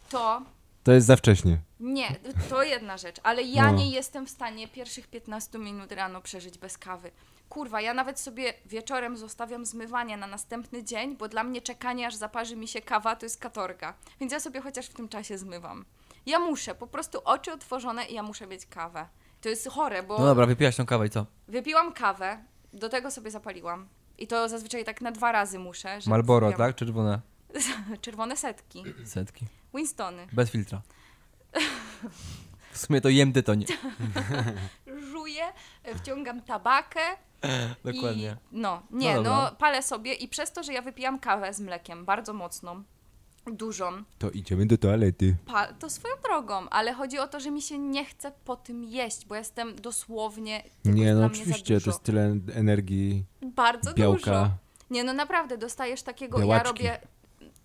S2: to
S3: To jest za wcześnie.
S2: nie, to jedna rzecz, ale ja
S3: No.
S2: nie jestem w stanie pierwszych 15 minut rano przeżyć bez kawy. Kurwa, ja nawet sobie wieczorem zostawiam zmywanie na następny dzień, bo dla mnie czekanie aż zaparzy mi się kawa to jest katorga. Więc ja sobie chociaż w tym czasie zmywam. Ja muszę, po prostu oczy otworzone i ja muszę mieć kawę. To jest chore, bo
S4: No dobra, wypiłaś tą kawę i co?
S2: Wypiłam kawę, do tego sobie zapaliłam. I to zazwyczaj tak na dwa razy muszę. Że
S4: Marlboro,
S2: wypiłam-
S4: tak? Czerwone
S2: Czerwone setki.
S4: setki.
S2: Winstony.
S4: Bez filtra. W sumie to jem tytoń.
S2: Żuję, e, wciągam tabakę.
S4: Dokładnie.
S2: I, no, nie,
S4: No
S2: no,
S4: dobra.
S2: palę sobie i przez to, że ja wypijam kawę z mlekiem, bardzo mocną, dużą,
S3: To idziemy do toalety.
S2: pa- to swoją drogą, ale chodzi o to, że mi się nie chce po tym jeść, bo jestem dosłownie. tego
S3: Nie,
S2: jest
S3: no
S2: dla mnie za
S3: oczywiście, to
S2: dużo.
S3: jest tyle energii,
S2: Bardzo dużo.
S3: białka.
S2: Nie, no naprawdę, dostajesz takiego, ja
S3: Białaczki.
S2: robię,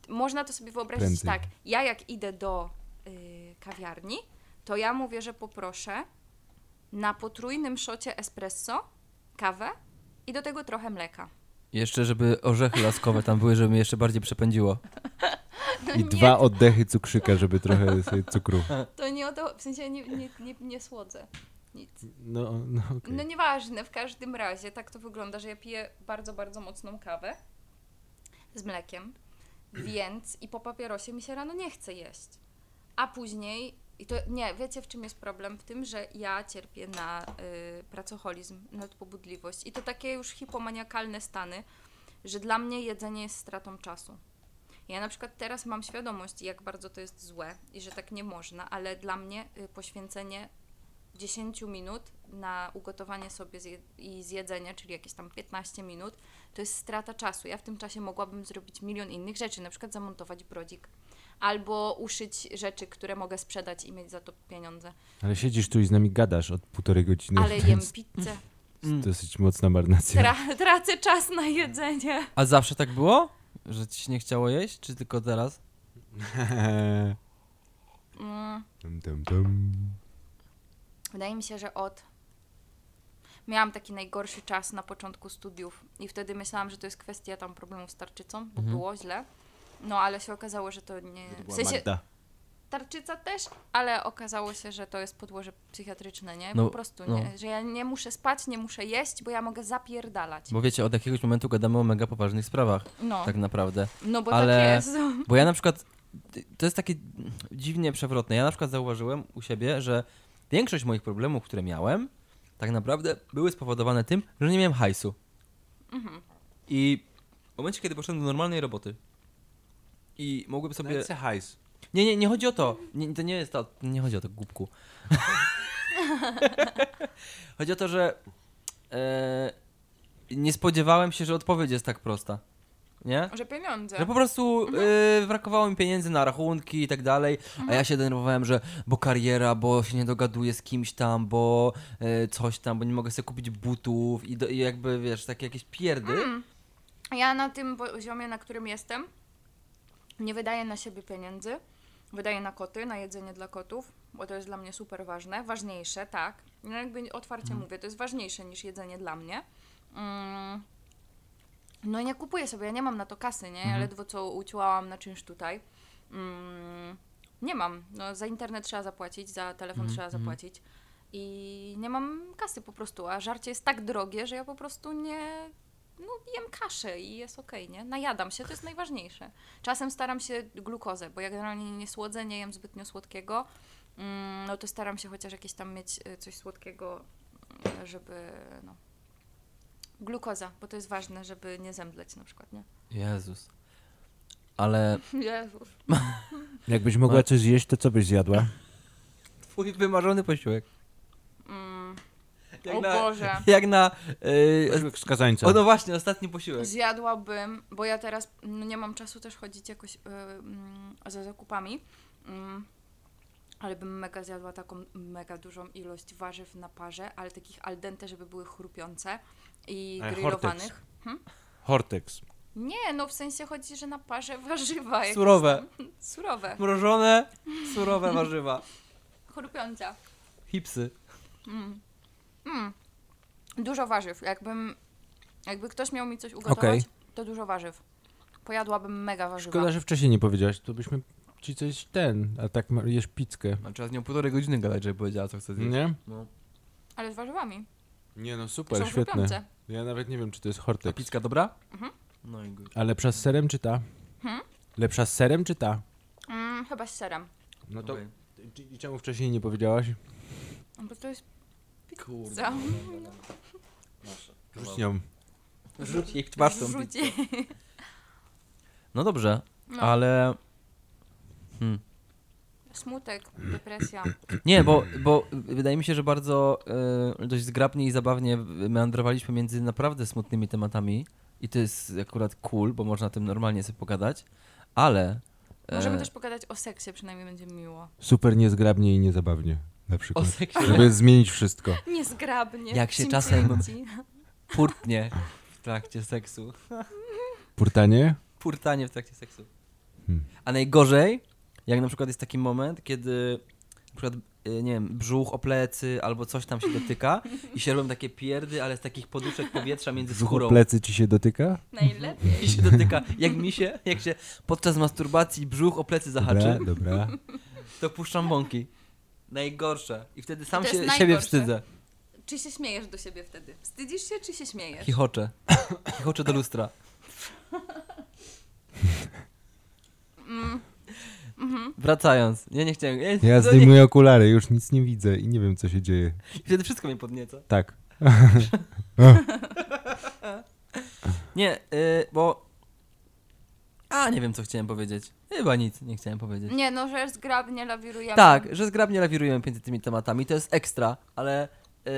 S2: można to sobie wyobrazić
S3: Prędzej.
S2: tak, ja jak idę do y, kawiarni, to ja mówię, że poproszę na potrójnym szocie espresso, kawę i do tego trochę mleka.
S4: Jeszcze, żeby orzechy laskowe tam były, żeby mnie jeszcze bardziej przepędziło.
S3: I
S2: nie.
S3: dwa oddechy cukrzyka, żeby trochę sobie cukru.
S2: To nie o to, w sensie nie, nie, nie, nie słodzę nic.
S3: No, no okej.
S2: No nieważne, w każdym razie tak to wygląda, że ja piję bardzo, bardzo mocną kawę z mlekiem, więc i po papierosie mi się rano nie chce jeść. A później, i to nie, wiecie w czym jest problem? W tym, że ja cierpię na y, pracoholizm, nadpobudliwość i to takie już hipomaniakalne stany, że dla mnie jedzenie jest stratą czasu. Ja na przykład teraz mam świadomość, jak bardzo to jest złe i że tak nie można, ale dla mnie y, poświęcenie 10 minut na ugotowanie sobie zje- i zjedzenie, czyli jakieś tam 15 minut, to jest strata czasu. Ja w tym czasie mogłabym zrobić milion innych rzeczy, na przykład zamontować brodzik albo uszyć rzeczy, które mogę sprzedać i mieć za to pieniądze.
S3: Ale siedzisz tu i z nami gadasz od półtorej godziny.
S2: Ale
S3: to
S2: jem
S3: jest
S2: pizzę,
S3: dosyć mocna marnacja.
S2: Tra- tracę czas na jedzenie.
S4: A zawsze tak było? Że ci się nie chciało jeść? Czy tylko teraz?
S2: Mm,
S3: Dum, dum, dum.
S2: wydaje mi się, że od. Miałam taki najgorszy czas na początku studiów i wtedy myślałam, że to jest kwestia tam problemów z tarczycą, bo było źle. No ale się okazało, że to nie. W sensie, tarczyca też, ale okazało się, że to jest podłoże psychiatryczne, nie? Po
S4: No,
S2: prostu,
S4: no.
S2: nie? że ja nie muszę spać, nie muszę jeść, bo ja mogę zapierdalać.
S4: Bo wiecie, od jakiegoś momentu gadamy o mega poważnych sprawach.
S2: No,
S4: Tak naprawdę.
S2: no bo
S4: ale-
S2: tak jest.
S4: Bo ja na przykład, to jest takie dziwnie przewrotne. Ja na przykład zauważyłem u siebie, że większość moich problemów, które miałem, tak naprawdę były spowodowane tym, że nie miałem hajsu. I w momencie, kiedy poszedłem do normalnej roboty i mogłem sobie...
S3: hajs.
S4: Nie, nie, nie chodzi o to. Nie, to nie jest to. Nie chodzi o to, głupku. chodzi o to, że e, nie spodziewałem się, że odpowiedź jest tak prosta. Nie?
S2: Że pieniądze.
S4: Że No po prostu
S2: Mhm.
S4: e, brakowało mi pieniędzy na rachunki i tak dalej, a ja się denerwowałem, że bo kariera, bo się nie dogaduję z kimś tam, bo e, coś tam, bo nie mogę sobie kupić butów i, do, i jakby wiesz, takie jakieś pierdy.
S2: Mhm. Ja na tym poziomie, na którym jestem, nie wydaję na siebie pieniędzy. Wydaję na koty, na jedzenie dla kotów, bo to jest dla mnie super ważne. Ważniejsze, tak. No jakby otwarcie mówię, to jest ważniejsze niż jedzenie dla mnie. Mm. No i nie kupuję sobie, ja nie mam na to kasy, nie? Ja ledwo co uciłałam na czymś tutaj. Mm. Nie mam. No, za internet trzeba zapłacić, za telefon trzeba zapłacić. I nie mam kasy po prostu, a żarcie jest tak drogie, że ja po prostu nie, no jem kaszę i jest okej, nie? Najadam się, to jest najważniejsze. Czasem staram się glukozę, bo ja generalnie nie słodzę, nie jem zbytnio słodkiego, mm, no to staram się chociaż jakieś tam mieć y, coś słodkiego, y, żeby, no... Glukoza, bo to jest ważne, żeby nie zemdleć na przykład, nie?
S4: Jezus. Ale
S2: Jezus.
S3: Jakbyś mogła
S4: No.
S3: coś zjeść, to co byś zjadła?
S4: twój wymarzony posiłek.
S2: Mm,
S7: Tak Jak
S2: O
S7: na-
S2: Boże.
S7: Jak na...
S4: y,
S7: Yy,
S3: Posiłek Skazańca.
S7: o no właśnie, ostatni posiłek.
S2: Zjadłabym, bo ja teraz no, nie mam czasu też chodzić jakoś y, mm, za zakupami, mm, ale bym mega zjadła taką mega dużą ilość warzyw na parze, ale takich al dente, żeby były chrupiące i
S3: Ale
S2: grillowanych.
S3: Hortex.
S2: Nie, no w sensie chodzi, że na parze warzywa. jak-
S7: Surowe,
S2: Surowe,
S7: mrożone, surowe warzywa.
S2: chrupiące.
S7: Hipsy.
S2: Mm. Dużo warzyw. Jakbym, jakby ktoś miał mi coś ugotować,
S3: Okej.
S2: to dużo warzyw. Pojadłabym mega warzywa.
S3: Szkoda, że wcześniej nie powiedziałaś, to byśmy ci coś ten, a tak ma- jesz pizzkę.
S7: Mam trzeba z nią półtorej godziny gadać, żeby powiedziała, co chce zjeść.
S3: Nie?
S2: Ale z warzywami.
S3: Nie no,
S2: Są
S3: super, świetne.
S2: chrupiące.
S3: Ja nawet nie wiem, czy to jest
S7: Ta
S3: Hortex.
S7: pizka dobra?
S2: Mhm.
S7: No i good.
S3: A lepsza z serem czy ta?
S2: Hmm?
S3: Lepsza z serem czy ta?
S2: Mm, chyba z serem.
S3: No to
S7: Okej.
S3: i- i czemu wcześniej nie powiedziałaś?
S2: No Bo to jest
S7: Kurde.
S2: za...
S3: Rzuć nią.
S7: Rzuć jej w twarz tą pizzę.
S2: Rzucie.
S4: No dobrze,
S2: No.
S4: ale
S2: Smutek, depresja.
S4: nie, bo, bo wydaje mi się, że bardzo e, dość zgrabnie i zabawnie meandrowaliśmy między naprawdę smutnymi tematami i to jest akurat cool, bo można o tym normalnie sobie pogadać, ale e,
S2: Możemy też pogadać o seksie, przynajmniej będzie miło.
S3: Super niezgrabnie i niezabawnie. Na
S7: O
S3: przykład.
S7: seksie.
S3: Żeby zmienić wszystko.
S2: Niezgrabnie.
S4: Jak się
S2: Cim,
S4: czasem-
S2: cim, cim.
S4: furtnie w trakcie seksu.
S3: Purtanie?
S4: Purtanie w trakcie seksu.
S3: Hmm.
S4: A najgorzej, jak na przykład jest taki moment, kiedy na przykład, y, nie wiem, brzuch o plecy albo coś tam się dotyka i się robią takie pierdy, ale z takich poduszek powietrza między skórą.
S3: Brzuchu plecy ci się dotyka?
S2: Najlepiej.
S4: I się dotyka, jak mi się, jak się podczas masturbacji brzuch o plecy
S3: Dobra,
S4: zahaczy,
S3: dobra.
S4: to puszczam bąki. Najgorsze. I wtedy sam
S2: To jest
S4: się, siebie
S2: najgorsze.
S4: wstydzę.
S2: Czy się śmiejesz do siebie wtedy? Wstydzisz się, czy się śmiejesz?
S4: Chichoczę. Chichoczę do lustra.
S2: Mm. Mhm.
S4: Wracając. Ja nie chciałem. Ja,
S3: Ja
S4: no nie,
S3: zdejmuję okulary, już nic nie widzę i nie wiem, co się dzieje.
S4: wtedy wszystko mnie podnieca.
S3: Tak.
S4: Nie, y, bo. A, nie wiem, co chciałem powiedzieć. Chyba nic nie chciałem powiedzieć.
S2: Nie, no, że zgrabnie lawirujemy.
S4: Tak, że zgrabnie lawirujemy między tymi tematami, to jest ekstra, ale y,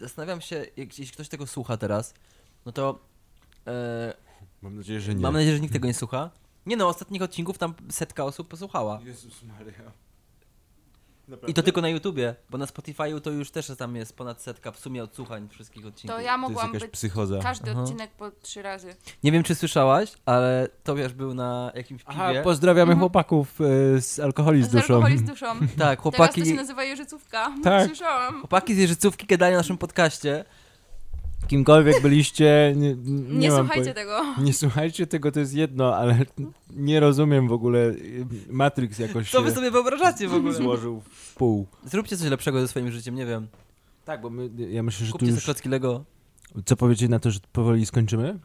S4: zastanawiam się, jak- jeśli ktoś tego słucha teraz, no to y,
S3: Mam nadzieję, że nie.
S4: mam nadzieję, że nikt tego nie słucha. Nie no, ostatnich odcinków tam setka osób posłuchała.
S3: Jezus Maria.
S4: I to tylko na YouTubie, bo na Spotify'u to już też tam jest ponad setka w sumie odsłuchań wszystkich odcinków.
S2: To ja
S3: To jest
S2: mogłam
S3: jakaś
S2: być
S3: psychoza.
S2: każdy
S4: Aha.
S2: odcinek po trzy razy.
S4: Nie wiem, czy słyszałaś, ale Tobiasz był na jakimś piwie.
S3: Aha, pozdrawiamy chłopaków e, z alkoholi z duszą.
S2: alkoholi Mhm. z duszą.
S4: Tak,
S2: Teraz
S4: chłopaki...
S2: to się nazywa jeżycówka.
S3: Tak.
S2: Słyszałam.
S4: Chłopaki z Jeżycówki gadają o naszym podcaście.
S3: Kimkolwiek byliście, nie, nie,
S2: Nie,
S3: mam
S2: słuchajcie
S3: poje-
S2: tego.
S3: Nie słuchajcie tego, to jest jedno, ale nie rozumiem w ogóle. e, Matrix jakoś
S4: Co wy
S3: się
S4: sobie wyobrażacie w ogóle?
S3: złożył w pół.
S4: Zróbcie coś lepszego ze swoim życiem, nie wiem.
S3: Tak, bo my, ja myślę, że tu
S4: Kupcie sobie
S3: już...
S4: klocki Lego.
S3: Co powiedzieć na to, że powoli skończymy?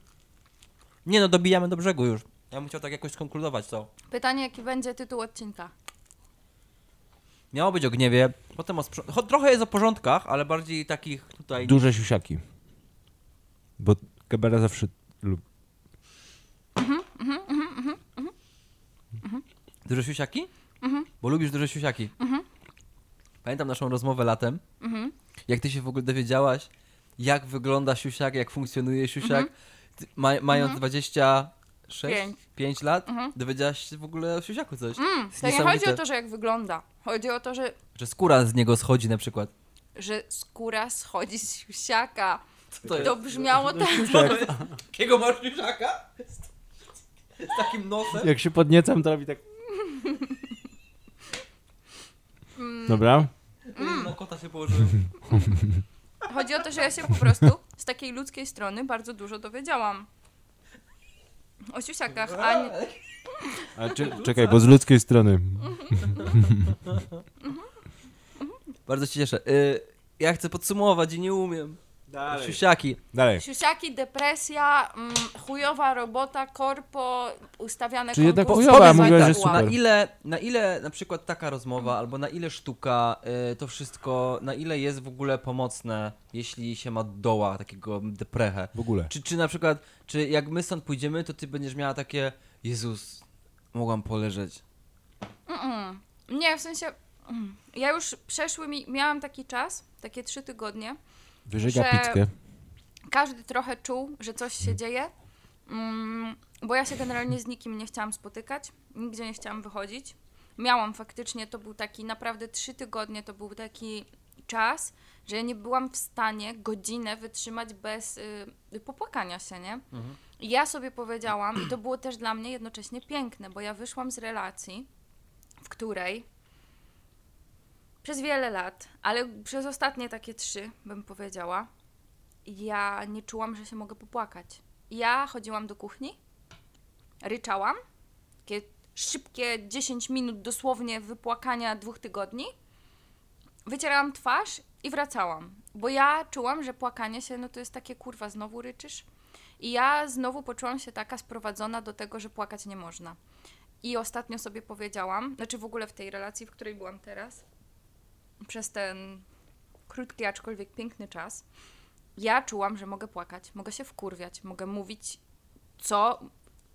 S4: Nie no, dobijamy do brzegu już. Ja bym chciał tak jakoś skonkludować to.
S2: Pytanie, jaki będzie tytuł odcinka?
S4: Miało być o gniewie, potem o sprząt... Cho- Trochę jest o porządkach, ale bardziej takich tutaj...
S3: Duże siusiaki. Bo Gebera zawsze lub...
S4: Duże siusiaki?
S2: Mhm.
S4: Bo lubisz duże siusiaki. Pamiętam naszą rozmowę latem.
S2: Mhm.
S4: Jak ty się w ogóle dowiedziałaś, jak wygląda siusiak, jak funkcjonuje siusiak, ty- ma, mając 26,
S2: Mhm. Pięć.
S4: 5 lat,
S2: Mhm.
S4: dowiedziałaś się w ogóle o siusiaku coś.
S2: Mm,
S4: Jest
S2: to nie chodzi
S4: niesamowite.
S2: o to, że jak wygląda. Chodzi o to, że,
S4: Że skóra z niego schodzi na przykład.
S2: że skóra schodzi z siusiaka.
S4: Co to jest?
S2: To brzmiało tak.
S4: Jakiego masz siusiaka? Z takim nosem?
S3: Jak się podniecam, to robi tak... Dobra?
S4: Na kota się położyłem.
S2: Chodzi o to, że ja się po prostu z takiej ludzkiej strony bardzo dużo dowiedziałam. O siusiakach, a nie...
S3: A cze- czekaj, bo z ludzkiej strony.
S4: Bardzo się cieszę. Y, ja chcę podsumować i nie umiem. Siusiaki.
S3: Dalej.
S2: Siusiaki, depresja, mm, chujowa robota, korpo, ustawiane
S3: Czyli jednak
S2: konkursy.
S3: chujowa,
S2: Powiedz mi
S3: mówiłaś,
S2: tak,
S3: że
S2: wow.
S3: super.
S4: Na ile, na ile na przykład taka rozmowa, albo na ile sztuka, y, to wszystko, na ile jest w ogóle pomocne, jeśli się ma doła takiego deprechę?
S3: W ogóle.
S4: Czy, czy na przykład, czy jak my stąd pójdziemy, to ty będziesz miała takie, Jezus, mogłam poleżeć.
S2: Nie, w sensie mm, ja już przeszły mi, miałam taki czas, takie trzy tygodnie,
S3: Wyżega
S2: Że-
S3: pitkę.
S2: każdy trochę czuł, że coś się dzieje, mm, bo ja się generalnie z nikim nie chciałam spotykać, nigdzie nie chciałam wychodzić. Miałam faktycznie, to był taki naprawdę trzy tygodnie, to był taki czas, że ja nie byłam w stanie godzinę wytrzymać bez y, popłakania się, nie? I Ja sobie powiedziałam, i to było też dla mnie jednocześnie piękne, bo ja wyszłam z relacji, w której przez wiele lat, ale przez ostatnie takie trzy, bym powiedziała, ja nie czułam, że się mogę popłakać. Ja chodziłam do kuchni, ryczałam, takie szybkie 10 minut dosłownie wypłakania dwóch tygodni, wycierałam twarz i wracałam, bo ja czułam, że płakanie się, no to jest takie kurwa, znowu ryczysz. I ja znowu poczułam się taka sprowadzona do tego, że płakać nie można. I ostatnio sobie powiedziałam, znaczy w ogóle w tej relacji, w której byłam teraz, przez ten krótki, aczkolwiek piękny czas, ja czułam, że mogę płakać, mogę się wkurwiać, mogę mówić, co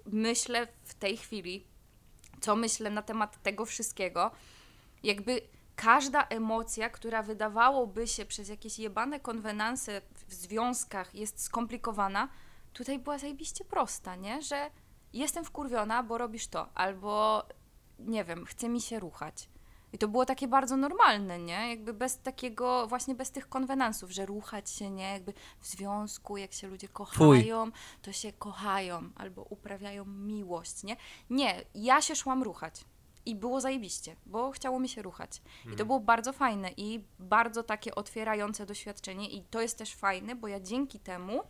S2: myślę w tej chwili, co myślę na temat tego wszystkiego. Jakby każda emocja, która wydawałoby się przez jakieś jebane konwenanse w związkach jest skomplikowana, tutaj była zajebiście prosta, nie? Że jestem wkurwiona, bo robisz to, albo nie wiem, chce mi się ruchać. I to było takie bardzo normalne, nie? Jakby bez takiego, właśnie bez tych konwenansów, że ruchać się, nie? Jakby w związku, jak się ludzie kochają, to się kochają albo uprawiają miłość, nie? Nie, ja się szłam ruchać. I było zajebiście, bo chciało mi się ruchać. I to było bardzo fajne i bardzo takie otwierające doświadczenie. I to jest też fajne, bo ja dzięki temu,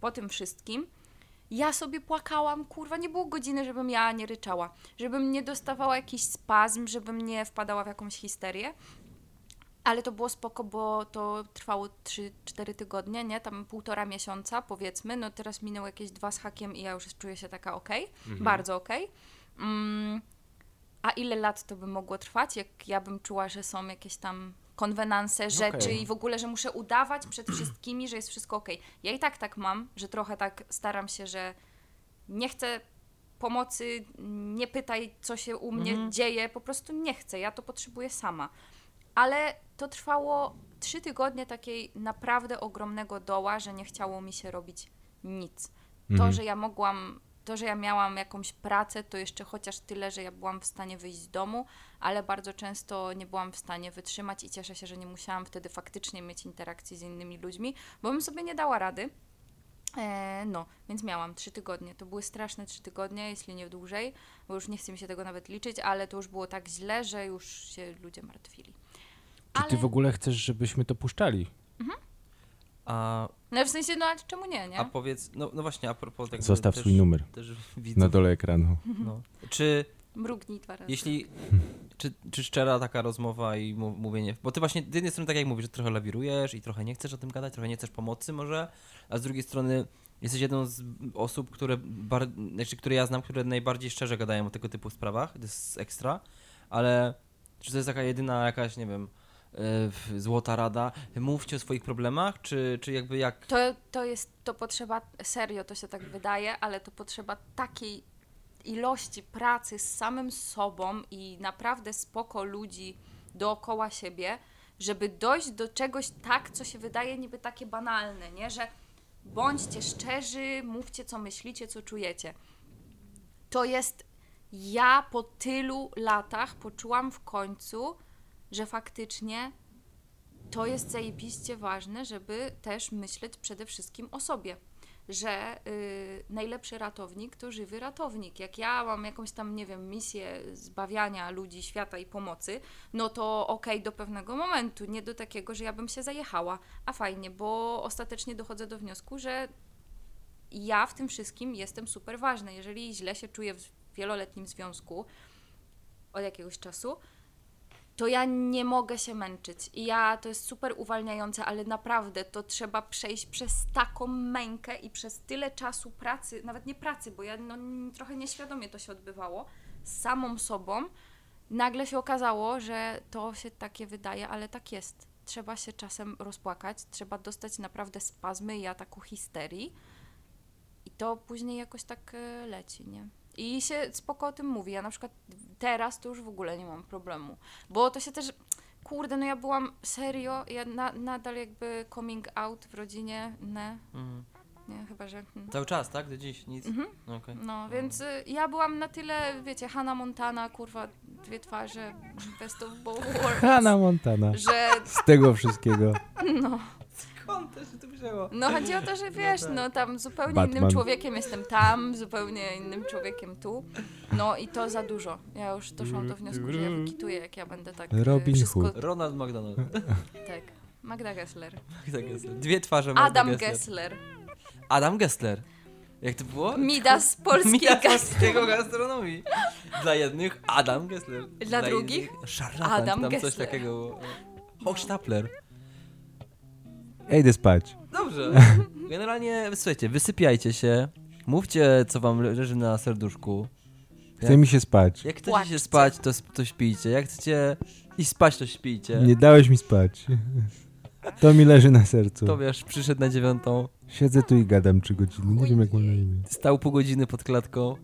S2: po tym wszystkim, ja sobie płakałam, kurwa, nie było godziny, żebym ja nie ryczała, żebym nie dostawała jakiś spazm, żebym nie wpadała w jakąś histerię. Ale to było spoko, bo to trwało 3-4 tygodnie, nie? Tam półtora miesiąca powiedzmy. No teraz minęło jakieś dwa z hakiem i ja już czuję się taka okej, bardzo okej. Mm, a ile lat to by mogło trwać, jak ja bym czuła, że są jakieś tam konwenanse, rzeczy i w ogóle, że muszę udawać przed wszystkimi, że jest wszystko okej. Ja i tak tak mam, że trochę tak staram się, że nie chcę pomocy, nie pytaj, co się u mnie dzieje, po prostu nie chcę, ja to potrzebuję sama. Ale to trwało trzy tygodnie takiej naprawdę ogromnego doła, że nie chciało mi się robić nic.
S3: Mhm.
S2: To, że ja mogłam, to, że ja miałam jakąś pracę, to jeszcze chociaż tyle, że ja byłam w stanie wyjść z domu, ale bardzo często nie byłam w stanie wytrzymać i cieszę się, że nie musiałam wtedy faktycznie mieć interakcji z innymi ludźmi, bo bym sobie nie dała rady. E, no, więc miałam trzy tygodnie. To były straszne trzy tygodnie, jeśli nie dłużej, bo już nie chce mi się tego nawet liczyć, ale to już było tak źle, że już się ludzie martwili.
S3: Czy ty w ogóle chcesz, żebyśmy to puszczali?
S4: A,
S2: No w sensie, no ale czemu nie, nie?
S4: a powiedz, no, no właśnie, a propos jakby
S3: Zostaw
S4: też,
S3: swój numer
S4: Też widzę,
S3: na dole ekranu.
S4: no. Czy
S2: Mrugnij dwa razy.
S4: jeśli, czy, czy szczera taka rozmowa i mu- mówienie, bo ty właśnie z jednej strony tak jak mówisz, że trochę lawirujesz i trochę nie chcesz o tym gadać, trochę nie chcesz pomocy może, a z drugiej strony jesteś jedną z osób, które, bar, znaczy, które ja znam, które najbardziej szczerze gadają o tego typu sprawach, to jest ekstra, ale czy to jest taka jedyna jakaś, nie wiem, e, w- złota rada, mówcie o swoich problemach, czy, czy jakby jak...
S2: To, to jest, to potrzeba, serio to się tak wydaje, ale to potrzeba takiej ilości pracy z samym sobą i naprawdę spoko ludzi dookoła siebie, żeby dojść do czegoś tak, co się wydaje niby takie banalne, nie? Że bądźcie szczerzy, mówcie co myślicie, co czujecie. To jest, ja po tylu latach poczułam w końcu, że faktycznie to jest zajebiście ważne, żeby też myśleć przede wszystkim o sobie. Że y, najlepszy ratownik to żywy ratownik. Jak ja mam jakąś tam, nie wiem, misję zbawiania ludzi, świata i pomocy, no to okej do pewnego momentu, nie do takiego, że ja bym się zajechała. A fajnie, bo ostatecznie dochodzę do wniosku, że ja w tym wszystkim jestem super ważna. Jeżeli źle się czuję w wieloletnim związku od jakiegoś czasu, to ja nie mogę się męczyć. I ja to jest super uwalniające, ale naprawdę to trzeba przejść przez taką mękę i przez tyle czasu pracy, nawet nie pracy, bo ja no, n- trochę nieświadomie to się odbywało, z samą sobą. Nagle się okazało, że to się takie wydaje, ale tak jest. Trzeba się czasem rozpłakać, trzeba dostać naprawdę spazmy i ataku histerii. I to później jakoś tak e, leci, nie? I się spoko o tym mówi. Ja na przykład teraz to już w ogóle nie mam problemu, bo to się też... Kurde, no ja byłam serio, ja na, nadal jakby coming out w rodzinie, ne,
S4: Mhm.
S2: nie, chyba, że... hmm.
S4: Cały czas, tak? Do dziś? Nic?
S2: Mhm.
S4: No, okej.
S2: No, więc y, ja byłam na tyle, wiecie, Hannah Montana, kurwa, dwie twarze, best of both worlds,
S3: Hannah Montana.
S2: że,
S3: Z tego wszystkiego.
S2: no,
S4: Skąd to się tu wzięło?
S2: no chodzi o to, że wiesz, no tam zupełnie innym
S3: Batman.
S2: człowiekiem jestem tam, zupełnie innym człowiekiem tu, no i to za dużo, ja już doszłam do wniosku, że ja wykituję, jak ja będę tak y,
S3: Robin
S2: wszystko,
S3: Hood.
S4: Ronald McDonald.
S2: tak, Magda Gessler,
S4: Magda Gessler. Dwie twarze Magda
S2: Adam
S4: Gessler.
S2: Gessler,
S4: Adam Gessler. Jak to było?
S2: Midas polskiej
S4: Mistrz
S2: Gessler.
S4: polskiego gastronomii. Dla jednych Adam Gessler.
S2: Dla drugich
S4: innych Szarlatan,
S2: Adam
S4: Adam tam coś
S2: Gessler.
S4: takiego było. Hochstapler.
S3: Ja idę spać.
S4: Dobrze. Generalnie, słuchajcie, wysypiajcie się. Mówcie, co wam le- leży na serduszku.
S3: Chce mi się spać.
S4: Jak chcecie
S2: Płaczcie.
S4: się spać, to, sp- to śpijcie. Jak chcecie iść spać, to śpijcie.
S3: Nie dałeś mi spać. To mi leży na sercu.
S4: To wiesz, przyszedł na dziewiątą,
S3: Siedzę tu i gadam trzy godziny. Nie wiem jak mam na imię.
S4: stał pół godziny pod klatką.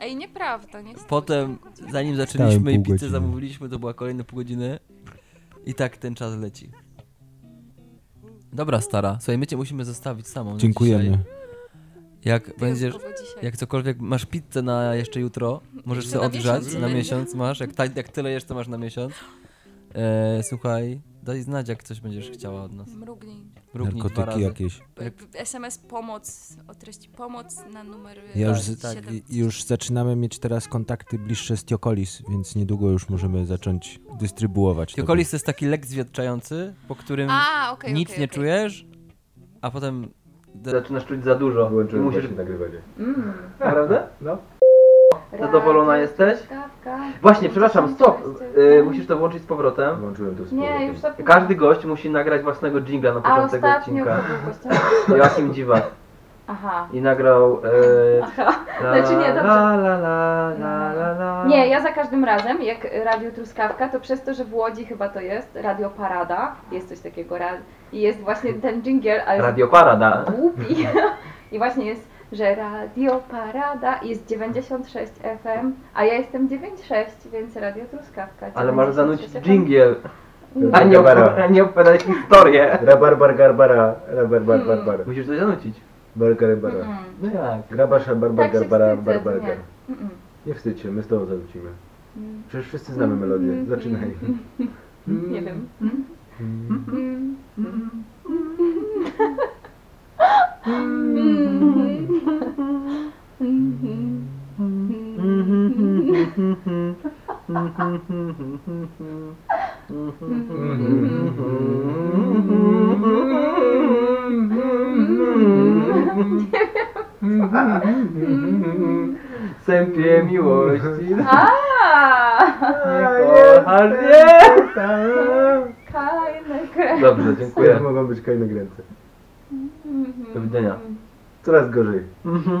S2: Ej, nieprawda, nie jestem
S4: Potem,
S2: taką
S4: zanim zaczęliśmy i
S3: pół
S4: pizzę
S3: godziny.
S4: zamówiliśmy, to była kolejne pół godziny. I tak ten czas leci. Dobra, stara. Słuchaj, my cię musimy zostawić samą. na
S3: Dziękujemy.
S4: dzisiaj. Jak będziesz...
S2: wyjątkową dzisiaj.
S4: Jak cokolwiek, masz pizzę na jeszcze jutro, możesz
S2: Jeszcze
S4: sobie
S2: na
S4: odgrzać,
S2: miesiąc
S4: na
S2: będzie.
S4: miesiąc masz, jak, ta, jak tyle jeszcze masz na miesiąc. E, słuchaj, daj znać, jak coś będziesz chciała od nas.
S2: Mrugnij.
S4: Mrugnij dwa
S3: Narkotyki
S4: razy.
S3: jakieś.
S2: B- SMS pomoc, o treści pomoc na numer
S3: Ja już,
S2: tak,
S3: z- tak,
S2: siedem-
S3: i- już zaczynamy mieć teraz kontakty bliższe z Tiokolis, więc niedługo już możemy zacząć dystrybuować. to.
S4: Tiokolis to jest taki lek zwietrzający, po którym
S2: A, okej,
S4: nic
S2: okej,
S4: nie
S2: okej.
S4: czujesz, a potem... De-
S6: Zaczynasz czuć za dużo.
S8: Włączyłem
S6: Musisz-
S8: właśnie nagrywanie.
S6: Naprawdę?
S8: No.
S6: Zadowolona jesteś?
S9: Kawka.
S6: Właśnie, przepraszam, stop! Y, musisz to włączyć z powrotem.
S8: Włączyłem to z
S9: Nie,
S8: powrotem.
S9: już zapomniałam.
S6: Każdy gość musi nagrać własnego jingla na
S9: A
S6: początek
S9: ostatnio
S6: odcinka.
S9: kogo gościa?
S6: Joachim Dziwak.
S9: Aha.
S6: I nagrał... E,
S9: Aha.
S6: la,
S9: Znaczy nie, dobrze. No.
S6: la, la, la, la, la, la.
S9: Nie, ja za każdym razem, jak Radio Truskawka, to przez to, że w Łodzi chyba to jest, Radio Parada, jest coś takiego, ra- i jest właśnie ten dżingiel, ale jest
S6: Radio Parada.
S9: głupi. I właśnie jest, że Radio Parada jest 96 FM, a ja jestem 96, więc Radio Truskawka.
S6: Ale masz zanucić
S9: 96
S6: dżingiel, a nie,
S8: Rabarbara.
S6: a nie opowiadać historię.
S8: Rabarbar garbara. Rabarbar
S9: Mm.
S8: barbara.
S6: Musisz coś zanucić.
S8: Bargary bara.
S9: Mm,
S6: No jak?
S8: Grabasza barbar
S9: Tak się
S8: garbara
S9: wstydzę, to
S8: barbar
S9: nie.
S8: gar.
S9: mm,
S8: Nie wstydź się, my z tobą zalecimy.
S9: mm,
S8: Przecież wszyscy znamy melodię. Zaczynaj.
S9: mm, nie wiem. Mm.
S1: Sępie miłości.
S9: A,
S1: Kocham cię.
S9: Kajne kre-
S6: Dobrze,
S8: Teraz
S6: dziękuję.
S8: mogą być kajne gręce.
S6: Do widzenia.
S8: Coraz gorzej.
S6: Mhm.